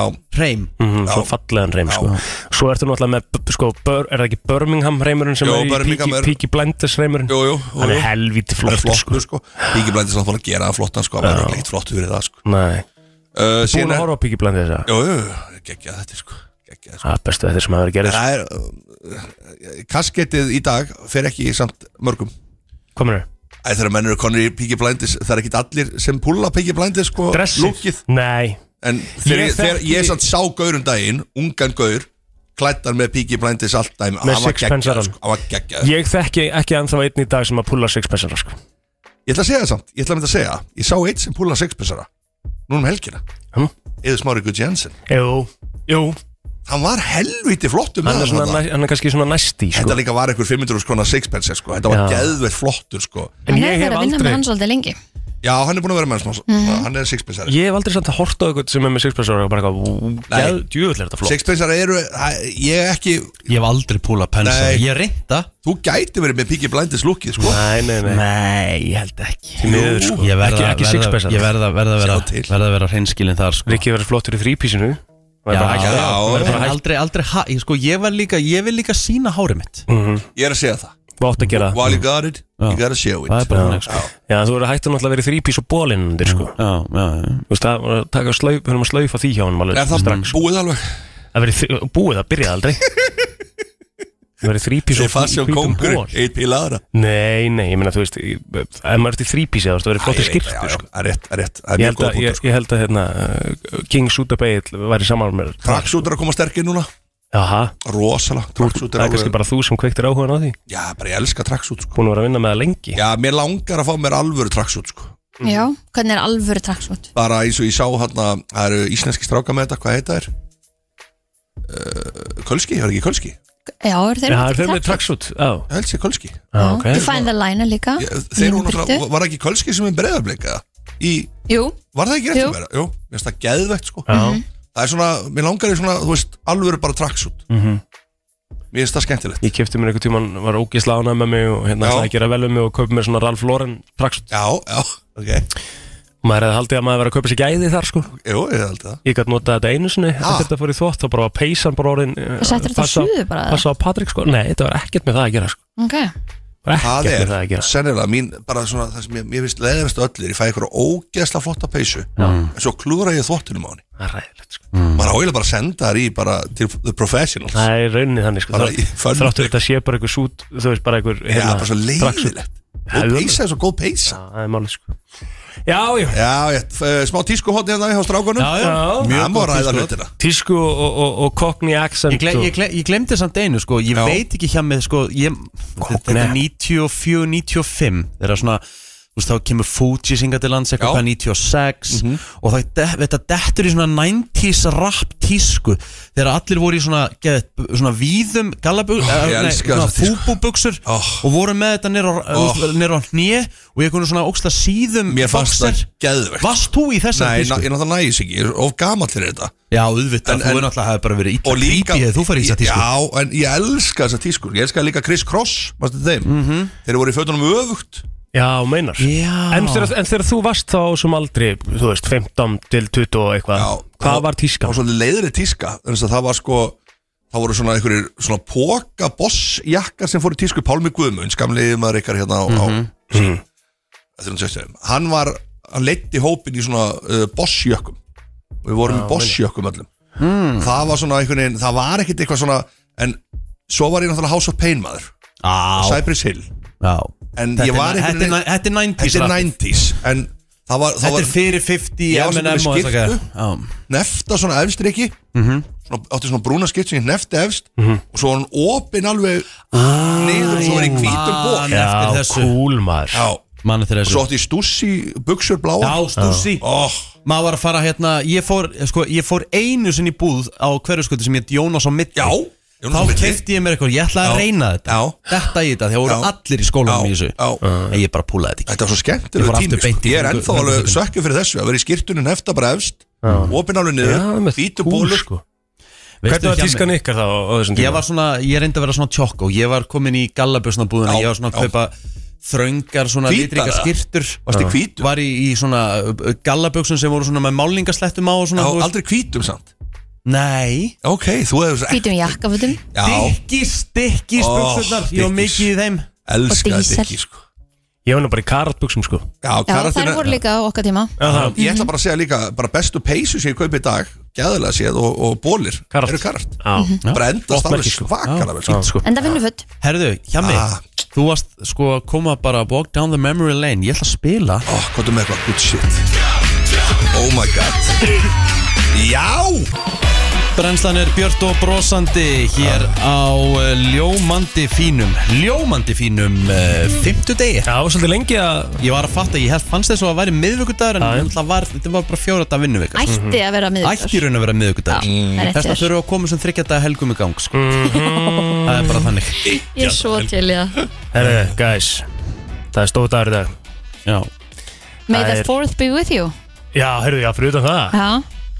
A: fínan reym
C: Mhm, Svo fallegan reym sko. Svo ertu náttúrulega með b- sko, bör, Er það ekki Birmingham reymurinn sem
J: Jó,
C: er í
J: Birmingham
C: Peaky-
J: er-
C: Peaky Blinders reymurinn
J: Jú, jú,
C: Hann er helvíti
J: Hann er
C: flottur, sko.
J: flottur sko Píki Blinders hann fór að gera það flottan sko Hann var ekki eitt flottur fyrir það sko
C: Nei
J: uh,
C: Búin að horfa á Peaky Blinders eða?
J: Jú, jú, jú, geggja þetta sko
C: Það er bestu þetta sem hafa verið gerðist
J: Það er uh, Kaskettið í dag fer ekki í samt mörgum
C: Komur þau?
J: Æ, þegar menn eru konur í Píki Blinders Það er ekki allir sem púla Píki Blinders sko
C: Dressið?
J: Lúkið
C: Nei
J: En þegar
C: Ég
J: ég, þegar
C: þekki-
J: ég samt sá gaurum daginn Ungan gaur Klættan með Píki Blinders allt dæmi
C: Með
J: hann var
C: sixpence
J: geggjaður,
C: er hann.
J: sko, Hann var geggjað
C: Ég þekki ekki ennþá einn í dag sem að pulla sixpensara sko.
J: Ég ætla að segja það samt, ég ætla að mynda að segja Ég sá eitt sem púla sexpensara Núna um helgina
C: hm?
J: Eður smári Guð Jensen
C: Jú, jú
J: Hann var helviti flottur með
C: Hann er, svona,
J: þarna.
C: næ, hann er kannski svona næsti sko.
J: Þetta líka var einhver 500 skona sexpenser sko Þetta var
C: Já.
J: geðveitt flottur sko
B: Hann hefur verið að vinna með hann svolítið lengi
J: Já, hann er búin að vera með hann smá
B: Mhm.
J: Hann er sexpensari
C: Ég hef aldrei samt að horta á eitthvað sem er með sixpensara og bara eitthvað Djúvill er þetta flott
J: Sexpensara eru, hæ, ég er ekki
A: Ég hef aldrei púla pensara, ég reynda
J: Þú gæti verið með Piki Blinders lukkið sko
C: Nei, nei, nei Nei, ég held ekki Því miður, sko.
A: Ég verða
C: Ekki- ekki
A: verða-
C: sixpensar.
A: ég verða- verða að vera verða að vera hreinskilin þar sko.
C: Rikki verður flottur í þrípísinu
A: Já,
C: bara hægt-
A: já,
C: það er bara
A: en
C: hægt.
A: aldrei, aldrei ha, ég, sko, ég, var líka, ég vil líka sína hárið mitt
C: Mm.
J: Ég er að segja það
C: Þú átt að gera það.
J: While you got it, you gotta show it
A: Það er bara þannig, sko.
C: Já, þú verður hægt að náttúrulega verið þrípís og bólinn undir, sko
A: Já, já, já
C: Þú veist, það var að taka slauf, við höfum að slaufa því hjá hann alveg
J: Er það
C: strax, sko.
J: búið alveg?
C: Það verið þri- búið, það byrjaði aldrei Það verður þrípís
J: Þeir fannst sjá kóngur, eitt píl aðra
C: Nei, nei, ég meina, þú veist ég- Ef maður ert í þrípísi, þá verður flottir
J: Æ, já,
C: skiptu
J: já,
C: sko.
J: Það er rétt, það er rétt Það
C: Ég
J: er mjög sko.
C: held
J: góð
C: að,
J: punktur
C: ég, ég held að hérna, uh, King Sútab Egil væri saman með
J: Traksútur er að koma sterkir núna
C: Jaha
J: Rosalega, traksútur
C: Það er kannski bara þú sem kveiktir áhugan á því
J: Já, bara ég elska traksút sko
C: Búin að vera að vinna með það lengi
J: Já, mér langar að fá mér alvöru traksút sko
B: Já, hvernig er alvöru traksút?
J: Bara eins og ég sá hérna Það eru íslenski stráka með þetta, hvað heita þær? Uh, Kölski, það er ekki Kölski
B: Já, eru þeir
C: traksút Já,
J: held sér Kölski
C: Já,
B: Okay, you find the line líka
J: Þeir voru
B: Línu Birtu.
J: náttúrulega, var ekki Kölski sem er breyðarbleika Í,
B: Jú,
J: var það ekki rétt
B: Jú.
J: að vera? Jú, mér finnst það geðvegt sko
C: Já.
J: Það er svona, mér langar í svona, þú veist, alvöru bara traksút
C: Mhm.
J: Mér finnst það skemmtilegt
C: Ég kefti mér einhvern tímann, var ógisla ánæg með mig og hérna
J: Já.
C: ætlaði að gera vel um mig og kaupi mér svona Ralph Lauren traksut
J: Já, já, ok
C: Maður hefði haldið að maður verið að kaupa sér gæði þar sko
J: Jú, ég held það
C: Ég gæti notað þetta einu sinni
J: Ah.
C: eftir þetta fór í þvott þá bara var peysan bara orðin eh,
B: Og settir þetta á
C: passa-
B: suðu bara, eða?
C: Passa á Patrik sko, nei þetta var ekkert með það að gera sko
B: ok
C: Bara
J: Það
C: Ekkert með
J: er,
C: það að gera
J: sennilega mín, bara svona það sem ég, ég finnst leðast öllir, ég fæ einhverja ógeðsla flotta peysu,
C: Mm.
J: en svo klúra ég þvottunum á henni.
C: Það er ræðilegt sko
J: Maður áhugilega bara að senda þær í bara til the professionals.
C: Það er raunnið þannig sko
J: Bara
C: Þrátt-
J: í fönn-
C: Þráttur þetta sé bara einhver sút, þú veist bara einhver hérna,
J: Já, bara svo leiðilegt. Og peysa er svo góð peysa.
C: Það er málið sko Já, já
J: Já, ég, f- smá tískuhotni hérna hjá strákunum.
C: Já, já. Já.
J: Mjög góð ræða
A: tískuhorn.
J: hlutina.
C: Tísku og, og, og, og Cockney accent
A: Ég, gle,
C: og-
A: ég, gle, ég glemdi samt einu sko, ég
C: Já.
A: veit ekki hjá með sko, ég, þetta er 94-95 þegar svona, þú veist þá kemur Fuji singa til lands eitthvað hvað 96
J: Mhm.
A: og það, de, þetta dettur í svona 90s rap tísku þegar allir voru í svona, geð, svona víðum gallabug,
J: Ó, ég
A: eh, nei,
J: elska
A: svona
J: þessa tísku.
A: fúbúbuxur og voru með þetta nýr á,
J: Ó.
A: oh. á hnið og ég konu svona óksla síðum
J: Mér fannst það geðvegt.
A: Varst þú í þessari
J: Nei,
A: tísku?
J: na- ég náttúrulega nægis ekki, ég er of gamall fyrir þetta.
A: Já, auðvitað,
J: En-
A: þú
J: en-
A: er náttúrulega hafi bara verið illa
J: og líka
A: creepy eða þú farið í þessa tísku
J: Já, en ég elska þessa tískur Ég elska líka Chris Cross, varstu þeim
A: Mhm.
J: Þeir voru í fötunum öfugt
C: Já, meinar
A: Já.
C: en, þegar, en þegar þú varst þá sem aldrei, þú veist, 15 til 20 og eitthvað Hvað var
J: Það
C: tíska?
J: var svolítið leiðri tíska Þannig að það var sko Það voru svona einhverjir svona póka bossjakkar sem fóru í tísku Pálmi Guðmunds, gamliði maður ykkar hérna á,
C: Mhm.
J: á 360 Hann var, hann leiddi hópin í svona uh, bossjökkum og Við vorum
C: Já,
J: í bossjökkum öllum Það var svona einhvern veginn, það var ekkert eitthvað svona En svo var ég náttúrulega House of Pain maður
A: Á.
J: Cypress Hill
A: Já
J: En
A: Þetta
J: ég
A: er-
J: var einhvern
A: þetta er
J: veginn
A: næ- þetta er 90s
J: Þetta er
A: rappið.
J: 90s En það var það
A: Þetta er
J: var-
A: fyrir 50
J: Ég var svolítið
A: M&M
J: með
A: og þess að gera.
J: skyrtu nefta svona efstriki mm
A: Mhm.
J: -hmm. svona, átti svona brúna skipt sem ég nefti efst og svo var hann opinn alveg
A: Ah,
J: niður og svo var ég hvítum bók
A: man eftir
C: Já,
A: þessu.
C: cool maður
J: Já.
A: Mann eftir
J: og svo
A: þessu
J: átti ég stússi buksur bláa
A: Já, stússi
J: oh.
A: Maður var að fara hérna Ég fór, sko, ég fór einu sinni í búð á hverjuskutu sem ég heit Jónas á mitt
J: Já Jónas á
A: Þá
J: milli.
A: kefti ég mér eitthvað Ég ætlaði
J: Já.
A: að reyna þetta
J: Já.
A: Þetta í þetta Þegar voru
J: Já.
A: allir í skólanum
J: Já.
A: í þessu
J: Já.
A: En ég bara púlaði þetta ekki
J: þetta var svo
A: Ég fór
J: skemmtilega tími
A: aftur beint
J: sko.
A: í
J: ég er
A: göngu-
J: ennþá alveg
A: göngutúrinn.
J: sökkur fyrir þessu að vera í skirtunum nefta bara efst opinn alveg
C: Já,
J: niður
C: með
J: hvítum
C: kúl,
J: bólur
C: sko.
A: Veistu
C: Hvernig var
A: hjá
C: tískan
A: mér?
C: ykkar þá á þessum tíma?
A: Ég var svona Ég reyndi að vera svona tjokk og ég var komin í gallabjösnabúðuna
J: Já,
A: Ég var svona að
J: já.
A: kaupa þröngar svona
J: Hvítar,
A: litrika
J: eða?
A: skirtur
J: Varstu í hvítu?
A: Var í, í svona gallabjöksum sem voru svona með málingaslettum á og
J: Já,
A: svona þú veist.
J: aldrei hvítum samt
A: Nei
J: ok, þú hefur svo
B: Hvítum jakkafutum
J: já,
A: Dikki, stikki
J: Ó,
A: spöksurnar Ég var
J: Dickies.
A: mikið í þeim
J: elska
B: Og dísel.
J: þetta ekki sko.
C: Ég var nú bara í karatbuxum sko
J: já,
B: Já,
J: karakterinn-
B: þær voru líka á okkar tíma
C: Já,
J: ég ætla bara að segja líka bara bestu peysu sem ég kaupi í dag gæðilega séð og, og bólir
C: Karart.
J: eru karart
C: já
J: bara endast
C: Gott
J: alveg
C: merki, sko.
J: svakalega vel
C: Fínt, sko.
B: Enda vinnuföld
A: Herðu, Hjami,
J: Ah.
A: þú varst sko að koma bara að walk down the memory lane Ég ætla að spila
J: oh, hvað er með eitthvað good shit oh my god já
A: Brennslan er björt og brosandi hér á eh, ljómandi fínum Ljómandi fínum uh, fimmtudegi
C: Það var svolítið lengi að
A: Ég var að fatta, ég held, fannst þess að það væri miðvikudagur En
C: Já, já.
A: náttúrulega var, þetta var bara fjóra dag vinnuvika
B: Ætti
J: Mhm.
B: að vera
A: Ætti í
B: miður
A: raun að vera miðvikudagur
B: Já, það er rétt
A: Þess að
B: hjá þér.
A: þurfa að koma sem þryggjata helgum í gang sko. Það er bara þannig
B: Ég er svo til í það
C: Herre, guys Það er stóð dagur í dag
A: Já,
B: May
C: Það
B: the
C: er-
B: fourth be with you
C: Já, herru, já, fyrir utan það
B: Já,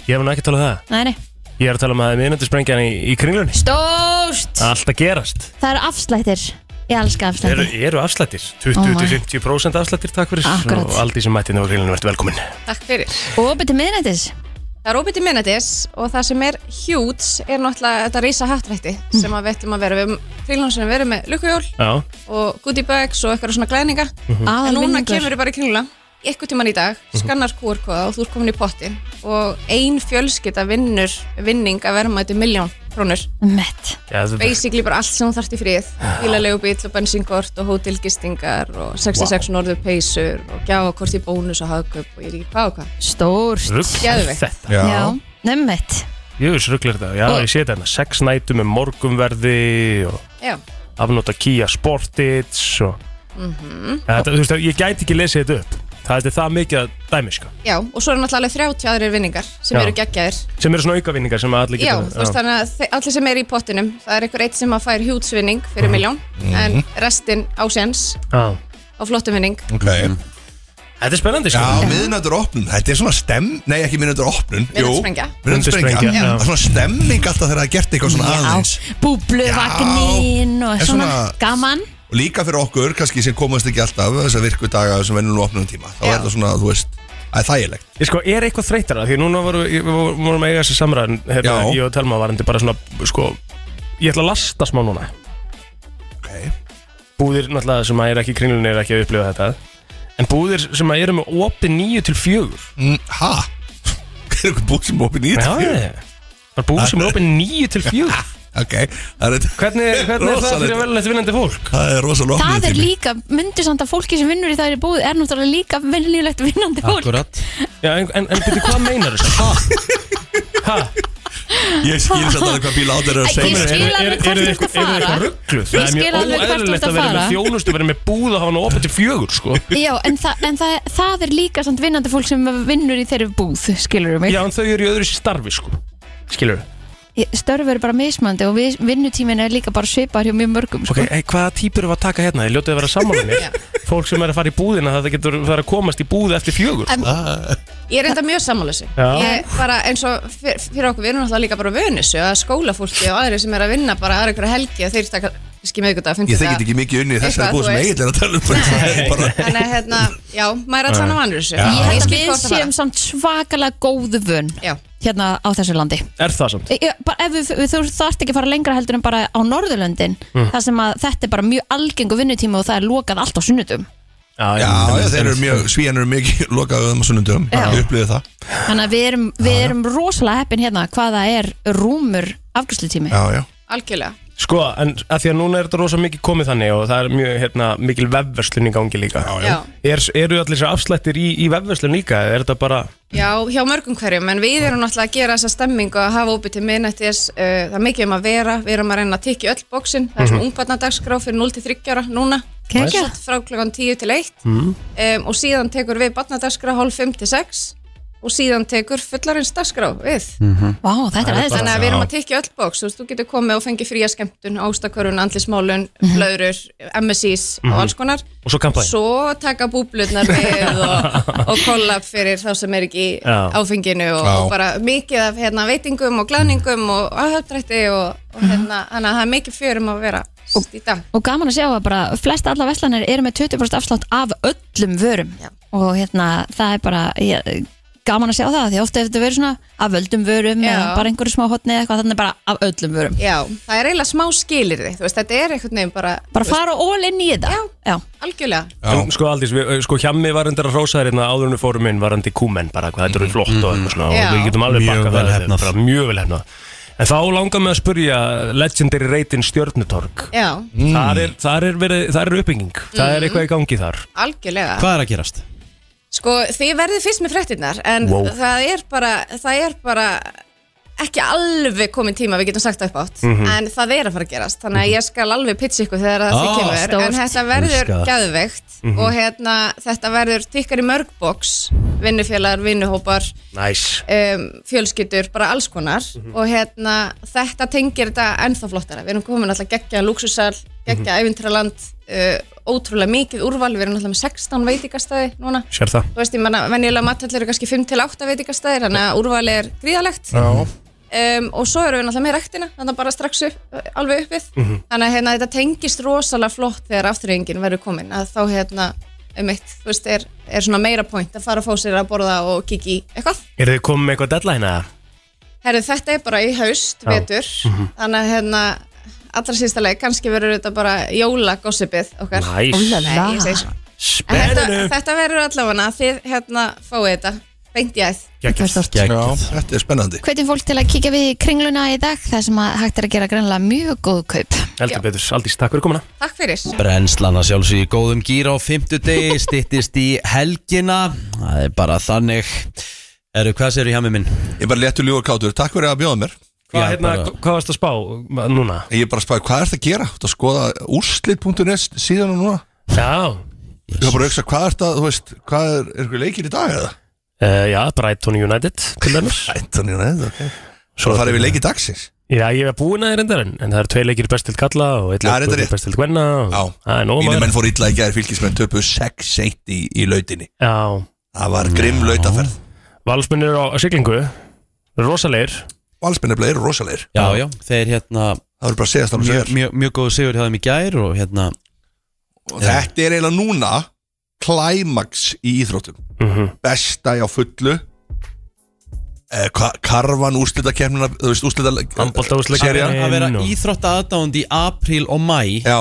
C: Ég hef nú ekki talað um það
B: nei, nei
C: Ég er að tala um að miðnættisprengjan í, í kringlunni
B: Stórt
C: Alltaf gerast
B: Það eru afslættir Ég elska
C: Eru,
B: afslættir
C: eru afslættir
B: Oh my.
C: 20-50% afslættir, takk fyrir
B: Akkurat.
C: Og aldrei sem mætti nú á kringlunni, verður velkomin
L: Takk fyrir.
B: Og opið til miðnættis
L: Það er óbyttið minnetis og það sem er hjúts er náttúrulega þetta rísa hattrætti sem að við ætlum að vera. Við frílánsunum verið með lukkujól
C: Já
L: og goodie bags og eitthvað svona glæninga. En núna
B: Mhm.
J: Mhm.
B: Aðalvinningar.
L: kemur við bara í kringla ykkur tíman í dag, skannar QR-kóða og þú ert komin í pottin og ein fjölskylda vinnur vinning að verma þetta miljón krónur
B: Mett
L: basically bara allt sem þú þarft í fríð bílalegu bíl og bensínkort og hótelgistingar og 66 wow. norður peysur og gjafakort í bónus og hagköp og ég er ekki hvað og hvað
B: Stórt
C: Rugl
L: Geðveikt.
C: þetta.
B: Já, nemmett
C: Jú, sruglir þetta, já, ég sé þetta Sex nætu með morgumverði og
L: Já.
C: afnota Kia Sportage og...
L: mm
C: ja, þetta, Þú veist, ég gæti ekki lesið þetta upp Það er það mikið að dæmi, sko
L: Já, og svo eru náttúrulega alveg 30 aðrir vinningar sem
C: Já.
L: eru geggjaðir
C: Sem eru svona aukavinningar sem allir
L: Já,
C: getur
L: þú veist þannig að þe- allir sem er í pottinum það er einhver eitt sem að fær hjútsvinning fyrir miljón
C: Mhm.
L: en restin ásens
C: Já.
L: á flottum vinning
J: Ok
C: Þetta er spennandi sko
J: Já, miðnættur opnun, þetta er svona stem Nei, ekki miðnættur opnun
L: Miðnætursprengja.
J: Miðnættursprengja
L: Miðnætursprengja, já.
J: Það er svona stemming alltaf þegar það er gert eitthvað svona aðeins
B: Búbluvagnin og
J: En
B: svona,
J: svona-
B: gaman
J: Og líka fyrir okkur, kannski sem komast ekki alltaf Þess að virku daga sem vennum opnunum tíma Þá er það svona, þú veist, það er þægilegt
C: Ég sko, er eitthvað þreytara? Því núna vorum við voru, voru að eiga þessi samræðin hérna,
J: Já.
C: Ég og Telma varandi bara svona, sko Ég ætla að lasta smá núna Búðir náttúrulega sem að er ekki í kringlunni er ekki að upplifa þetta En búðir sem að eru með opið 9 til 4
J: mm, Ha? Hver er eitthvað búð sem er opið 9 til 4?
C: Það er búð sem er opið 9 til 4
J: Ok, það er
C: Hvernig, hvernig er það
J: Rosalegt.
C: fyrir velnætt vinnandi fólk?
J: Það er rosalega
B: Það er líka, myndu samt að fólki sem vinnur í það er búið er náttúrulega líka vinnulegt vinnandi fólk
C: Akkurat Já, en, en, en byrju, hvað meinar þessu?
J: Ég skil samt alveg hvað bíl átt er að
B: Ég
J: segja
B: skil alveg
J: Er- er-
B: hvert
J: er-
B: þú
J: er-
B: ert að
J: er- er-
B: fara.
C: Rugglu,
B: Ég
C: það er
B: skil
C: mjög
B: alveg hvert þú
C: óæðilegt
B: ert að
C: að vera
B: fara.
C: með þjónustu, vera með búð og hafa hann opið til fjögur, sko
B: Já, en, þa en það, það er líka samt vinnandi fólk sem vinnur í þeirri búð, skilur mig
C: Já, en þau eru í öðru starfi, sko Skilur
B: Ég- Störf eru bara mismandi og vi- vinnutíminn er líka bara svipar hjá mjög mörgum sko.
C: Ok, hey, hvaða típur við að taka hérna? Ég ljótið að vera sammála mér Fólk sem er að fara í búðina það getur það er að komast í búð eftir fjögur
L: En-
C: sko.
L: Ég er enda mjög sammálusi
C: Já.
L: Ég bara eins og fyr- fyrir okkur, við erum náttúrulega líka bara vönusu að skólafólki og aðri sem er að vinna bara aðra ykkur helgi og þeir taka skil miðgudag
J: Ég þekki ekki mikið unni í þessari
L: Eitthvað,
J: búð
L: þú
J: sem
L: veist.
J: eiginlega tala um Það er bara
L: Þannig að hérna, já, maður er alls annar vannur þessu
J: Já.
B: Ég held að
L: skil
B: við
L: hvort það
B: séum samt svakalega góðu vön
L: Já.
B: hérna á þessu landi
C: Er það samt?
B: Ég- ég- bara ef við, við, þú þarft ekki að fara lengra heldur en bara á Norðurlöndin
C: Mm.
B: þar sem að þetta er bara mjög algengu vinnutími og það er lokað allt á sunnudum
J: Já, já, þeir eru mjög,
C: um.
J: svíjan eru mikið lokaðu þeim á sunnundum, ég upplýði það
B: þannig að við erum, við erum rosalega heppin hérna hvað það er rúmur afgjörslutími
J: Já, já
L: Algjörlega
C: Sko, en að því að núna er þetta rosa mikið komið þannig og það er mjög, hérna, mikil vefverslun í gangi líka
L: já. Já.
C: Er, Eru allir sér afslættir í, í vefverslun líka? eða Er þetta bara
L: Já, hjá mörgum hverjum, en við erum náttúrulega að gera þessa stemming og að hafa opið til minnættis uh, það er mikið um að vera, við erum að reyna að tykja öll bóksin, það er svona
C: Mhm.
L: ungbarnadagskrá fyrir 0-30 ára núna,
B: Kekja.
L: Svo frá klukkan 10 til 1
J: Mhm.
C: mm.
L: um, og síðan tekur við barnadagskrá hálf 5 til 6 og síðan tekur fullarins dagskrá við
B: Vá, þetta er aðeins
L: Þannig að við erum að tykja öll bóks, þú veist, þú getur komið og fengið fría skemmtun, ástakörun, andlismálun,
B: Mhm.
L: blöðrur, MSIs
C: Mhm.
L: og alls konar.
C: Og svo kampavín.
L: Svo taka búblurnar með og, og kollab fyrir þá sem er ekki í
C: Já.
L: áfenginu og,
C: Já.
L: og bara mikið af hérna, veitingum og glæningum og aðhöldrætti og, og hérna, þannig að það er mikið fjörum að vera í dag.
B: og gaman að sjá að bara flest alla veslanir eru með 20% afslátt af öllum vörum og hérna það er bara ég, gaman að sjá það því ofta ef þetta verður svona af öllum vörum
L: Já.
B: eða bara einhverju smá hotni eða eitthvað þannig bara af öllum vörum
L: Já, það er eiginlega smá skilirði, þú veist, þetta er einhvern veginn bara...
B: bara fara all in í þetta já, já.
L: Algjörlega.
C: En sko aldrei, við, sko hjammi var endara rósaðir hérna áður en við fórum inn varandi kúmen bara hvað þetta eru flott og eitthvað svona
L: Já.
C: og við getum alveg
M: Mjög
C: bakkað
M: vel
C: það, þetta er
M: heppnað.
C: bara mjög vel hefnað En þá langar mig að spurja Legendary Reitin Stjörnutorg
L: Já,
C: mm. þar, er, þar, er verið, þar er uppbygging, það
L: Mm.
C: er eitthvað í gangi þar
L: algjörlega.
C: er að gerast?
L: Sko, þið verðið fyrst með fréttinnar en
C: Wow.
L: það, er bara, það er bara ekki alveg komin tíma við getum sagt það upp átt
B: Mhm.
L: en það er að fara að gerast þannig að ég skal alveg pitcha ykkur þegar það
B: Ah,
L: því kemur en
B: stórt.
L: þetta verður
B: Elska það.
L: geðveikt
B: Mhm.
L: og hérna, þetta verður tikkar í mörgboks vinnufélagar, vinnuhópar
C: Nice.
L: um, fjölskyldur, bara alls konar
B: Mhm.
L: og hérna, þetta tengir þetta ennþá flottara, við erum komin alltaf geggja lúksusal,
B: Mhm.
L: geggja ævintraland uh, ótrúlega mikið úrval við erum alltaf með 16 veitingastæði núna
C: Sér það
L: þú veist, ég menna, venjulega mattall eru kannski 5-8 veitingastæðir, þannig að úrvalið er gríðalegt um, og svo eru við náttúrulega með rektina, þannig að bara strax upp, alveg uppið,
C: Mhm.
L: þannig að hérna, þetta tengist rosalega flott þegar afturrengin verður komin, að þá hérna, um mitt, þú veist, er, er svona meira point að fara að fá sér að borða og kikki í eitthvað.
C: Er þið komið með eitthvað deadline eða?
L: Herðu, þetta er bara í haust,
C: Já.
L: vetur,
C: Mhm.
L: þannig að hérna, allra síðasta leið, kannski verður þetta bara jólagossipið okkar.
C: Nice.
L: Nei, ég segi svona. En Þetta,
J: Spenninu.
L: þetta verður allavega þið hérna fáið þetta beint í æð
J: Gekkið Þetta er spennandi
B: Hvetjum fólk til að kíkja við í kringluna í dag þar sem að hægt er að gera greinlega mjög góð kaup
C: Heldur betur, Aldís, takk fyrir komuna
L: Takk fyrir
A: Brennslan að sjálfsög í góðum gýr á fimmtudegi Stittist í helgina Það er bara þannig Eru, hvað séru hjá mig minn?
J: Ég er bara léttur ljúgur kátur, takk fyrir að bjóða mér
C: Hvað, hérna, hvað varst að spá núna?
J: Ég er bara að spá, hvað ert að gera? Þú ert að skoða úrslit.net síðan og núna
C: Já
J: Ég var bara að hugsa, hvað ert að, þú veist, hvað er, er ykkur leikir í dag eða?
C: Uh, já, Brighton United til dæmis
J: Brighton United, ok Svo farið við leikið dagsins
C: Já, ég hef búin að reyndar en, en það eru tvei leikir best til kalla og einn
J: Já, reyndar
C: leikur
J: rétt.
C: best til gvenna og það er nóg
J: Mínu
C: maður.
J: menn fór illa í gæri fylgismenn töpu 6-1 í, í lautinni
C: Já
J: Það var grimm lautaferð
C: Valsmenn eru á siglingu Rosalegir
J: Valsmenn eru rosalegir
A: Já, já, þeir hérna
J: Það eru bara að segja það
A: Mjög mjö, mjö góð sigur hjá þeim í gær og hérna
J: Og þetta er eiginlega núna Climax í íþróttum
C: Mhm.
J: Besta í á fullu eh, hva, Karvan úrslita kemna Þú veist úrslita eh,
C: Handbolta
A: Að vera íþrótta aðdánd í apríl og mæ
J: Já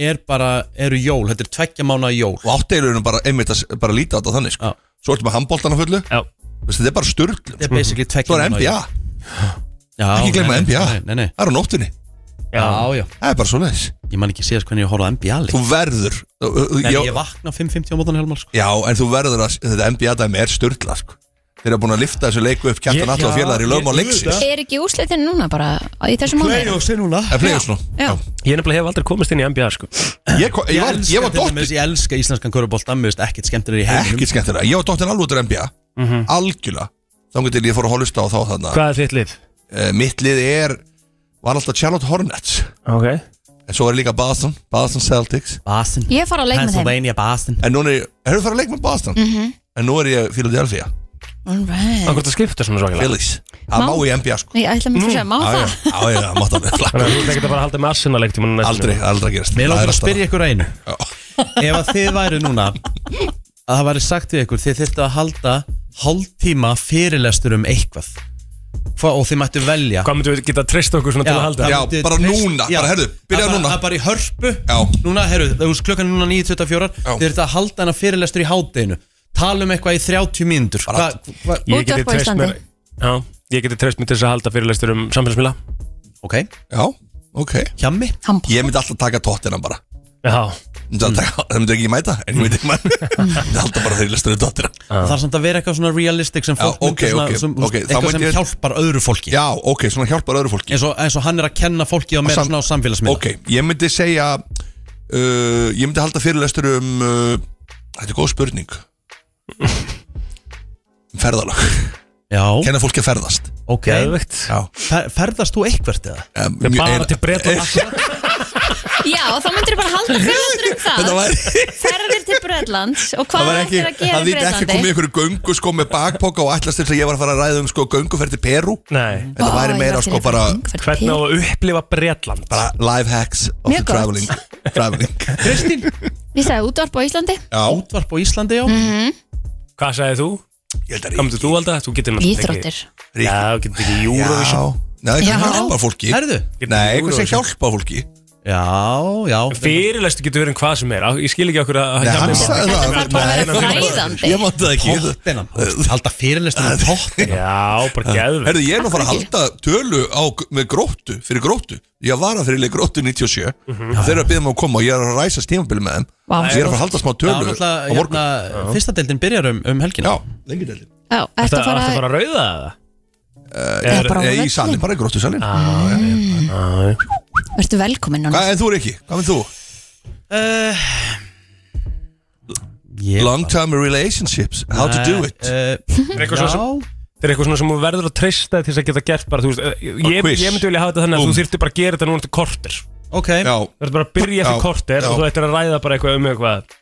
A: Er bara, eru jól, þetta er tveggja mánu jól
J: Og átteilurinn bara einmitt að s- bara líta á þetta þannig sko. Svo ertu með handbóltan á fullu
C: Já.
J: Vist, Þetta er bara sturgl
A: Þetta er basically tveggja
J: Svo er
A: mánaða
J: NBA
A: jól. Já,
J: Ekki gleyma
A: nei, nei,
J: NBA
A: nei, nei, nei.
J: Það er á nóttunni
A: Já, já
J: Það er bara svo leiðis
A: Ég man ekki síðast hvernig ég horfði á NBA leik
J: Þú verður
A: sko. Nei, ég vakna 5.50 á mótan helmar sko.
J: Já, en þú verður að Þetta NBA dæmi er sturgla sko. Þeir eru búin að lifta þessu leiku upp Kjartan Atla og félagar í lögum á leiksins
B: Er ekki úslitin núna bara í þessu mánu?
A: er núna
J: Það er playoffs nú
B: Já,
C: Ég nefnilega hef aldrei komist inn í NBA sko
J: Ég, kom, ég, var, ég, var dottin,
A: dóttir Ég elska íslenskan körubólta Mér veist ekkert skemmtilega í heiminum
J: ekkert skemmtilega Ég var dottin alveg út úr NBA Algjörlega Þannig til ég fór að holusta á þá þarna
C: Hvað er þitt lið?
J: Eh, Mitt lið er Var alltaf Charlotte Hornets
C: Ok
J: En svo er líka Boston Boston Celtics
A: Boston
B: Ég fara á leik með þeim
A: Pennsylvania Boston
J: En núna er Hefur þú farið að leik með Boston?
B: Mhm.
J: En nú er ég Philadelphia
B: All right.
C: Akkur það skipta svona svakilega
J: Phillies Það
B: Má-
J: má í NBA sko
B: Ég ætla mér fyrir að segja, má
J: Já, já,
B: það?
J: já, já, það mátt alveg
C: Þannig að þú ert ekkert að fara að halda með Arsenal leikt
J: Aldrei, aldrei að gerast
A: Mér
J: Það er
A: langar að
J: alltaf-
A: spyrja ykkur að einu Ef að þið væru núna að það væri sagt við ykkur þið þyrftu að halda hálftíma fyrirlestur um eitthvað Hva, og þið mættu velja
C: Hvað myndu við geta treyst okkur svona til að halda?
J: Já, bara núna, bara, heyrðu, byrjaðu núna.
A: Það bara í hörpu
J: Já.
A: Núna, herru, þú veist klukkan er núna 9.24 Þið þurftu að halda hana fyrirlestur í hátdeinu Tala um eitthvað í 30 mínútur hva, hva,
C: Ég geti treyst mér Já, ég geti treyst mér til þess að halda fyrirlestur um samfélagsmiðla
A: Ok,
J: Já, ok
A: hjammi
J: Ég myndi alltaf taka tóttina bara
C: Já
J: Myndi alltaf taka- Það myndi ekki mæta En ég myndi ekki mæta Það er alltaf bara þegar lestur við tóttina
A: Það er samt að vera eitthvað svona realistic sem
J: Já,
A: fólk
J: ok, ok,
A: myndi svona, sem,
J: ok, þá
A: Eitthvað
J: myndi
A: sem
J: ég-
A: hjálpar öðru fólki
J: Já, ok, svona hjálpar öðru fólki
A: eins og, eins og hann er að kenna fólki á meira
J: Sam-
A: svona á samfélagsmiðla
J: Ok, ég myndi segja uh, Ég myndi halda fyrirlestur um uh, Þetta er góð spurning Um ferðalag
A: Já
J: Kenna fólki að ferðast
A: Ok,
C: Geðveikt.
J: Já
A: Fer, ferðast þú eitthvert eða?
J: um,
C: Þetta er bara
J: ein-
C: til Bretlands.
B: Já, þá myndir bara halda fyrirlestur um það
J: Þetta væri-
B: Ferðir til Bretlands og
J: Það
B: hvað
J: var ekki,
B: ættir að gera
J: það
B: í
J: þýtti ekki
B: Bretlandi
J: komið ykkur göngu sko með bakpoka og allast þess að ég var að fara að ræða um sko gönguferð til Peru
C: Nei
J: Þetta
B: Ó,
J: væri
B: ég
J: meira
B: var til
J: sko
B: í
J: bara,
B: gönguferð til
C: Hvernig á að upplifa Bretland?
J: bara life hacks of the
B: Mjög gott.
J: traveling, traveling.
A: Kristín,
B: Ég sagði útvarp á Íslandi
J: Já,
A: útvarp á Íslandi já
C: Mm. Hvað sagði þú?
J: ég held að
C: Hvað myndir þú halda? Þú getur náttúrulega
B: Íþróttir
J: Ríki.
C: ekki Já, þú getur ekki
J: Já,
C: Eurovision
J: Nei,
B: Já.
J: eitthvað hjálpa fólki
A: Herðu?
J: Nei,
C: Getur ekki
J: eitthvað sem
C: Eurovision.
J: hjálpa fólki
A: Já, já
C: Fyrirlestu getur verið um hvað sem er Á- Ég skil ekki okkur að
J: Nei, hann
C: hjálpa-
J: sagði
B: Þetta
J: það
B: þarf bara að vera fræðandi.
J: Ég mátti það ekki
A: Tóttina, þú veist, halda fyrirlestur um tóttina
C: Já, bara geðvegt
J: Herðu, ég er nú að fara að halda tölu á, með gróttu, fyrir gróttu Ég var að fyrirlega gróttu 97 mm Þeir eru að byggja mig að koma og ég er að ræsa stímabili með þeim
B: Vá,
J: Svo ég er að fara að halda smá
A: Já,
J: tölu
A: náttúrulega,
J: á morgun
A: hérna, fyrsta deildin byrjar um, um helgina
J: Já, lengi deildi
B: Já, ertu að Mhm.
C: Ertu að
B: fara
C: fara að rauða það? Er-
B: bara á
J: Nei, í
B: völlinn.
J: salin, bara í gróttu salin
C: Já,
B: Ertu velkomin núna
J: Hvað, en þú er ekki, hvað með þú?
A: uh, ég,
J: Long term relationships, how to do it
A: uh,
C: Er eitthvað svo
A: Já,
C: Það er eitthvað svona sem þú verður að treysta þér til þess að geta gert bara, þú veist, eh, ég,
J: quiz.
C: ég myndi vilja hafa þetta þannig að
J: Búmm.
C: þú þyrftir bara að gera þetta núna til korter Þú
A: ok
J: Já,
C: ert bara að byrja
J: Já,
C: eftir korter
J: já.
C: og þú ættir að ræða bara eitthvað um eitthvað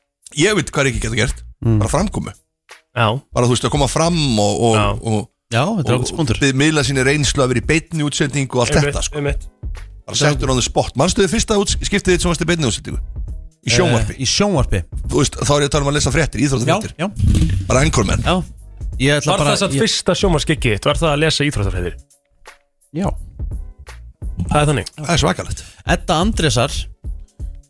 J: ég veit hvað Ríkki getur gert Bara framkomi,
C: Já,
J: bara þú veist að koma fram og, og,
C: Já.
J: og,
A: Já, þetta er
J: og,
A: ákveðt spóndur
J: við miðla sinni reynslu að vera í beinni útsendingu og allt þetta sko.
C: um eitt
J: bara settur á því spott, mannstu þið fyrsta úts- skiptið þitt sem varst í beinni útsendingu
A: Eh.
J: í sjónvarpi,
A: Í sjónvarpi
J: þú veist, þá er ég að tala um að lesa fréttir
A: Já,
J: íþróttafréttir,
A: já,
J: bara anchorman
A: já Ég ætla
C: Var
A: bara
C: það satt
A: ég-
C: fyrsta sjómarskikki þitt, var það að lesa íþróttafræðir?
A: Já
C: Það er þannig
J: það er svakalegt
A: Edda Andresar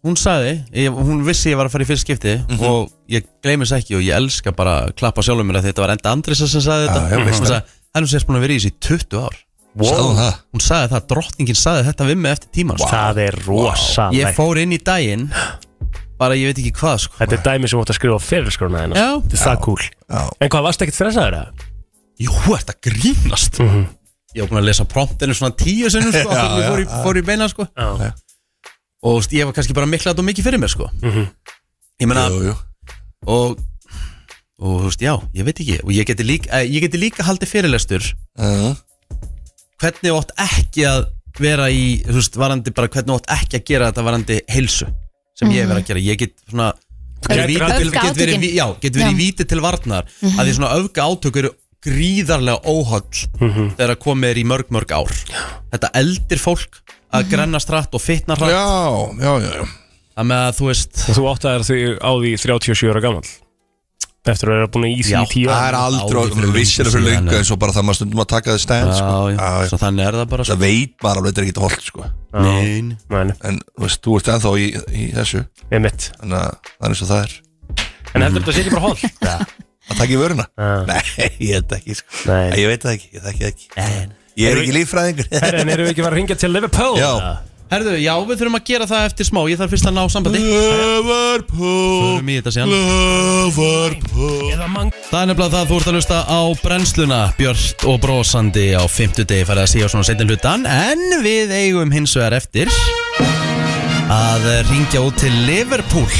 A: hún sagði, ég, hún vissi ég var að fara í fyrst skipti og ég gleymis ekki og ég elska bara að klappa sjálfum mér að þetta var enda Andrisa sem sagði þetta
J: já,
A: hún
J: veist
A: sagði, hennu sérst búin að vera í þessu í 20 ár
J: Sagði hún það?
A: Hún sagði það, drottningin sagði þetta við mig eftir tíma
C: Það er rosalegt.
A: Ég fór inn í daginn bara ég veit ekki hvað sko.
C: Þetta er dæmi sem þú átt að skrifa á fyrirskona hennar
A: Já.
C: Þetta er það cool En hvað, varstu ekkert stressaður það?
A: Jú, þetta grínast mm
C: Mhm.
A: -hmm. Ég var búin að lesa promptinu svona tíu sinnum sko,
C: Já,
A: já, ég fór í,
C: já.
A: fór í beina sko.
C: Já.
A: og þú veist, ég var kannski bara mikla þetta mikið fyrir mér sko.
C: Mhm.
A: ég meina og og þú veist, já, ég veit ekki og ég geti líka, eh, ég geti líka haldið fyrirlestur
J: Uh-huh.
A: hvernig ótt ekki að vera í, þú veist, varandi bara hvernig ótt ekki að gera þetta varandi heilsu sem ég hef
N: Mhm.
A: verið að gera, ég get svona
N: Þú gætir
A: get
N: aldrei-
A: verið, get verið,
N: Öfgaátökin.
A: ví- já, get verið í
N: Já.
A: víti til varnar
N: Mhm.
A: að því svona öfga átök eru gríðarlega óhall þegar að komið er í mörg mörg ár þetta eldir fólk að grennast hratt og fitna hratt
J: já, já, já, já.
A: Það með að þú veist
C: Þú átt að því á því 37 ára gammal Eftir að vera búin í því í tíu
J: það er aldrei
C: fyrir
J: vissir fyrir
C: löngu síðan,
J: lengu
C: já.
J: eins og bara það maður stundum að taka þið stæðan
A: Já,
J: sko.
A: já, svo þannig er það bara
J: það veit maður alveg þetta er ekkert holdt sko.
C: Ah,
A: Nein.
J: en þú veist, þú ert ennþá í, í þessu
C: Einmitt.
J: en að, það er eins og það er
C: En heldur þetta sé ekki bara hollt?
J: að taka í vöruna nei, ég veit ekki sko.
C: Nei.
J: ég veit það ekki, ég þekki það ekki ég er
C: Erum
J: ekki
C: við-
J: líffræðingur
C: Herra, en erum við ekki að fara að ringja til Liverpool?
J: Já.
A: Herðu, já, við þurfum að gera það eftir smá Ég þarf fyrst að ná sambandi
J: Liverpool
A: Förum í þetta síðan
J: Liverpool
A: Það er nefnilega það að þú ert að lusta á brennsluna Björn og brosandi á 50 degi farið að síða svona setin hlutan En við eigum hins vegar eftir Að ringja út til Liverpool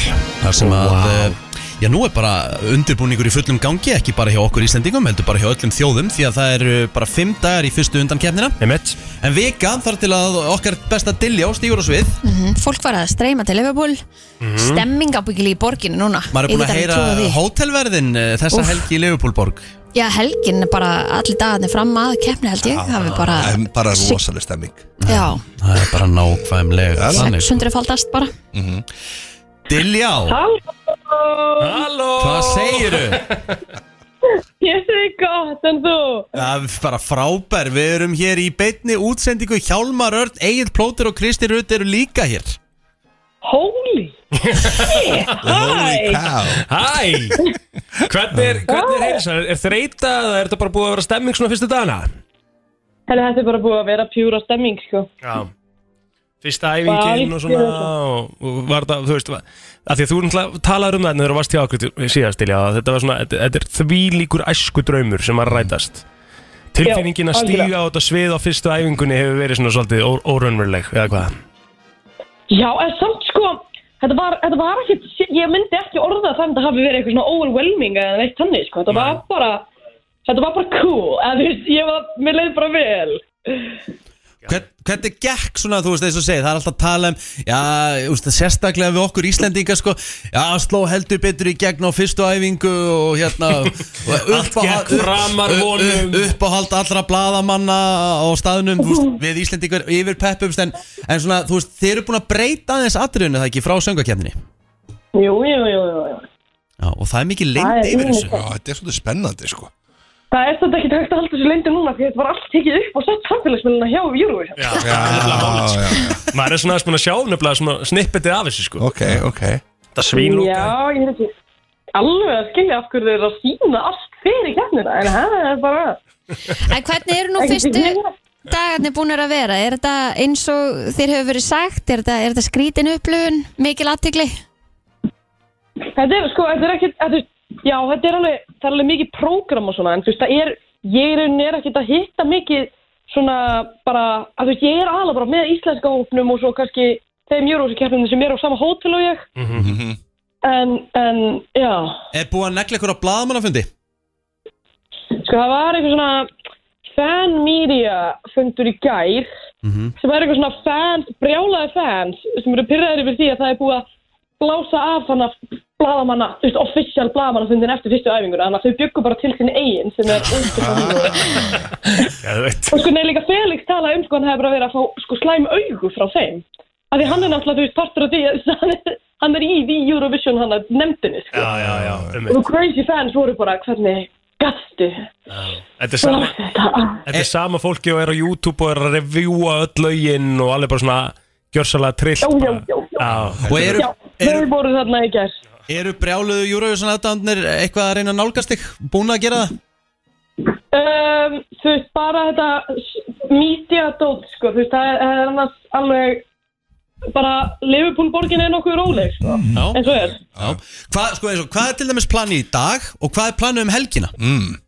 A: Þar sem að eh, Já, nú er bara undirbúningur í fullum gangi Ekki bara hjá okkur Íslendingum, heldur bara hjá öllum þjóðum Því að það eru bara fimm dagar í fyrstu undan kefnina
C: Einmitt.
A: En vika þar til að okkar besta dilljá stígur á svið
B: Mhm, Fólk var að streyma til Liverpool
A: Mhm.
B: Stemming ábyggilega í borginu núna
A: Maður er búin að
B: Ég get alveg
A: heyra
B: trúað því.
A: hótelverðin eh, þessa
B: Úff.
A: helgi í Leifupólborg
B: Já, helgin er bara allir dagarnir fram að keppni held ég Það er bara,
J: bara rosaleg stemming
B: já,
A: Það er bara nákvæmlega
B: 600 faldast bara
A: Diljá,
I: Halló
A: hvað segiru?
I: Ég segi gott en þú
A: Það er bara frábær, við erum hér í beinni útsendingu Hjálmar Örn, Egil Plóter og Kristi Rutt eru líka hér
I: Holy
J: Holy cow
C: Hæ Hvernig er, hvernig er heilsan? Er þreita eða er þetta bara búið að vera stemming svona fyrstu dagana?
I: Henni þetta er bara búið að vera pjúra stemming sko
C: Já Fyrsta æfingin og svona og, og var það, þú veist, að því að þú náttúrulega talaður um það þegar þú varst hjá okkur til- síðast til já, þetta var svona, þetta, þetta er þvílíkur æsku draumur sem að rætast Tilfinningin
I: Já,
C: að stíga
I: algjörlega.
C: á þetta svið á fyrstu æfingunni hefur verið svona svolítið ó- óraunveruleg, eða hvað?
I: Já, en samt sko Þetta var, þetta var ekkert, ég myndi ekki orða þannig að þetta hafi verið eitthvað svona overwhelming eða neitt þannig, sko, þetta var bara, þetta var bara cool, eða þú veist, ég var, mér leiði bara vel.
A: Hvern, Hvernig gekk svona, þú veist, eins og segið, það er alltaf að tala um Já, þú veist, sérstaklega við okkur Íslendinga, sko Já, sló heldur betur í gegn á fyrstu æfingu og hérna og
C: Allt
A: uppáhald-
C: gekk framar
A: upp-
C: vonum.
A: upp- Uppáhald allra bladamanna á staðnum, þú veist, við Íslendingar yfir peppumst En, en svona, þú veist, þeir eru búin að breyta aðeins atriðinu, er það ekki, frá söngakefninni
I: Jú, jú, jú, jú, jú.
A: Já, og það er mikið
I: Það
A: lengt
I: er
A: yfir þessu
I: ýmislegt.
A: Já,
J: þetta er svolítið spennandi, sko
I: Það er þetta ekkert hægt að halda þessu lendi núna, því þetta var allt tekið upp og sett samfélagsmiðluna hjá Eurovision.
C: Já, já, já, já. Maður er svona aðeins búin að sjá nefnilega svona snippetið af þessu sko
J: Ok, ok
C: Það svínlóka
I: Já, ég er ekki alveg að skilja af hverju þeir eru að sína allt fyrir kemnina, en það er bara...
B: En hvernig eru nú fyrstu dagarnir búinir að vera? Er þetta eins og þér hefur verið sagt? Er þetta, er þetta skrítin upplöfun? Mikil aðtigli?
I: Þetta er sko, þetta er ekkert, þetta er, já, þetta er alveg, það er alveg mikið prógram og svona, en þú veist, það er, ég í rauninni er ekkert að hitta mikið svona bara, að þú veist, ég er alveg bara með íslenska hópnum og svo kannski þeim júrósikeppnum sem er á sama hótel og ég, en, en, já,
A: Er búið að negla ykkur á bladamannafundi?
I: sko, það var eitthvað svona fan media fundur í gær,
A: Mhm.
I: sem er eitthvað svona fans, brjálaði fans, sem eru pyrraðir yfir því að það er búið að blása af þannig að bladamanna, þú veist, official bladamanna fundin eftir fyrstu æfinguna, þannig að þau byggu bara til sinni eigin sem er undir
C: Geðveikt.
I: og sko neður líka Felix talaði um sko hann hefði bara verið að fá sko slæm augu frá þeim af því hann er náttúrulega, þú veist, partur af því að hann er- hann er í því Eurovision hann að nefndinni, sko
C: Já, já, já,
I: og
C: um
I: the crazy fans voru bara, hvernig gastu
C: Þetta er sama Þetta er sama fólki og er á YouTube og er að revjúa öll lögin og alveg bara svona gjörsalega trillt
I: já, já,
C: bara.
I: já, já,
A: Og eru,
I: Þau voru þarna í gær
A: eru brjáluðu Eurovision aðdæmdnir eitthvað að reyna að nálgast þig? Búin að gera það?
I: um, Þú veist, bara þetta Mídiadót, sko Þú veist, það er- það er annars alveg Bara, Liverpool borgin er nokkuð róleg sko. En svo er
A: Mm. Já. Hvað, sko, eins og, hvað er til dæmis planið í dag og hvað er planið um helgina? Mm.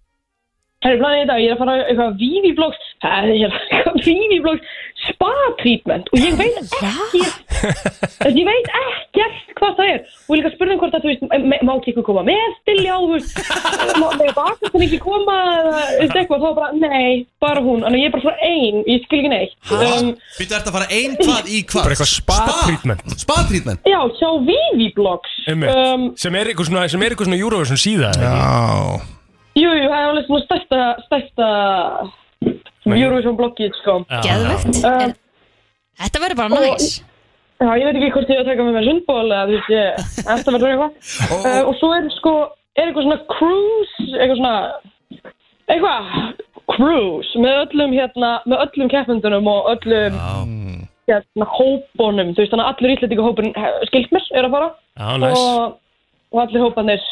I: Það er planið í dag, ég er að fara á eitthvað Viviblokks, það er hérna eitthvað Viviblokks spa-treatment og ég veit ekkert ég veit ekkert hvað það er og líka spurning hvort að þú veist m- m- má ekki ykkur koma með stilja og þú veist má með baka sem ekki koma eða þú veist eitthvað, þá var bara, nei, bara hún þannig að ég er bara frá ein, ég skil ekki neitt um,
A: Býttu ert að fara ein hvað í hvað?
C: Bara eitthvað spa-treatment
A: Spa-treatment?
I: Já, hjá Viviblokks
C: um, sem er eitthvað svona, sem er eitthvað svona Eurovision síða Já
I: Jú, jú, það er alveg svona stærsta stærsta Eurovision bloggið, sko
C: Já. Geðveikt.
I: um,
B: Þetta verður bara næs
I: Já, ég veit ekki hvort ég á að taka með mér sundból eða þú veist ég, þetta verður eitthvað uh, og svo er sko, er eitthvað svona cruise, eitthvað svona eitthvað, cruise með öllum hérna, með öllum keppendunum og öllum hérna, hópunum, þú veist þannig að allir íslendinga hópun skilt mér, er að fara
C: Já, næs.
I: og, og allir hópanir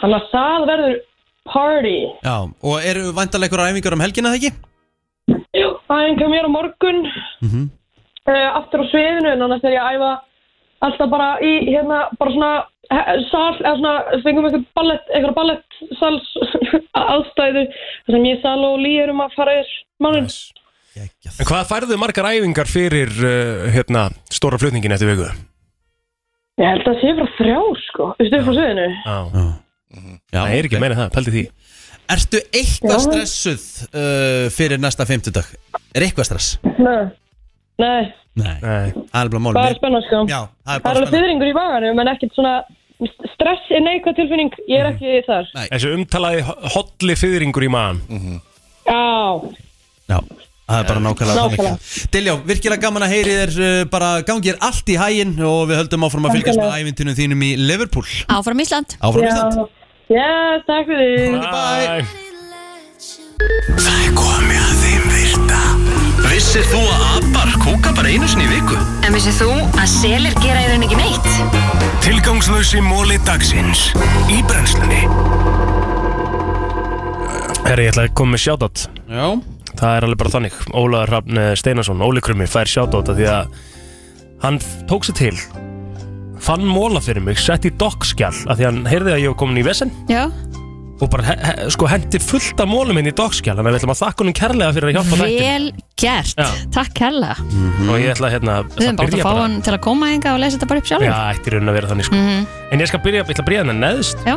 I: þannig að það verður party
A: Já, og eru vandalega einhverjar æfingar um helgina það ekki?
I: æfingar mér á morgun
A: Mhm.
I: uh, aftur á sviðinu en annars er ég að æfa alltaf bara í hérna bara svona he- sal eða svona fengum eitthvað ballett eitthvað ballett sals aðstæðu þar sem ég sal og lí erum að fara yfir mánun
C: En hvað færðu margar æfingar fyrir uh, hérna, stóra flutningin eftir viku?
I: ég held að það sé frá þrjár sko þú veist upp frá sviðinu
C: Já.
A: Það
C: er ekki meina það, pældi því
A: Ertu eitthvað stressuð uh, fyrir næsta fimmtudag? Er eitthvað stress?
I: nei nei
A: Nei, Nei. það er bara mál
I: bara spennan sko
A: Já, það er
I: það er
A: bara
I: alveg
A: spennan
I: fyrringur í vaganum en ekkert svona stress er neikvæð tilfinning ég
A: Mhm.
I: er ekki þar
C: Þessu umtalaði hotli fyrringur í maðan
I: já
A: Já, það er bara nákvæmlega
I: Nákvæmlega.
A: þannig. Diljá, virkilega gaman að heyri þér uh, bara gangir allt í hæginn og við höldum áfram að fylgjast með ævintinu þínum í Liverpool
B: Áfram Ísland
A: Áfram
I: Ísland Já, takk fyrir
A: Bye
D: Það er komið að þeim virta Vissir þú að abar kúka bara einu sinni í viku?
O: En vissið þú að selir gera í raun ekki neitt?
D: Tilgangslösi móli dagsins Í brennslunni
C: Herri, ég ætla að koma með shoutout
A: Já
C: Það er alveg bara þannig Ólaður Hrafn eh, Steinarsson, Óli Krummi, fær shoutout af Því að hann tók sér til Fann móla fyrir mig, sett í dockskjall af Því að hann heyrði að ég var komin í vesen
B: Já,
C: Og bara he he sko hendi fullt af mólum henni í dockskjall Þannig að við ætlum að þakka honum kærlega fyrir að hjálpa þættinum.
B: vel gert
C: Já.
B: Takk kærlega
C: Og ég ætla að hérna
B: Við höfum bara átt að fá hann til að koma hinga og lesa þetta bara upp sjálf
C: Já, ætti í raunin að vera þannig sko
B: Mhm.
C: En ég skal byrja, ég ætla að byrja hennar neðst
B: Já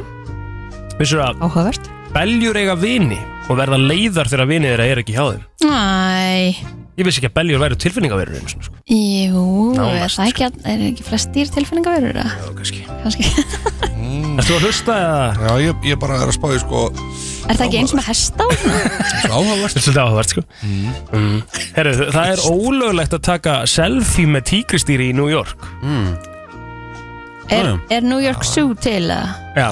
C: Vissur að
B: Áhugavert
C: Beljur eiga vini og verða leiðar þegar vinið þeirra er ekki hjá þeim
B: Æ,
C: Ég vissi ekki að beljur væri tilfinningaverur einu sinni, sko.
B: jú, er
C: Nánast,
B: það ekki, all- er ekki flestir tilfinningaverur? Já,
C: kannski
B: Kannski,
J: mm.
C: Erstu að hlusta eða?
J: Já, ég, ég bara er að spáði sko
B: er það ekki eins með hesta?
J: Áhugavert
C: Svolítið áhugavert sko mm. Mm. Herru, þ- það er ólöglegt að taka selfie með tíkristýri í New York mm.
B: Er, er New York Zoo til? eða?
C: Já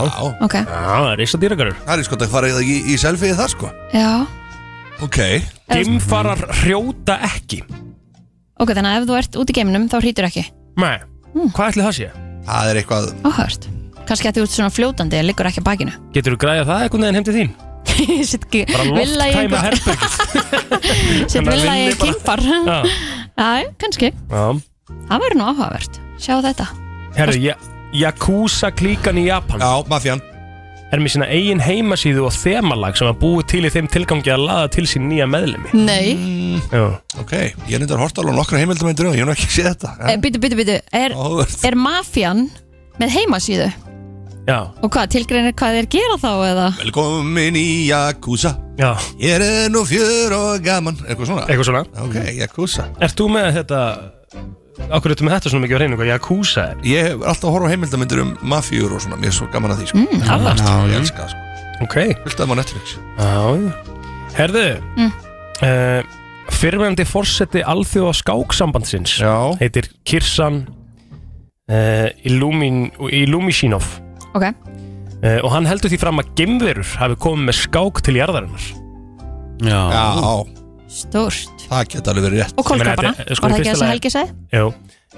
B: Ok.
C: Já, það er reysa dýragarur
J: Það er sko, það farið það í, í selfie það sko
B: Já,
J: Ok
C: Gimfarar hrjóta ekki
B: ok, þannig að ef þú ert út í geiminum þá hrítur ekki
C: Nei,
J: Mm.
C: hvað ætli það sé?
J: Það er eitthvað
B: Áhört Kannski að þú ert svona fljótandi eða liggur ekki að bakinu
C: Getur þú græða það einhvern veginn heim til þín?
B: Ég set ekki
C: Bara
B: vilja í
C: lofttæma
B: einhver-
C: herbergið
B: Set
C: Þannig að
B: vilja í
C: vinni bara-
B: kynfar
C: Já.
B: Já, kannski
C: Já
B: Það verður nú áhugavert Sjá þetta
C: Herru, ja, Yakuza klíkan í Japan
J: Já, mafjan
C: Er með sína eigin heimasíðu og þemalag sem að búið til í þeim tilgangi að laða til sín nýja meðlemi
B: Nei
C: Já
J: Ok, ég er nýttar hort alveg nokkra heimildamöndir og ég hef nú ekki séð þetta
B: Eh, Býtu, býtu, býtu Er,
J: Áhugavert.
B: er mafjan með heimasíðu?
C: Já
B: Og hvað, tilgreinir hvað þeir gera þá eða?
J: Velkomin í Jakúsa
C: Já
J: Ég er nú fjör og gaman Eitthvað svona
C: Eitthvað svona
J: Ok, Jakúsa
C: Ert þú með þetta Akkur ertu með þetta svona mikið á reyningu hvað Yakuza er
J: Ég hef alltaf að horfa á heimildamöndir um mafjur og svona Mér er svo gaman að því sko
C: Mm, alveg.
J: Já, ég elska það sko
C: Ok
J: Viltu að maður Netflix
C: Já, já. Herðu mm. uh, Fyrirverandi forseti Alþjóða skáksambandsins
J: já.
C: Heitir Kirsan uh, Illumin, Illumishinov
B: Ok
C: uh, Og hann heldur því fram að gemverur hafi komið með skák til jarðarinnar
A: Já,
J: já.
B: Stórt
J: Það geta alveg verið rétt
C: sko,
B: Og kolkrabbarna, var það ekki það sem Helgi sagði?
C: Jú,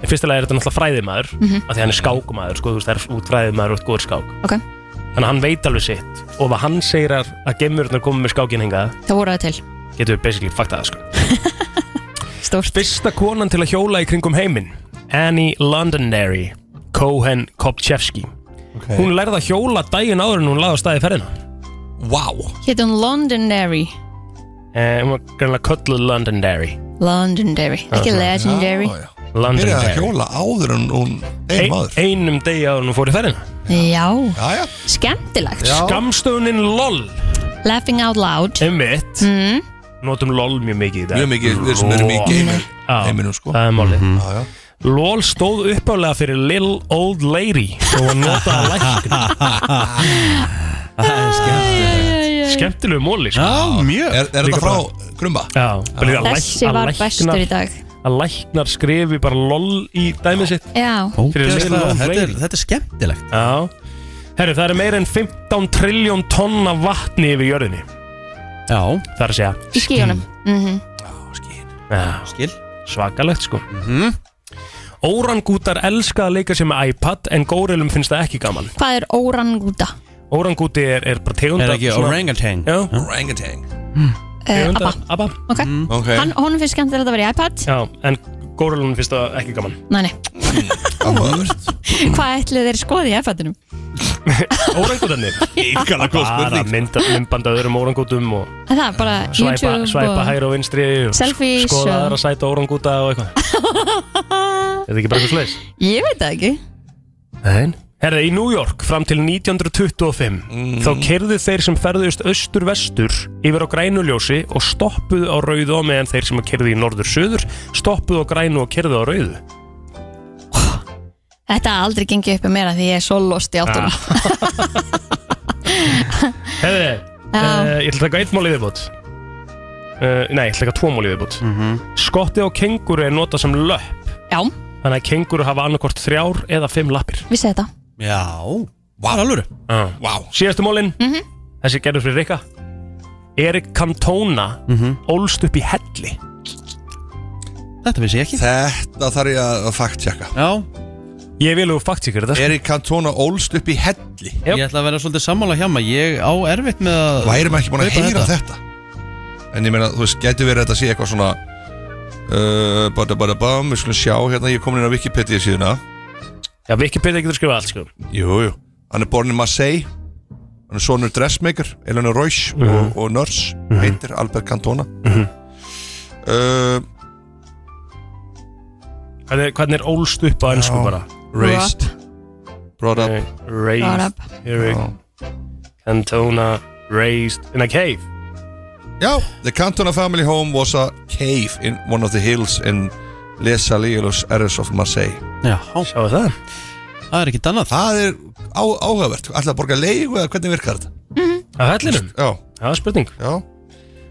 C: En fyrsta lega er þetta náttúrulega fræðimaður mm
B: Mhm.
C: af því hann er skákumaður, sko, þú veist, það er út fræðimaður og góður skák
B: Ok.
C: Þannig að hann veit alveg sitt og ef hann segir að, að gemurinn komið með skákinn hingað
B: Það voru það til
C: getur við basically faktað það, sko
B: Stórt
C: Fyrsta konan til að hjóla í kringum heiminn Annie Londonderry Cohen Kopchevski
J: okay.
C: Hún lærði að hjóla daginn áður en hún laði á staði ferðina Wow
B: Hétt hún Londonderry
C: eh, Hún var greinlega kölluð Londonderry
B: Londonderry, ekki
C: Já,
B: Legendary
C: já. Londonderry
J: Byrjaði að hjóla
C: áður en hún
J: degi áður.
C: Einum degi áður en hún fór í ferðina
B: Já,
J: já, já.
B: skemmtilegt
C: Skamstöðunin LOL
B: Laughing out loud
C: Einmitt
B: mm.
C: Notum LOL mjög mikið í dag
J: Mjög mikið, við sem erum í
C: LOL.
J: gamer- sko.
C: Já, Það er máli
J: Mhm.
C: LOL stóð uppálega fyrir Lil Old Lady og var notað að lækna Það er skemmtileg Skemmtileg móli sko.
J: Já, mjög. Er- er þetta frá
C: Grumba? Já, bara líka að læk-
B: Þessi
C: að
B: var
C: læknar-
B: bestur í dag
C: Að læknar skrifi bara LOL í dæmið sitt
B: Já.
C: Fyrir
A: Ógeðslega,
C: Lil Old
A: þetta er-
C: Lady
A: Þetta er skemmtilegt
C: Já Herru, það eru meira en 15 trilljón tonna vatni yfir jörðinni Já Það er að segja
B: Í skíunum mm
C: Já. Skil Svakalegt sko Órangútar elska að leika sér með iPad En górilum finnst það ekki gaman
B: Hvað er orangúta?
C: Órangúti er, er bara tegund
A: Er
C: af
A: ekki
C: svona-
A: orangutan?
C: Já
J: Orangutan
B: Uh,
C: Tegund
B: Abba,
C: af- Abba
B: ok,
C: Ok
B: Hann, honum finnst skemmtilegt að vera í iPad
C: Mhm. Já, en górilum finnst það ekki gaman
B: Nei, nei, hvað ætlið þeir skoði í iPad-inum?
C: Órangútarnir Íkala
J: góð spurning.
C: Bara mynda, myndbanda öðrum órangútum og
B: Það er bara
C: svæpa,
B: YouTube
C: svæpa
B: og...
C: hægri og vinstri og
B: Selfies
C: sk- Skoða
B: og-
C: aðra sæta órangúta og eitthvað Er það ekki bara eitthvað sliðis?
B: Ég veit það ekki
C: Nein. Herði, í New York fram til 1925 þá kerðu þeir sem ferðust austur-vestur yfir á grænuljósi og stoppuðu á rauðu og meðan þeir sem kerðu í norður-söður stoppuðu á grænu og kerðu á rauðu
B: Þetta hafa aldrei gengið upp í mér að því ég er svo lost í áttunum
C: Herði,
B: Já.
C: uh, ég ætla að taka eitt mál í viðbútt uh, Nei, ég ætla að taka tvo mál í viðbútt Skotti á kenguru er notað sem löpp
B: Já
C: Þannig að kenguru hafa annarkort þrjár eða fimm lappir
B: Vissi þetta
C: Já, var alvöru wow. Síðastu mólin, þessi gerður fyrir Rikka Erik Cantona ólst upp í helli
J: Þetta vissi ég ekki Þetta þarf ég að fakt tjekka
A: Já
C: Ég vil þú fakt tjekka þetta
J: Erik Cantona ólst upp í helli
A: Ég ætla að vera svolítið sammála hjá maður Ég á erfitt með að
J: Værum ekki búin að
A: kaupa
J: heyra þetta. En ég meina, þú veist, getur verið að þetta sé eitthvað svona uh, Bada bada bam, við skulum sjá hérna Ég er komin inn á Wikipedia síðuna
C: Já, Wikipedia getur skrifað allt, sko
J: Jú, jú Hann er borinn í Marseille Hann er sonur dressmaker, Elena Royce og, og nurse Heitir Albert Cantona uh,
C: Hvernig, hvernig er ólst upp á ennsku
J: Já.
C: bara? Eh,
J: Raised. Brought up Oh.
C: Raised
J: Brought up.
C: Erik Cantona Raised in a cave
J: Já, the Cantona family home was a cave in one of the hills in Les Alielos Eres of Marseille
A: Já,
C: sjáu það
A: Það er ekkit annað
J: Það er á, áhugavert, ætlaði að borga leigu eða hvernig virkar þetta?
C: Á hellinum?
J: Já
C: Já, spurning
J: Já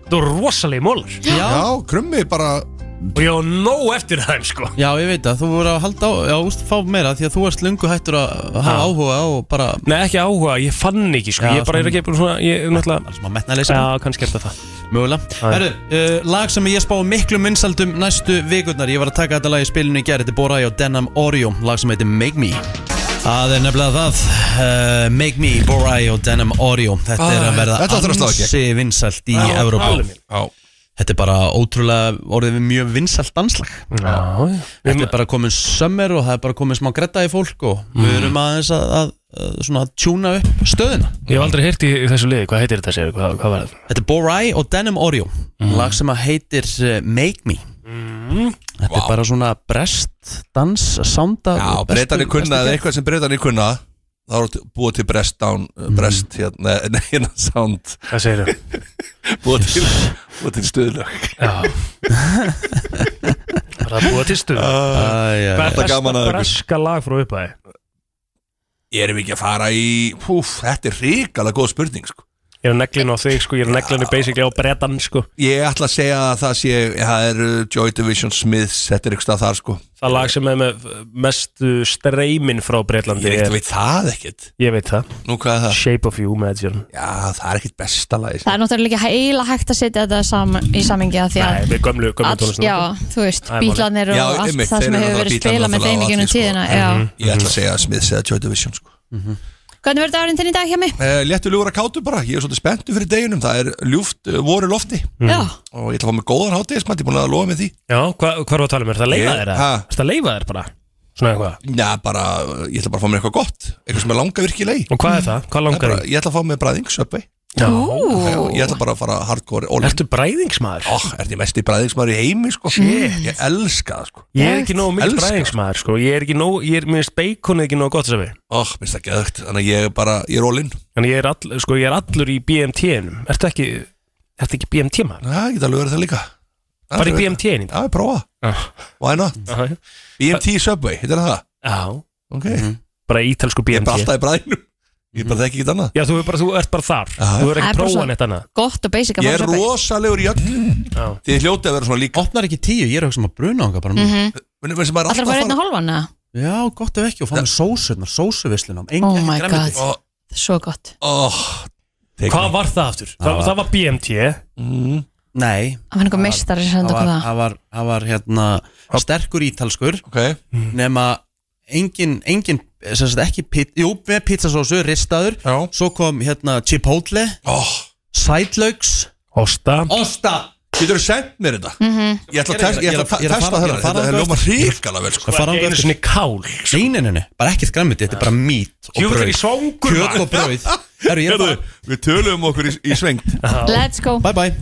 C: Það voru rosalegi mólar
J: Já, krummi bara
C: Og ég á nóg eftir þeim, sko
A: Já, ég veit að þú voru að halda á, já, úst, fá meira því að þú varst lungu hættur að hafa
C: Já.
A: áhuga og bara
C: Nei, ekki áhuga, ég fann ekki, sko Ég bara er ekki búin svona, ég er náttúrulega
A: Alls maður metna að leysa
C: Já, kannski eftir það
A: Mögulega Herru, uh, lag sem ég spá miklu minnsaldum næstu vikurnar Ég var að taka þetta lag í spilinu í gerð Þetta er Borai og Denham Oreo Lag sem heitir Make Me Það er nefnilega það uh, Make Me, Borai og Denham Oreo Þetta er
J: Ah,
A: að
J: þetta áttur að slá í
A: verða
J: gegn.
A: ansi vinsalt í
J: Já,
A: Evrópu
J: alveg.
A: Þetta er bara ótrúlega orðið við mjög vinsalt danslag
C: Já,
A: Þetta er bara komin sömmer og það er bara komin smá gretta í fólk og
J: Mm.
A: við erum aðeins að, að, að svona að tjúna upp stöðina
C: Ég hef aldrei heyrt í þessu liði, hvað heitir þetta sér, hvað, hvað var það?
A: Þetta er Borai og Denim Oreo
J: Mhm.
A: lag sem að heitir eh, Make Me Þetta er bara svona brest dans sánda
J: Já, breytanir kunna eða eitthvað sem breytanir kunna Það voru búið til brest down uh, Brest hérna, nei, hérna sound
C: Hvað segir þau?
J: Búið til, búið til stuðlög
C: Var það búið til stuð?
J: já.
C: Hvað er
J: Þetta er gaman
C: besta
J: að ykkur.
C: breska lag frá uppæði?
J: Erum við ekki að fara í Púf, þetta er ríkala góð spurning sko.
C: Ég er að neglinu á þig sko, ég er að neglinu basically á brettan sko
J: Ég ætla að segja að það sé Það er uh, Joy Division Smiths Þetta er ykkur stað þar sko
C: Það lag sem er með mestu streymin frá Breitlandi
J: Ég veit það ekkert
C: Ég veit það
J: Nú hvað er það?
C: Shape of You með Jörn
J: Já, það er ekkert besta lagi
B: Það er náttúrulega ekki heila hægt að setja þetta saman, í samingi að því að
C: Nei, við gömlu, gömlu
B: all,
C: tónlistina
B: já, þú veist,
J: Það er
B: bítlanir
J: málið.
B: og
J: Já,
B: allt
J: einmitt,
B: það
J: þeir eru
B: sem hefur verið
J: náttúrulega sko.
B: spilað
J: bítlarnir náttúrulega
B: með þeim í gegnum tíðina já.
C: Mhm.
J: Ég ætla að segja Smiths eða Joy Division sko
B: Hvernig verður dagurinn þinn í dag hjá mig?
J: Uh, léttu ljúfur að kátu bara, ég er svolítið spenntu fyrir deginum Það er ljúft uh, voru lofti
C: Mhm.
B: Já.
J: Og ég ætla að fá mig góðan hátíðismat, ég er búin að lofa með því
C: Já, hvað hva er það að tala um? Er það að leifa
J: Ég-
C: þér?
J: Ha?
C: Er það að leifa þér bara? Svona eitthvað?
J: Já, bara, uh, ég ætla bara að fá mér eitthvað gott Eitthvað sem er langa virkileg
C: Og hvað er það? Hvað langar
J: Ég ætla að fá mér bræðing, söpvei
C: Já.
J: Ég ætla bara að fara hardcore all in.
C: Ertu bræðingsmaður?
J: Ó, er ég mest í bræðingsmaður í heimi, sko Shit. Ég elska það, sko
C: Ég er ekki nógu mikil
J: Elska.
C: bræðingsmaður sko Ég er ekki nógu, ég er, minnst beikonið ekki nógu gott sem við
J: Ó, minnst það geðugt, þannig að ég er bara, ég er all in
C: Þannig ég er, all, sko, ég er allur í BMT-num Ertu ekki, ertu ekki BMT-maður?
J: Já, ég get alveg verið það líka
C: Bara í BMT-nin?
J: Já, ég prófa Why not? BMT Subway, heitir það það?
C: Já
J: Ok
C: Bara ítalsku BMT
J: Ég er bara alltaf í bræðinu Ég bara þekki ekki annað
C: Já, þú, er bara, þú ert bara þar Þú er
B: Það
C: ekki
B: er bara
C: prófað
B: svo-
C: neitt annað
B: Gott og basic að
J: Ég er
B: fara svo
J: rosalegur í öll Þið hljótið að vera svona líka
A: Opnar ekki tíu, ég er að hugsa um að bruna okkar bara núna.
B: Mhm.
J: Menni, menni, maður
B: Allra að fara einn og hálfan eða?
A: Já, gott ef ekki og fá með sósurnar, sósuvislinum
B: Oh my god, svo gott
J: oh,
C: Hvað var það aftur?
A: Það
C: Það,
A: var-
C: það var BMT
J: mm.
A: Nei
B: Það var einhver meistari sem senda
A: var,
B: okkur það
A: það var, það var hérna sterkur ítalskur
J: okay.
A: nema engin, engin sem sagt ekki, pit, jú, með pizzasósu ristaður,
J: Já.
A: svo kom hérna chipotle,
J: oh.
A: sætlauks
C: Osta
A: Osta
J: Getur þú sendt mér þetta?
B: Mhm.
J: Ég ætla að test- ég ætla að testa þetta Þetta er ljóma hrikala vel sko
C: sinni kál sko.
A: Sýnininu, bara ekkert græmiti, þetta er bara mít og
J: Jú, þetta er
A: brauð.
J: í svangur,
A: Kjöt
J: maður.
A: og brauð Herru, ég er
J: Við tölum okkur í, í svengt
B: Let's go
A: Bye bye